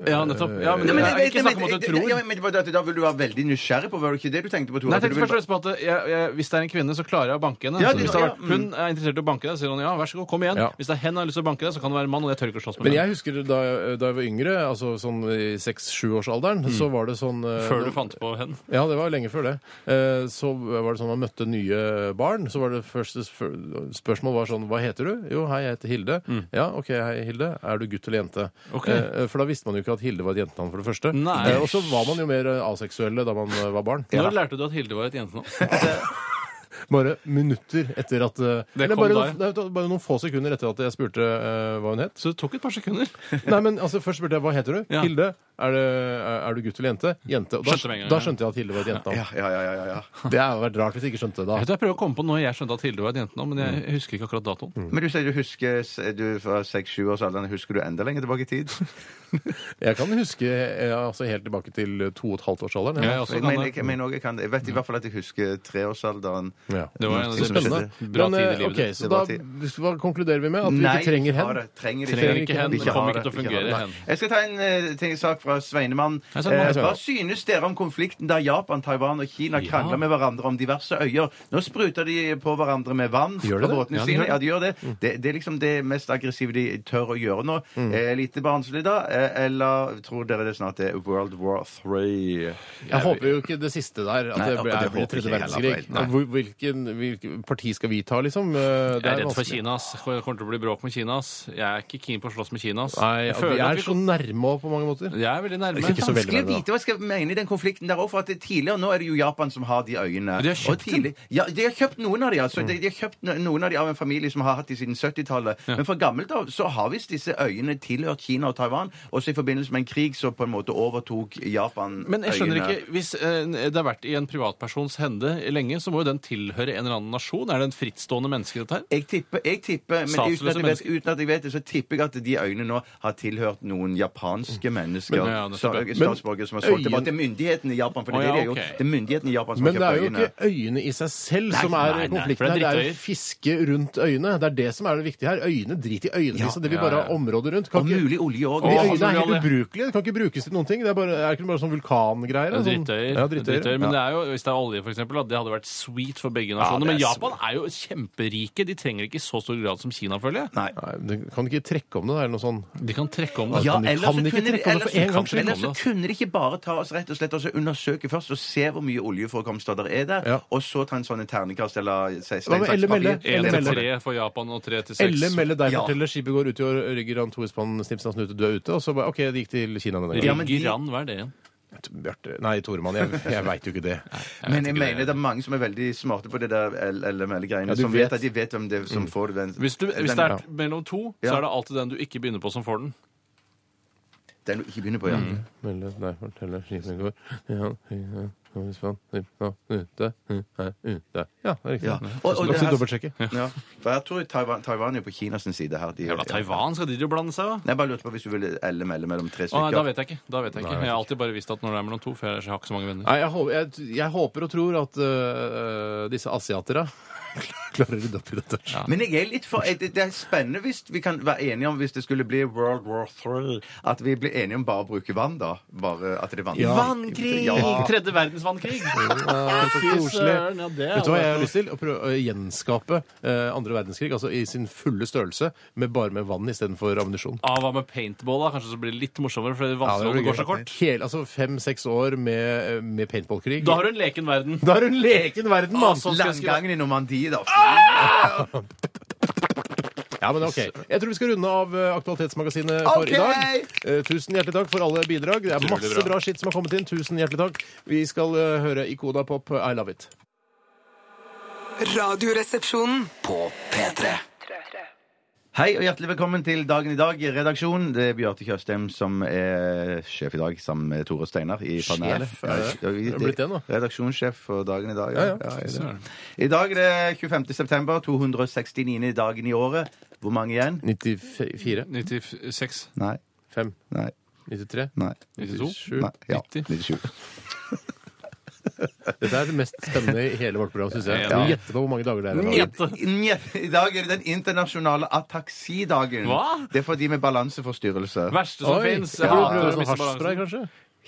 Speaker 5: Ja, nettopp. Ja, men,
Speaker 4: Nei, men jeg
Speaker 5: jeg, vil
Speaker 4: vet-
Speaker 5: ikke
Speaker 4: jeg
Speaker 5: snakk om
Speaker 4: vet-
Speaker 5: at du
Speaker 4: jeg-
Speaker 5: tror.
Speaker 4: ja, men det var det at Da vil du være veldig nysgjerrig på, var det ikke det du tenkte på? Tore?
Speaker 5: Nei,
Speaker 4: At
Speaker 5: jeg
Speaker 4: du
Speaker 5: tenkte
Speaker 4: vil
Speaker 5: først og fremst på at eh, jeg, jeg, Hvis det er en kvinne, så klarer jeg å banke henne.
Speaker 4: Ja,
Speaker 5: så
Speaker 4: det-
Speaker 5: hvis det har
Speaker 4: ja,
Speaker 5: vært, hun er interessert i å banke deg, sier hun ja, vær så god, kom igjen.
Speaker 3: Ja.
Speaker 5: Hvis det er hen har lyst til å banke deg, så kan det være en mann, og jeg tør ikke å slåss med
Speaker 3: Men
Speaker 5: henne.
Speaker 3: jeg husker da, jeg- da jeg var yngre, altså sånn i seks-sjuårsalderen, så var det sånn eh,
Speaker 5: Mm. Før du fant på hen.
Speaker 3: Ja, det var lenge før det. Eh, Så var det sånn man møtte nye barn. Så var det første spør- spørsmål var sånn Hva heter du? Jo, hei, jeg heter Hilde. Ja, OK, hei, Hilde. Er du gutt eller jente?
Speaker 5: Mm. Ok.
Speaker 3: Eh, For da visste man jo ikke at Hilde var et jentenavn, for det første.
Speaker 5: Nei.
Speaker 3: Eh, Og så var man jo mer eh, aseksuelle da man eh, var barn.
Speaker 5: Når lærte du at Hilde var et jentenavn?
Speaker 3: Bare minutter etter at eh,
Speaker 5: Det
Speaker 3: Eller
Speaker 5: kom
Speaker 3: bare,
Speaker 5: der.
Speaker 3: noen, nei, bare noen få sekunder etter at jeg spurte eh, hva hun het.
Speaker 5: Så det tok et par sekunder.
Speaker 3: Nei, men altså, Først spurte jeg hva heter du
Speaker 5: Ja.
Speaker 3: Hilde. Er, det, er- er du gutt eller jente? Jente. Og da,
Speaker 5: Skjønte med en gang,
Speaker 3: da
Speaker 5: ja.
Speaker 3: skjønte jeg at Hilde var et jentenavn.
Speaker 4: Ja, ja, ja, ja, ja, ja.
Speaker 3: Det hadde vært rart hvis jeg ikke skjønte det da.
Speaker 5: Vet du, Jeg prøver å komme på når jeg skjønte at Hilde var et jentenavn, men
Speaker 4: Mm.
Speaker 5: jeg husker ikke akkurat datoen.
Speaker 4: Hmm. Men du sier du husker s- du fra seks-sju års alder. Husker du enda lenger tilbake i tid?
Speaker 3: Jeg kan huske eh, altså, helt tilbake til eh, to og et halvt års alderen.
Speaker 5: Jeg
Speaker 3: Ja.
Speaker 5: også
Speaker 4: Jeg,
Speaker 5: kan
Speaker 4: mener, jeg,
Speaker 5: det.
Speaker 4: jeg, mener også jeg, kan, det. jeg vet i hvert fall at jeg husker treårsalderen.
Speaker 3: Ja.
Speaker 5: Det var en
Speaker 4: Det
Speaker 5: av de
Speaker 4: er
Speaker 5: spennende.
Speaker 3: Spennende.
Speaker 5: Bra
Speaker 3: Men,
Speaker 5: tid i
Speaker 3: eh, ok,
Speaker 5: livet.
Speaker 3: så
Speaker 4: Det var
Speaker 3: da
Speaker 4: tid.
Speaker 3: hva konkluderer vi med at vi
Speaker 4: Nei,
Speaker 3: ikke trenger
Speaker 4: ha
Speaker 3: hen.
Speaker 4: det. Trenger, ikke.
Speaker 5: Trenger ikke hen.
Speaker 4: Vi
Speaker 5: Det
Speaker 4: ha
Speaker 5: kommer ikke til å
Speaker 4: vi har
Speaker 5: fungere
Speaker 4: det.
Speaker 5: hen.
Speaker 4: Jeg skal ta en eh, ting, sak fra Sveinemann.
Speaker 5: Hei,
Speaker 4: Eh,
Speaker 5: Sveinemann. Hei,
Speaker 3: Sveinemann.
Speaker 4: hva synes dere om konflikten der Japan, Taiwan og Kina krangler med hverandre om diverse øyer? Nå spruter de på hverandre med vann
Speaker 3: Gjør de
Speaker 4: på
Speaker 3: det?
Speaker 4: båtene
Speaker 5: Ja, de gjør
Speaker 4: sine.
Speaker 5: det. Mm.
Speaker 4: Ja, de gjør det. det. Det er liksom det mest aggressive de tør å gjøre nå. Eh, lite barnslig, da. Eh, eller tror dere det snart er World War Three?
Speaker 3: Jeg håper jo ikke det siste der. At
Speaker 4: Nei,
Speaker 3: det
Speaker 4: og
Speaker 3: blir,
Speaker 4: det
Speaker 3: blir
Speaker 4: håper
Speaker 3: tredje
Speaker 4: ikke jeg heller,
Speaker 3: verdenskrig.
Speaker 4: nei.
Speaker 3: Hvor- Hvilken, hvilken parti skal vi ta, liksom? Eh, Det
Speaker 5: Jeg er redd for
Speaker 3: vanskelig.
Speaker 5: Kina. ass. Det kommer til å bli bråk med Kina. ass. Jeg er ikke keen på å slåss med Kina. ass.
Speaker 3: Nei,
Speaker 5: Jeg
Speaker 3: de
Speaker 5: føler at
Speaker 3: er
Speaker 5: vi
Speaker 3: så
Speaker 5: kom-
Speaker 3: nærme også på mange måter.
Speaker 5: Jeg er veldig nærme.
Speaker 3: Ikke så veldig
Speaker 4: Vanskelig å
Speaker 3: nærme, da.
Speaker 4: vite hva jeg skal mene i den konflikten der også, for at det tidligere nå er det jo Japan som har de øyene.
Speaker 5: De har kjøpt Mm.
Speaker 4: Og tidlig- Ja, de har kjøpt noen av de, altså. De, de har kjøpt no- noen av de av en familie som har hatt de siden 70-tallet. Men fra gammelt av så har visst disse øyene tilhørt Kina og Taiwan, også i forbindelse med en krig så på en måte overtok Japan
Speaker 5: Men jeg skjønner
Speaker 4: øyene.
Speaker 5: ikke, hvis eh, det har vært i en privatpersons hende lenge, så må jo den til, tilhøre en eller annen nasjon? Er det en frittstående menneske, dette her?
Speaker 4: Jeg tipper, jeg tipper men
Speaker 5: Statsløse
Speaker 4: uten at, jeg vet,
Speaker 5: mennesker.
Speaker 4: uten at jeg vet det, så tipper jeg at de øynene nå har tilhørt noen japanske mennesker.
Speaker 5: Mm. Men- Ja, nettopp.
Speaker 4: så-
Speaker 5: Men
Speaker 4: statsborgere som har
Speaker 3: øyen-
Speaker 4: solgt tilbake til myndighetene i Japan. For
Speaker 5: Å,
Speaker 4: det er det
Speaker 5: ja,
Speaker 4: de har gjort.
Speaker 5: ok.
Speaker 4: Det er myndighetene i Japan som
Speaker 3: Men det
Speaker 4: har
Speaker 3: er
Speaker 4: kjøpt
Speaker 3: jo
Speaker 4: øyene.
Speaker 3: ikke øyene i seg selv som er
Speaker 5: nei, nei, for
Speaker 3: konflikten
Speaker 5: det
Speaker 3: her. Det er
Speaker 5: er
Speaker 3: jo
Speaker 5: drittøyer.
Speaker 3: fiske rundt øyene. Det er det som er det viktige her. Øyene driter i øynene,
Speaker 4: Ja,
Speaker 3: så det vil
Speaker 5: ja,
Speaker 3: bare
Speaker 5: ja.
Speaker 3: ha området rundt. Kan
Speaker 4: Og
Speaker 3: ikke-
Speaker 4: mulig olje òg.
Speaker 3: De
Speaker 5: Å,
Speaker 3: øyene er
Speaker 5: mulig
Speaker 3: helt
Speaker 5: olje.
Speaker 3: ubrukelige. Det kan ikke brukes til noen ting. Det er, bare, er ikke det bare sånn vulkangreier? da? Sånn-
Speaker 5: Drittøyer.
Speaker 3: Ja, drittøyer.
Speaker 5: drittøyer. Men det er jo, hvis det er olje, for eksempel, da, det hadde vært sweet for begge nasjoner.
Speaker 4: det er
Speaker 5: Men Japan er jo kjemperike. De trenger ikke i så stor grad som Kina, føler jeg.
Speaker 4: Nei.
Speaker 3: Nei, men det kan ikke trekke om det, da, eller noe sånn? sånt.
Speaker 5: De kan trekke om det.
Speaker 4: Ja,
Speaker 3: Men de
Speaker 4: ellers
Speaker 3: kan
Speaker 4: så
Speaker 3: ikke
Speaker 4: kunne de-
Speaker 3: trekke om det
Speaker 4: ellers
Speaker 3: for en
Speaker 4: så-
Speaker 3: gangs skyld.
Speaker 4: Ellers så kunne de ikke bare ta oss rett og slett og så undersøke først og se hvor mye oljeforekomster der er der,
Speaker 3: Ja.
Speaker 4: og så ta en sånn en ternekast eller
Speaker 3: Hva
Speaker 4: se-
Speaker 3: med
Speaker 4: stein, saks,
Speaker 3: Elle Melle?
Speaker 4: papir.
Speaker 5: Én
Speaker 3: Eller
Speaker 5: til
Speaker 3: melde-
Speaker 5: tre for Japan og tre til seks.
Speaker 3: Eller melde deg
Speaker 4: Ja.
Speaker 3: forteller skipet går ut i år, rygger an to ispann, snipsen snute, du er ute, og så bare OK, det gikk til Kina denne
Speaker 4: Ja,
Speaker 3: gangen.
Speaker 4: men de-
Speaker 5: Riggeran, hva er det igjen?
Speaker 3: Bjarte Nei, Toremann, jeg, jeg veit jo ikke det.
Speaker 4: Men jeg mener det er mange som er veldig smarte på det der LML-greiene,
Speaker 3: Ja, du
Speaker 4: som
Speaker 3: vet.
Speaker 4: vet
Speaker 3: Mm.
Speaker 4: at de vet hvem det er som får den.
Speaker 5: Hvis, du,
Speaker 4: den,
Speaker 5: hvis det er mellom to, så
Speaker 4: Ja.
Speaker 5: er det alltid den du ikke begynner på, som får den.
Speaker 4: den du ikke begynner på, ja.
Speaker 5: Mm.
Speaker 3: Melde deg forteller skipet går ja, ja, to ispann, snipsen snute, hun er ute. Ja, det er riktig.
Speaker 4: Ja.
Speaker 3: Ja.
Speaker 4: Og- og
Speaker 3: la oss
Speaker 4: det her-
Speaker 3: dobbeltsjekke.
Speaker 4: Ja. For jeg tror Taiwan, Taiwan er på Kinas side her. De,
Speaker 5: Jævla Taiwan, skal de jo blande seg, da?
Speaker 4: Nei, Jeg bare lurte på hvis du ville LML mellom tre
Speaker 5: Å, nei, da
Speaker 4: stykker.
Speaker 5: vet jeg ikke. Da vet jeg
Speaker 3: Nei,
Speaker 5: ikke.
Speaker 3: jeg vet
Speaker 5: Jeg har alltid bare visst at når det er mellom to, for jeg har ikke så mange venner.
Speaker 3: Nei, jeg, håper, jeg, jeg håper og tror at øh, disse asiaterne klarer å rydde opp i dette.
Speaker 4: Men jeg er litt for, jeg- det det er spennende hvis vi kan være enige om hvis det skulle bli World War III, at vi blir enige om bare å bruke vann, da. Bare at det er vann.
Speaker 5: Vannkrig!
Speaker 4: Ja.
Speaker 5: Tredje verdensvannkrig!
Speaker 3: så
Speaker 5: Fy
Speaker 3: koselig.
Speaker 5: søren, ja, det er
Speaker 3: Vet du hva jeg har
Speaker 5: aldri-
Speaker 3: lyst til? Å prøve å gjenskape eh, andre verdenskrig altså i sin fulle størrelse, med bare med vann istedenfor ammunisjon.
Speaker 5: Ah, hva med paintball, da? Kanskje så blir det litt morsommere, for vannsloven går så kort.
Speaker 3: Hele, altså Fem-seks år med, øh, med paintballkrig.
Speaker 5: Da har du en leken verden.
Speaker 3: Da har hun leken verden, mann!
Speaker 5: sånn skal jeg skrive.
Speaker 4: Landgangen i Normandie, da.
Speaker 3: Ah! Ja, men ok. Jeg tror vi skal runde av eh, Aktualitetsmagasinet for
Speaker 4: Ok!
Speaker 3: i dag. Eh, Tusen hjertelig takk for alle bidrag. Det er
Speaker 5: Utrolig
Speaker 3: masse
Speaker 5: bra.
Speaker 3: bra skitt som har kommet inn. Tusen hjertelig takk. Vi skal eh, høre Ikona Pop, eh, I Love It.
Speaker 6: Radioresepsjonen.
Speaker 2: På P3.
Speaker 4: Hei og hjertelig velkommen til Dagen i dag, redaksjon. Det er Bjarte Tjøstheim som er sjef i dag, sammen med Tore Steinar i panelet. Ja,
Speaker 3: det blitt det nå?
Speaker 4: Redaksjonssjef for dagen i dag.
Speaker 3: Ja, Sånn ja.
Speaker 4: det. I dag er det 25. september, 269. dagen i året. Hvor mange igjen?
Speaker 3: 94?
Speaker 5: 96.
Speaker 4: Nei.
Speaker 3: 5?
Speaker 4: Nei.
Speaker 3: 93?
Speaker 4: Nei.
Speaker 5: 92?
Speaker 4: Nei. Ja.
Speaker 5: 90.
Speaker 4: 97.
Speaker 3: Dette er det mest spennende i hele vårt program, syns jeg.
Speaker 5: Ja.
Speaker 3: Du gjetter på hvor mange dager det er. i dag.
Speaker 5: Gjette.
Speaker 4: I, i- I dag er det den internasjonale ataksidagen.
Speaker 5: Hva?
Speaker 4: Det er for de med balanseforstyrrelse.
Speaker 5: Verste som
Speaker 3: Oi,
Speaker 5: fins.
Speaker 3: skal du prøve sånn hasjspray, kanskje?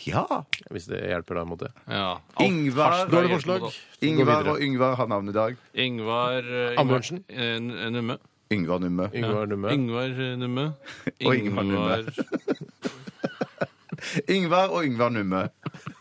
Speaker 4: Ja!
Speaker 3: Hvis det hjelper, da. måtte jeg.
Speaker 5: Ja.
Speaker 4: Ingvar-
Speaker 5: Harstad
Speaker 4: Bra
Speaker 5: hjelper
Speaker 3: forslag.
Speaker 5: mot alt.
Speaker 3: Gå
Speaker 4: Ingvar
Speaker 3: videre.
Speaker 4: og Yngvar har navnedag.
Speaker 5: Ingvar eh, Ingvar-
Speaker 3: Amundsen.
Speaker 5: eh, N- Numme.
Speaker 4: Yngvar Numme.
Speaker 3: Yngvar Numme.
Speaker 5: Ingvar eh, Numme.
Speaker 4: Og Ingvar Numme. Yngvar og Yngvar Numme.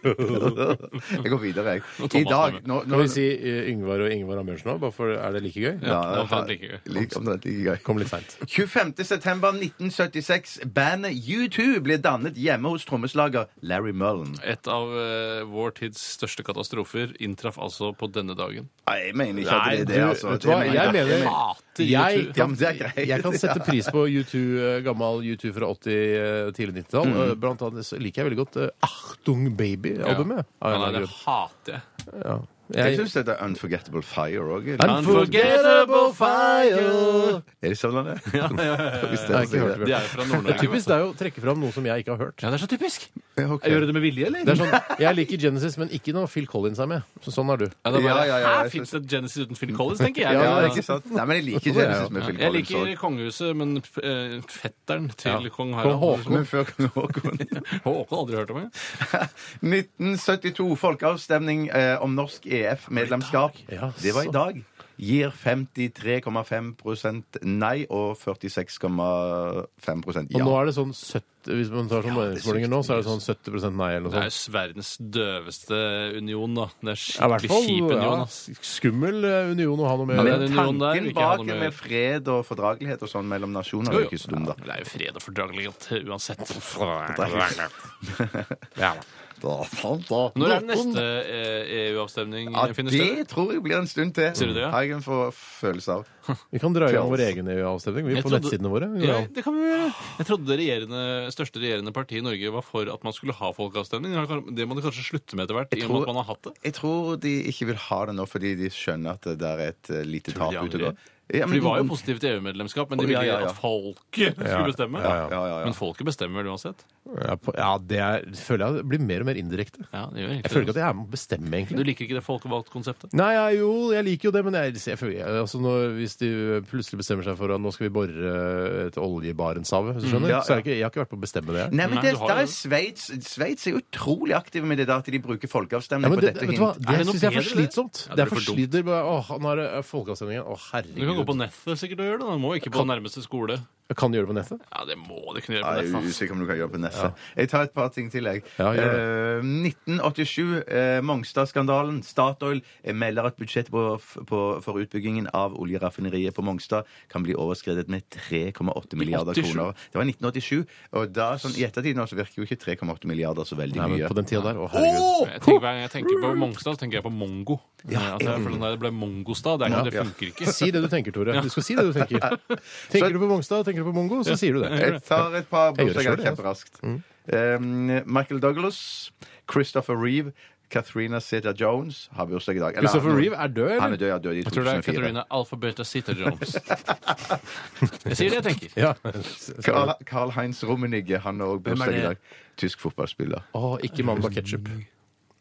Speaker 4: Jeg går videre, jeg. I dag nå, nå,
Speaker 3: Kan vi si eh, Yngvar og Ingvar Ambjørnsen òg, bare for er det like gøy?
Speaker 5: Ja, omtrent like gøy.
Speaker 4: Lik- omtrent like gøy.
Speaker 3: Kom litt seint.
Speaker 4: 25. september 1976. Bandet U2 blir dannet hjemme hos trommeslager Larry Mullen.
Speaker 5: Et av eh, vår tids største katastrofer inntraff altså på denne dagen.
Speaker 4: Nei, jeg mener ikke at det er
Speaker 3: du,
Speaker 4: det, altså.
Speaker 3: vet du hva?
Speaker 4: Det
Speaker 3: Jeg mener
Speaker 5: Hater
Speaker 3: jeg
Speaker 5: YouTube.
Speaker 4: Ja,
Speaker 3: kan,
Speaker 4: men det er greit.
Speaker 3: jeg kan sette pris på U2, eh, gammel U2 fra 80, eh, tidlig 90-tall.
Speaker 4: Mm.
Speaker 3: Eh, Blant annet så liker jeg veldig godt eh, Achtung Baby-albumet.
Speaker 5: Ja,
Speaker 3: Av en eller
Speaker 5: nei, det
Speaker 3: annen grunn.
Speaker 5: hater jeg.
Speaker 4: Jeg
Speaker 3: Jeg-
Speaker 4: syns det er Unforgettable Fire òg.
Speaker 5: Unforgettable fire.
Speaker 4: Er det sånn det er? Hvis
Speaker 3: Jeg
Speaker 4: det
Speaker 3: har ikke hørt
Speaker 4: er
Speaker 3: det.
Speaker 5: De er jo fra
Speaker 3: Det er
Speaker 5: Nord-Norge.
Speaker 3: typisk det er jo å trekke fram noe som jeg ikke har hørt.
Speaker 5: Ja, det er så typisk!
Speaker 4: sånn. Ok.
Speaker 5: det med vilje, eller?
Speaker 3: Det er sånn, Jeg liker Genesis, men ikke når Phil Collins er med. Så sånn er du.
Speaker 5: Ja, det er bare,
Speaker 4: Ja, ja, ja,
Speaker 5: Her
Speaker 4: jeg
Speaker 5: fins
Speaker 4: synes-
Speaker 5: det Genesis uten Phil Collins, tenker jeg.
Speaker 4: Ja,
Speaker 5: Ja,
Speaker 4: det er ikke sant? Nei, men jeg liker Genesis med Phil
Speaker 5: Jeg
Speaker 4: Collins
Speaker 5: liker
Speaker 4: òg.
Speaker 5: kongehuset, men eh, fetteren til
Speaker 3: Ja.
Speaker 5: kong
Speaker 3: Kong
Speaker 5: Harald
Speaker 3: Håkon.
Speaker 4: Men før Håkon
Speaker 5: Håkon aldri hørt om det.
Speaker 4: 1972. Folkeavstemning eh, om norsk EF-medlemskap.
Speaker 3: Ja,
Speaker 4: Det var
Speaker 3: så.
Speaker 4: i dag. Gir 53,5 nei og 46,5
Speaker 3: Og nå
Speaker 4: ja.
Speaker 3: er det sånn 70 Hvis man tar sånn meningsmålinger nå, så er det sånn 70 nei eller
Speaker 5: Det
Speaker 3: noe
Speaker 5: er
Speaker 3: sånt.
Speaker 5: jo verdens døveste union, da. Det er
Speaker 3: Ja, i hvert
Speaker 5: skikkelig
Speaker 3: fall,
Speaker 5: kjip union.
Speaker 3: ja,
Speaker 5: altså. ass.
Speaker 3: skummel eh, union å ha noe med å
Speaker 5: Men
Speaker 3: gjøre.
Speaker 5: den unionen der
Speaker 4: Tanken
Speaker 5: vil ikke jeg ha
Speaker 4: bak
Speaker 5: noe med å
Speaker 4: med
Speaker 5: gjøre.
Speaker 4: fred og fordragelighet og sånn mellom nasjoner er jo ikke så dum, da.
Speaker 5: Det er jo fred og fordragelighet uansett. Ja.
Speaker 4: Da, sant da.
Speaker 5: Når er den neste eh, EU-avstemning
Speaker 4: Ja,
Speaker 5: finner sted?
Speaker 4: det tror jeg blir en stund til.
Speaker 5: Sier du det, ja?
Speaker 4: Har jeg en for- følelse av.
Speaker 3: Vi kan dra i gang
Speaker 4: Fjas.
Speaker 3: vår egen EU-avstemning vi,
Speaker 5: Jeg
Speaker 3: på
Speaker 5: trodde-
Speaker 3: nettsidene våre. Vi
Speaker 5: Ja,
Speaker 3: gjør alt.
Speaker 5: det kan vi gjøre. Jeg trodde det regjerende, største regjerende partiet i Norge var for at man skulle ha folkeavstemning. Det må de kanskje slutte med etter hvert, i og med
Speaker 4: tror-
Speaker 5: at man har hatt det.
Speaker 4: Jeg tror de ikke vil ha det nå fordi de skjønner at det der er et eh, lite
Speaker 5: Tror
Speaker 4: tap
Speaker 5: du de
Speaker 4: ute og
Speaker 5: angrer?
Speaker 4: går. Ja,
Speaker 5: For de var jo positive til EU-medlemskap, men de
Speaker 4: Å,
Speaker 5: ville
Speaker 4: ja, ja, ja.
Speaker 5: at folket skulle bestemme.
Speaker 4: ja, ja, ja.
Speaker 5: Men folket bestemmer vel uansett.
Speaker 3: Ja, på- ja, det er, føler jeg blir mer og mer indirekte.
Speaker 5: Ja, det gjør egentlig
Speaker 3: Jeg føler ikke at
Speaker 5: det.
Speaker 3: jeg er med å bestemme,
Speaker 5: Du
Speaker 3: egentlig.
Speaker 5: liker ikke det folkevalgt-konseptet?
Speaker 3: Nei, jeg, jo, jeg liker jo det, men jeg, jeg føler, jeg, altså når, hvis de plutselig bestemmer seg for at nå skal vi bore et olje i Barentshavet, hvis du skjønner,
Speaker 4: Ja, ja.
Speaker 3: så er jeg, ikke, jeg har ikke vært på å bestemme det. jeg.
Speaker 4: Nei, men
Speaker 5: Nei,
Speaker 4: det,
Speaker 5: du
Speaker 4: der
Speaker 5: har jo
Speaker 4: er
Speaker 5: det.
Speaker 4: Sveits Sveits er utrolig aktive med det der at de
Speaker 3: Ja,
Speaker 4: bruker folkeavstemning
Speaker 3: men
Speaker 4: på
Speaker 3: det,
Speaker 4: dette
Speaker 3: vet du hva?
Speaker 4: hint.
Speaker 3: Det
Speaker 5: Er det noe
Speaker 3: syns jeg er for
Speaker 5: bedre, eller?
Speaker 3: slitsomt.
Speaker 5: Ja,
Speaker 3: det
Speaker 5: det
Speaker 3: er for
Speaker 5: blir for
Speaker 3: slitsomt. Åh, nå er det folkeavstemningen. Å,
Speaker 5: Du kan gå
Speaker 3: herregud.
Speaker 5: på nettet sikkert og gjøre det. da. Du må ikke på nærmeste skole.
Speaker 3: Kan du gjøre det på nettet?
Speaker 5: Ja, det må du kunne gjøre
Speaker 4: Ja,
Speaker 5: på
Speaker 4: Jeg er
Speaker 5: nettet. ass.
Speaker 4: usikker om du kan gjøre på nettet. Jeg tar et par ting til, jeg.
Speaker 3: Ja, gjør det.
Speaker 4: Eh, 1987, eh, Mongstad-skandalen. Statoil eh, melder at budsjettet på, på, for utbyggingen av oljeraffineriet på Mongstad kan bli overskredet med 3,8 milliarder
Speaker 5: 87?
Speaker 4: kroner. Det var 1987, og da, sånn, i ettertid nå, så virker jo ikke 3,8 milliarder så veldig
Speaker 3: Nei, men
Speaker 4: mye.
Speaker 3: på den tida der. Å, herregud.
Speaker 5: Jeg tenker, hver gang jeg tenker på Mongstad, så tenker jeg på mongo.
Speaker 4: Ja,
Speaker 5: At jeg, for den der ble mongostad. Det, er
Speaker 4: Ja,
Speaker 5: ikke- det
Speaker 4: ja.
Speaker 5: funker ikke.
Speaker 3: Si det du tenker, Tore. Du skal si det du tenker. Tenker du på Mongstad, tenker du på Mongo, så sier du det.
Speaker 4: Jeg tar et par
Speaker 3: Jeg gjør det
Speaker 4: bursdager
Speaker 3: selv, jeg, altså. Mm.
Speaker 4: kjemperaskt. Eh, Michael Douglas, Christopher Reeve, Katharina Zeta-Jones har bursdag i dag. Eller-
Speaker 3: Christopher Reeve er død,
Speaker 4: Han er
Speaker 3: eller?
Speaker 4: død, ja, død i
Speaker 5: Jeg tror det er
Speaker 4: 2004.
Speaker 5: Katarina Alphabeta Sitter Jones. Jeg sier det jeg tenker.
Speaker 3: Ja.
Speaker 4: Karl, Karl Heinz Rummenigge han har også
Speaker 5: Hvem er
Speaker 4: bursdag i
Speaker 5: det?
Speaker 4: dag. Tysk fotballspiller.
Speaker 3: Å, ikke mannen bak ketsjup.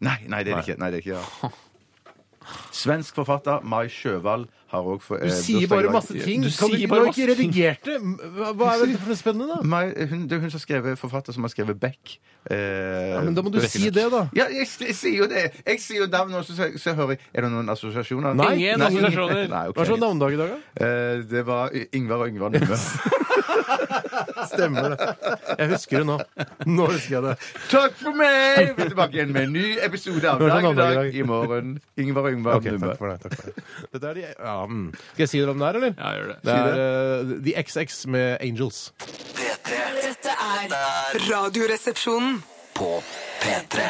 Speaker 4: Nei, nei, det er det ikke. Nei, det er ikke ja. Svensk forfatter Mai Sjøvall har òg bursdag i
Speaker 3: Du
Speaker 4: dag.
Speaker 3: sier bare masse ting.
Speaker 5: Du
Speaker 3: Kan du
Speaker 5: sier
Speaker 3: ikke, du
Speaker 5: bare
Speaker 3: har ikke
Speaker 5: masse ting.
Speaker 3: redigert det? Hva hva er dette for noe spennende, da?
Speaker 4: Mai, hun, det er hun som har skrevet, forfatter som har skrevet Beck. Eh,
Speaker 3: Ja, men da må du
Speaker 4: Beck-
Speaker 3: si det, da.
Speaker 4: Ja, jeg, s- jeg sier jo det! Jeg sier jo navn, og så, så, så hører jeg Er det noen assosiasjoner?
Speaker 3: Nei.
Speaker 5: Ingen
Speaker 4: Nei.
Speaker 5: assosiasjoner.
Speaker 4: Nei, ok.
Speaker 3: Hva slags navnedag i dag, da?
Speaker 4: Eh, det var Y- Yngvar og Yngvar Numme.
Speaker 3: Stemmer det. Jeg husker det nå. Nå husker jeg det.
Speaker 4: Takk for meg! Vi er tilbake igjen med en ny episode av
Speaker 3: Nå er det
Speaker 4: Dag i
Speaker 3: navnedag i
Speaker 4: dag
Speaker 3: dag.
Speaker 4: i morgen. Yngvar og Yngvar
Speaker 3: Ok,
Speaker 4: Numme.
Speaker 3: takk for det. Takk for det. Dette er de, ja, mm. Skal jeg si dere hvem det er, eller?
Speaker 5: Ja, gjør det.
Speaker 3: Det er eh, The XX med Angels.
Speaker 2: P3
Speaker 6: Dette er Radioresepsjonen.
Speaker 2: på P3.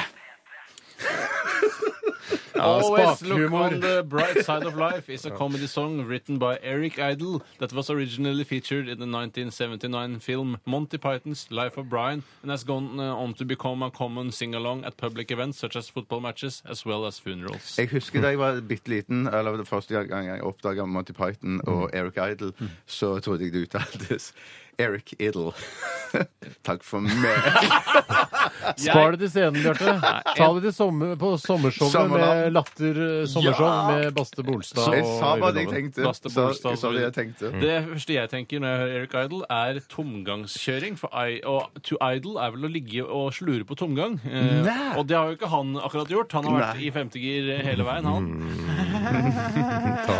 Speaker 5: Always look
Speaker 3: spakhumor.
Speaker 5: on the bright side of life is a comedy song written by Eric Idle that was originally featured in the 1979 film Monty Python's Life of Brian and has gone uh, on to become a common sing-along at public events such as football matches as well as funerals.
Speaker 4: Jeg husker da jeg var bitte liten, eller det første gang jeg oppdaga Monty Python og Eric Idle, så trodde jeg det uttaltes Eric Idle. Takk for meg.
Speaker 3: Spar det til scenen, Bjarte. Ta det til sommer, på sommershowet
Speaker 4: Sommerland.
Speaker 3: med Latter eh, sommershow med Baste Bolstad og
Speaker 4: Jeg sa bare det
Speaker 3: Øyvind
Speaker 4: jeg
Speaker 3: Loven.
Speaker 4: tenkte.
Speaker 5: Lasse
Speaker 4: Sa-
Speaker 5: Bolstad,
Speaker 4: Jeg sa det jeg tenkte.
Speaker 5: Mm. Det første jeg tenker når jeg hører Eric Idle, er tomgangskjøring. For I, og to idle er vel å ligge og slure på tomgang. Eh,
Speaker 4: Nei.
Speaker 5: og det har jo ikke han akkurat gjort. Han har vært
Speaker 4: Nei.
Speaker 5: i femtegir hele veien, han.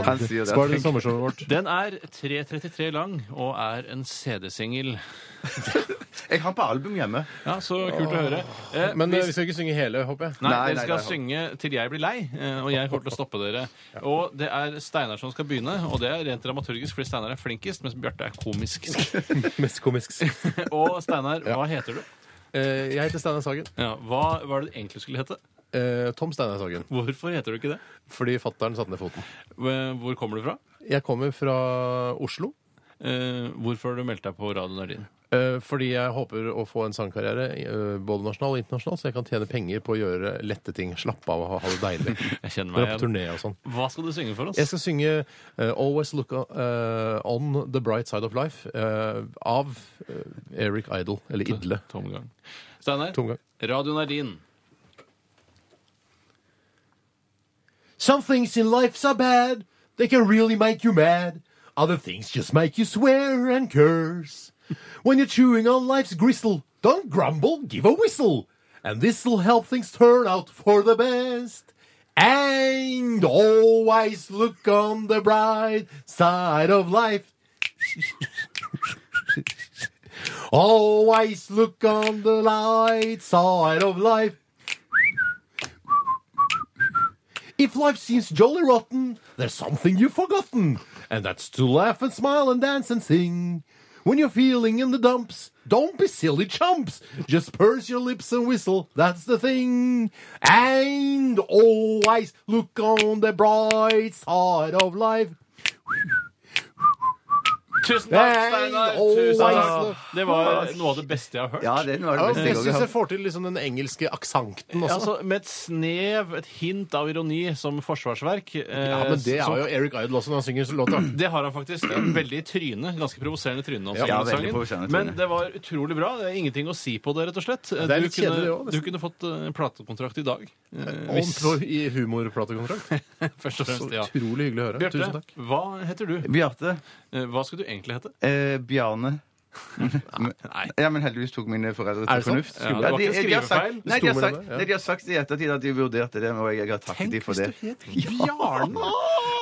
Speaker 4: Han sier det.
Speaker 3: Spar det til sommershowet vårt.
Speaker 5: Den er 3.33 lang og er en CD-singel.
Speaker 4: Jeg har på album hjemme.
Speaker 5: Ja, så kult å høre. Eh,
Speaker 3: Men eh,
Speaker 5: hvis-
Speaker 3: vi skal ikke synge hele, håper jeg.
Speaker 5: Nei,
Speaker 4: Nei,
Speaker 5: dere
Speaker 4: nei,
Speaker 5: skal
Speaker 4: nei,
Speaker 5: synge til jeg blir lei, eh, og jeg kommer til å stoppe dere. Og det er Steinar som skal begynne, og det er rent dramaturgisk, fordi Steinar er flinkest, mens Bjarte er komisk.
Speaker 3: Mest komisk.
Speaker 5: Og Steinar, hva heter du?
Speaker 3: Eh, jeg heter Steinar Sagen.
Speaker 5: Ja, hva var det du egentlig skulle hete?
Speaker 3: Eh, Tom Steinar Sagen.
Speaker 5: Hvorfor heter du ikke det?
Speaker 3: Fordi fattern satte ned foten.
Speaker 5: Eh, Hvor kommer du fra?
Speaker 3: Jeg kommer fra Oslo.
Speaker 5: Eh, Hvorfor har du meldt deg på Radio Nardin?
Speaker 3: eh, Fordi jeg håper å få en sangkarriere eh, både nasjonal og internasjonal, så jeg kan tjene penger på å gjøre lette ting. Slappe av og ha- ha det deilig.
Speaker 5: Jeg
Speaker 3: Dra
Speaker 5: kjenner
Speaker 3: på
Speaker 5: meg igjen.
Speaker 3: turné og sånn.
Speaker 5: Hva skal du synge for oss?
Speaker 3: Jeg skal synge eh, 'Always Look o- eh, On The Bright Side Of Life' eh, av eh, Eric Idle, eller Idle.
Speaker 5: Tomgang. Steinar,
Speaker 3: Tomgang.
Speaker 5: Radio Nardin.
Speaker 3: Some things in life are bad. They can really make you mad. Other things just make you swear and curse. When you're chewing on life's gristle, don't grumble, give a whistle. And this'll help things turn out for the best. And always look on the bright side of life. always look on the light side of life. If life seems jolly rotten, there's something you've forgotten, and that's to laugh and smile and dance and sing. When you're feeling in the dumps, don't be silly chumps. Just purse your lips and whistle. That's the thing. And always look on the bright side of life.
Speaker 5: Tusen takk,
Speaker 3: Hey,
Speaker 5: Steinar!
Speaker 3: oh,
Speaker 5: Tusen
Speaker 3: Steinar.
Speaker 5: takk. Det var noe av det beste jeg har hørt.
Speaker 4: Ja, det er noe av det
Speaker 3: Oh,
Speaker 4: beste
Speaker 3: Jeg
Speaker 4: jeg også
Speaker 3: syns
Speaker 4: har
Speaker 3: jeg
Speaker 4: hørt.
Speaker 3: får til liksom den engelske aksenten
Speaker 5: Ja,
Speaker 3: også.
Speaker 5: altså, med et snev, et hint av ironi som forsvarsverk. eh,
Speaker 3: Ja, men det
Speaker 5: som-
Speaker 3: er jo Eric Idle også når han synger låta.
Speaker 5: det har han faktisk. Det er Veldig tryne. Ganske provoserende tryne. Også,
Speaker 4: Ja,
Speaker 5: i denne
Speaker 4: veldig
Speaker 5: sangen.
Speaker 4: provoserende tryne.
Speaker 5: Men det var utrolig bra. Det er ingenting å si på det, rett og slett.
Speaker 3: det er
Speaker 5: du,
Speaker 3: litt kjedelig, det
Speaker 5: kunne,
Speaker 3: også, nesten.
Speaker 5: du kunne fått eh, platekontrakt i dag. Eh, hvis-
Speaker 3: Ordentlig i humorplatekontrakt.
Speaker 5: Først og fremst, ja.
Speaker 3: Utrolig hyggelig å høre. Tusen
Speaker 5: Bjarte,
Speaker 3: takk.
Speaker 5: hva heter du?
Speaker 4: Bjarte.
Speaker 5: Eh, Hva skal du egentlig hete?
Speaker 4: Eh, Bjarne.
Speaker 5: Nei.
Speaker 4: Ja, men heldigvis tok mine foreldre
Speaker 3: Er
Speaker 4: til
Speaker 3: det sant?
Speaker 4: fornuft.
Speaker 5: Ja, det var ikke en
Speaker 4: har
Speaker 5: skrivefeil.
Speaker 4: sagt,
Speaker 5: Det
Speaker 4: nei, de har
Speaker 3: sto
Speaker 4: sagt,
Speaker 3: mellom det, ja.
Speaker 4: nei, de har sagt i ettertid at de vurderte det, og jeg har takket dem for det.
Speaker 5: Bjarne!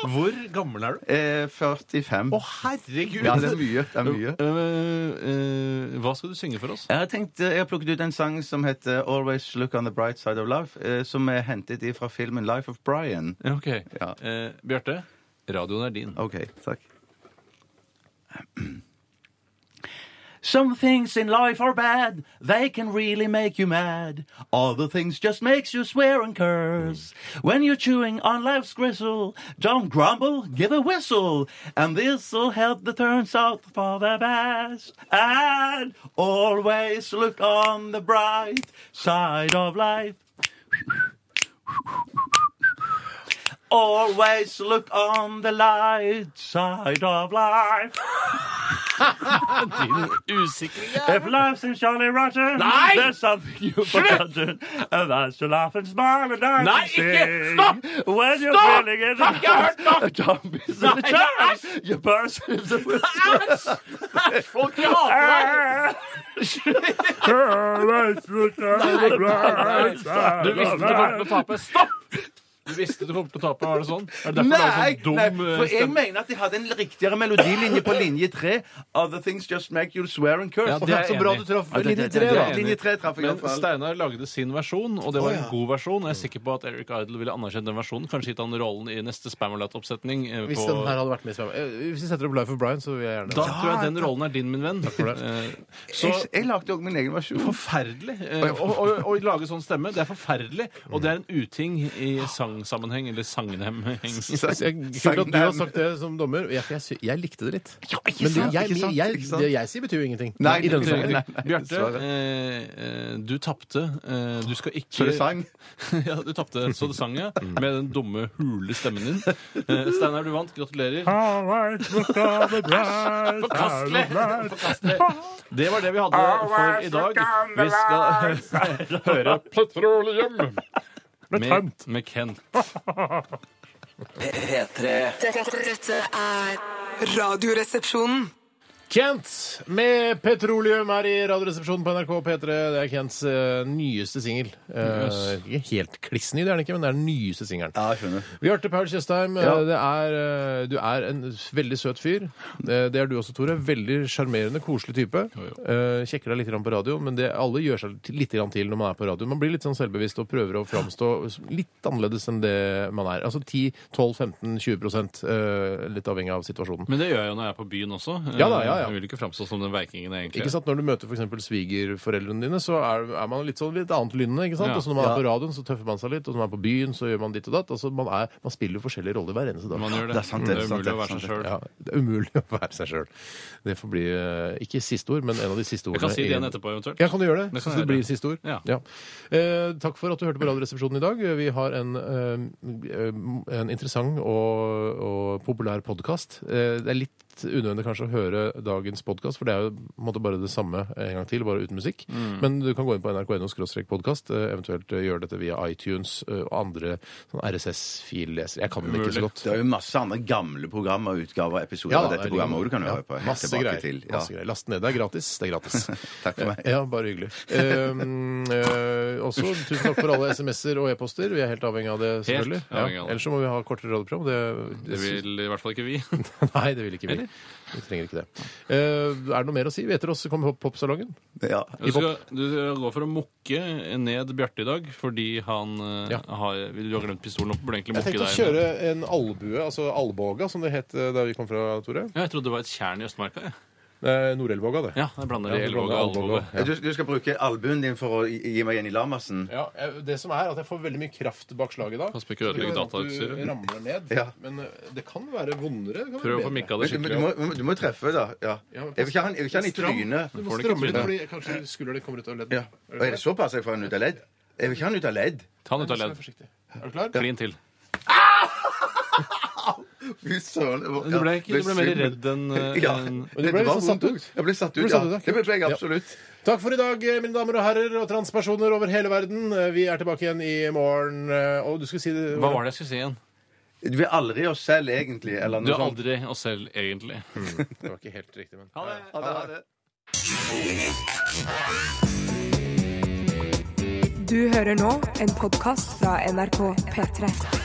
Speaker 5: Hvor gammel er du?
Speaker 4: Eh, 45.
Speaker 5: Å, herregud!
Speaker 4: Ja, det er mye. Det er mye.
Speaker 5: Eh, eh, hva skal du synge for oss?
Speaker 4: Jeg har, tenkt, eh, jeg har plukket ut en sang som heter 'Always Look on the Bright Side of Love', eh, som er hentet i fra filmen 'Life of Brian'.
Speaker 5: Ja, Ok.
Speaker 4: Ja.
Speaker 5: Eh, Bjarte, radioen er din.
Speaker 4: Ok, takk. Some things in life are bad. They can really make you mad. Other things just makes you swear and curse. When you're chewing on life's gristle, don't grumble, give a whistle. And this'll help the turns out for the best. And always look on the bright side of life. Always look on the light side of life. If life seems jolly rotten,
Speaker 5: Nei!
Speaker 4: there's something you've forgotten. And that's to laugh and smile and dance
Speaker 5: Nei,
Speaker 4: and sing.
Speaker 5: ikke! Stopp!
Speaker 4: When you're
Speaker 5: Stopp!
Speaker 4: feeling it,
Speaker 5: Takk, jeg har hørt nok!
Speaker 4: Don't be so
Speaker 5: Nei,
Speaker 4: charmed.
Speaker 5: æsj!
Speaker 4: Your person is a
Speaker 5: Æsj! Æsj, Folk jeg hater deg!
Speaker 4: Always look on the bright side
Speaker 5: Du
Speaker 4: of
Speaker 5: visste du kom til
Speaker 4: life.
Speaker 5: å tape. Stopp! Du visste du kom til å tape, var det sånn? Er det derfor du har sånn dum eh,
Speaker 4: for jeg
Speaker 5: stemme?
Speaker 4: mener at de hadde en riktigere melodilinje på linje tre. Other things just make you swear and curse.
Speaker 5: Ja, det er jeg
Speaker 3: Så bra
Speaker 5: enig i.
Speaker 3: du traff
Speaker 4: Ja, det-
Speaker 3: linje
Speaker 4: det-
Speaker 3: tre,
Speaker 4: det-
Speaker 3: da.
Speaker 5: Jeg er enig.
Speaker 4: Linje tre traff jeg i
Speaker 5: Men
Speaker 4: hvert fall.
Speaker 5: Steinar lagde sin versjon, og det var en
Speaker 3: Å, ja.
Speaker 5: god versjon. Jeg er sikker på at Eric Idle ville anerkjent den versjonen. Kanskje gitt han rollen i neste Spamalot-oppsetning. eh,
Speaker 3: Hvis
Speaker 5: på-
Speaker 3: den her hadde vært med i Spam. Eh, Hvis vi setter opp Life of Brian, så vil jeg gjerne
Speaker 5: Da tror jeg den rollen er din, min venn.
Speaker 3: for det.
Speaker 5: Eh, Så
Speaker 4: Jeg, jeg lagde òg min egen versjon.
Speaker 5: forferdelig eh, å, å, å lage sånn stemme. Det er forferdelig, og det er en uting i sangsammenheng, eller sangenhemheng.
Speaker 3: Så jeg- Kult at du har sagt det som dommer. Jeg, jeg, sy- jeg likte det litt. Men det,
Speaker 4: sant,
Speaker 3: jeg,
Speaker 4: ikke sant,
Speaker 3: jeg,
Speaker 4: ikke sant.
Speaker 3: det jeg sier, betyr jo ingenting.
Speaker 4: Nei,
Speaker 3: I denne
Speaker 4: det betyr
Speaker 3: saken.
Speaker 4: ingenting.
Speaker 5: Bjarte,
Speaker 4: dessverre.
Speaker 5: eh, eh, du tapte. Eh, du skal ikke
Speaker 4: Så det sang. Mm.
Speaker 5: ja, du tapte så det sang, ja. Med den dumme, hule stemmen din. Eh, Steinar, du vant. Gratulerer. Forkastelig! Forkastelig. Det var det vi hadde for i dag. Vi skal høre Petroleum med, med Kent.
Speaker 2: P3
Speaker 6: Dette, dette er Radioresepsjonen.
Speaker 3: Kent med petroleum her i Radioresepsjonen på NRK P3. Det er Kents eh, nyeste singel. Eh, ikke helt klissny, det er den ikke, men det er den nyeste singelen.
Speaker 4: Ja, jeg skjønner.
Speaker 3: Bjarte Paul Tjøstheim, eh,
Speaker 4: Ja.
Speaker 3: det er, eh, du er en veldig søt fyr. Eh, Det er du også, Tore. Veldig sjarmerende, koselig type. Eh, Kjekker deg litt grann på radio, men det, alle gjør seg til- litt grann til når man er på radio. Man blir litt sånn selvbevisst og prøver å framstå som litt annerledes enn det man er. Altså 10-12-15-20 eh, litt avhengig av situasjonen.
Speaker 5: Men det gjør jeg jo når jeg er på byen også. Eh,
Speaker 3: Ja da, ja, ja.
Speaker 5: Jeg vil ikke framstå som den veikingen jeg egentlig
Speaker 3: Ikke sant? Når du møter for eksempel svigerforeldrene dine, så er, er man litt sånn litt annet lynne. ikke sant?
Speaker 5: Ja.
Speaker 3: Og så Når man er på radioen, så tøffer man seg litt. Og når man er på byen, så gjør man ditt og datt. Altså, man, er, man spiller jo forskjellige roller hver eneste dag.
Speaker 5: Man gjør det.
Speaker 4: Det er sant, det er sant,
Speaker 5: umulig
Speaker 4: det
Speaker 5: å
Speaker 4: er
Speaker 5: være
Speaker 4: sant,
Speaker 5: seg
Speaker 4: det er
Speaker 5: sjøl.
Speaker 3: Ja, det er umulig å være seg sjøl. Det får bli eh, ikke siste ord, men en av de siste ordene.
Speaker 5: Jeg kan si det igjen
Speaker 3: i-
Speaker 5: etterpå, eventuelt.
Speaker 3: Ja, kan du gjøre det?
Speaker 5: Det kan
Speaker 3: så det
Speaker 5: jeg
Speaker 3: blir
Speaker 5: gjøre.
Speaker 3: siste ord.
Speaker 5: Ja.
Speaker 3: Eh, takk for at du hørte på Radioresepsjonen i dag. Vi har en, eh, en interessant og, og populær podkast. Eh, det er litt unødvendig kanskje å høre dagens podkast, for det er jo på en måte bare det samme en gang til, bare uten musikk.
Speaker 5: Mm.
Speaker 3: Men du kan gå inn på nrk.no podkast, eventuelt eh, gjøre dette via iTunes eh, og andre sånn RSS-filleser. Jeg kan den ikke så godt.
Speaker 4: Det er jo masse andre gamle programmer, utgaver og episoder av
Speaker 3: det
Speaker 4: dette
Speaker 3: ligger-
Speaker 4: programmet også du kan
Speaker 3: ja,
Speaker 4: høre på. helt
Speaker 3: Masse
Speaker 4: tilbake
Speaker 3: greier.
Speaker 4: til. Ja.
Speaker 3: masse greier. Last ned. Det er gratis. Det er gratis.
Speaker 4: Takk for meg.
Speaker 3: Ja, bare hyggelig. Um, eh, også tusen takk for alle SMS-er og e-poster. Vi er helt avhengig av det, selvfølgelig.
Speaker 5: Helt avhengig av det.
Speaker 3: Ellers så må vi ha kortere radioprogram. Det,
Speaker 5: Det vil i hvert fall ikke vi.
Speaker 3: Nei, det vil ikke vi. Vi trenger ikke det. Eh, er det noe mer å si? Vi etter oss kommer Pop- Popsalongen.
Speaker 4: Ja.
Speaker 5: Du skal, du skal gå for å mukke ned Bjarte i dag, fordi han eh,
Speaker 3: Ja.
Speaker 5: har, Du har glemt pistolen opp, burde egentlig
Speaker 3: Jeg
Speaker 5: mukke deg.
Speaker 3: tenkte å kjøre en albue, altså alboga, som det het eh, da vi kom fra, Tore.
Speaker 5: Ja, jeg trodde det var et tjern i Østmarka. jeg.
Speaker 3: Eh, Nord-Elvåga, det.
Speaker 5: Ja, jeg blander
Speaker 3: Ja, du
Speaker 5: elvåg og
Speaker 3: blander
Speaker 5: alvor.
Speaker 3: alvor, ja.
Speaker 4: Du, du skal bruke albuen din for å gi- gi meg igjen i lamassen?
Speaker 3: Ja, jeg- det som er at jeg får veldig mye kraft bak slaget da.
Speaker 5: Pass på ikke å ødelegge
Speaker 3: Det kan hende at
Speaker 5: datautstyret.
Speaker 3: Du ramler ned,
Speaker 4: Ja.
Speaker 3: men eh, det kan være vondere. Det kan
Speaker 5: Prøv å
Speaker 3: være
Speaker 5: få
Speaker 3: bedre.
Speaker 5: mikka det
Speaker 4: Men, men du,
Speaker 5: skikkelig
Speaker 4: må,
Speaker 5: opp.
Speaker 4: du må treffe, da. Ja.
Speaker 3: Ja, men
Speaker 4: Jeg vil ikke ha den- jeg vil ikke ha den i
Speaker 3: Stram.
Speaker 4: trynet.
Speaker 3: Du
Speaker 5: Får
Speaker 3: må
Speaker 5: den ikke
Speaker 3: stramme litt,
Speaker 5: trynet.
Speaker 3: fordi kanskje skulderen din kommer ut av ledd.
Speaker 4: Ja. Og er det såpass jeg får den ut av ledd? Jeg vil ikke ha den ut av ledd.
Speaker 5: Ta den ut av
Speaker 3: Vær
Speaker 5: ledd.
Speaker 3: forsiktig. Er du klar?
Speaker 5: Klin til.
Speaker 4: Fy søren. det var-
Speaker 5: Du ble, ikke,
Speaker 4: ja,
Speaker 5: du ble mer
Speaker 4: svimmel.
Speaker 5: redd enn eh,
Speaker 4: Ja.
Speaker 3: Men
Speaker 5: enn-
Speaker 3: du ble
Speaker 4: det var
Speaker 3: liksom satt
Speaker 4: vondt.
Speaker 3: ut.
Speaker 4: Jeg ble satt
Speaker 3: Du ble
Speaker 4: ut,
Speaker 3: satt ut,
Speaker 4: ja.
Speaker 3: ja.
Speaker 4: Det ble jeg
Speaker 3: Ja.
Speaker 4: absolutt.
Speaker 3: Takk for i dag, eh, mine damer og herrer og transpersoner over hele verden. Eh, Vi er tilbake igjen i morgen. eh, Og du skulle si det
Speaker 5: Hva var det jeg skulle si igjen?
Speaker 4: Vi er aldri oss selv, egentlig. Eller
Speaker 5: Du
Speaker 4: noe
Speaker 5: er
Speaker 4: sånt.
Speaker 5: aldri oss selv, egentlig.
Speaker 3: Det var ikke helt riktig, men
Speaker 5: Ha det.
Speaker 4: Ha det, ha det.
Speaker 1: Du hører nå en podkast fra NRK P3.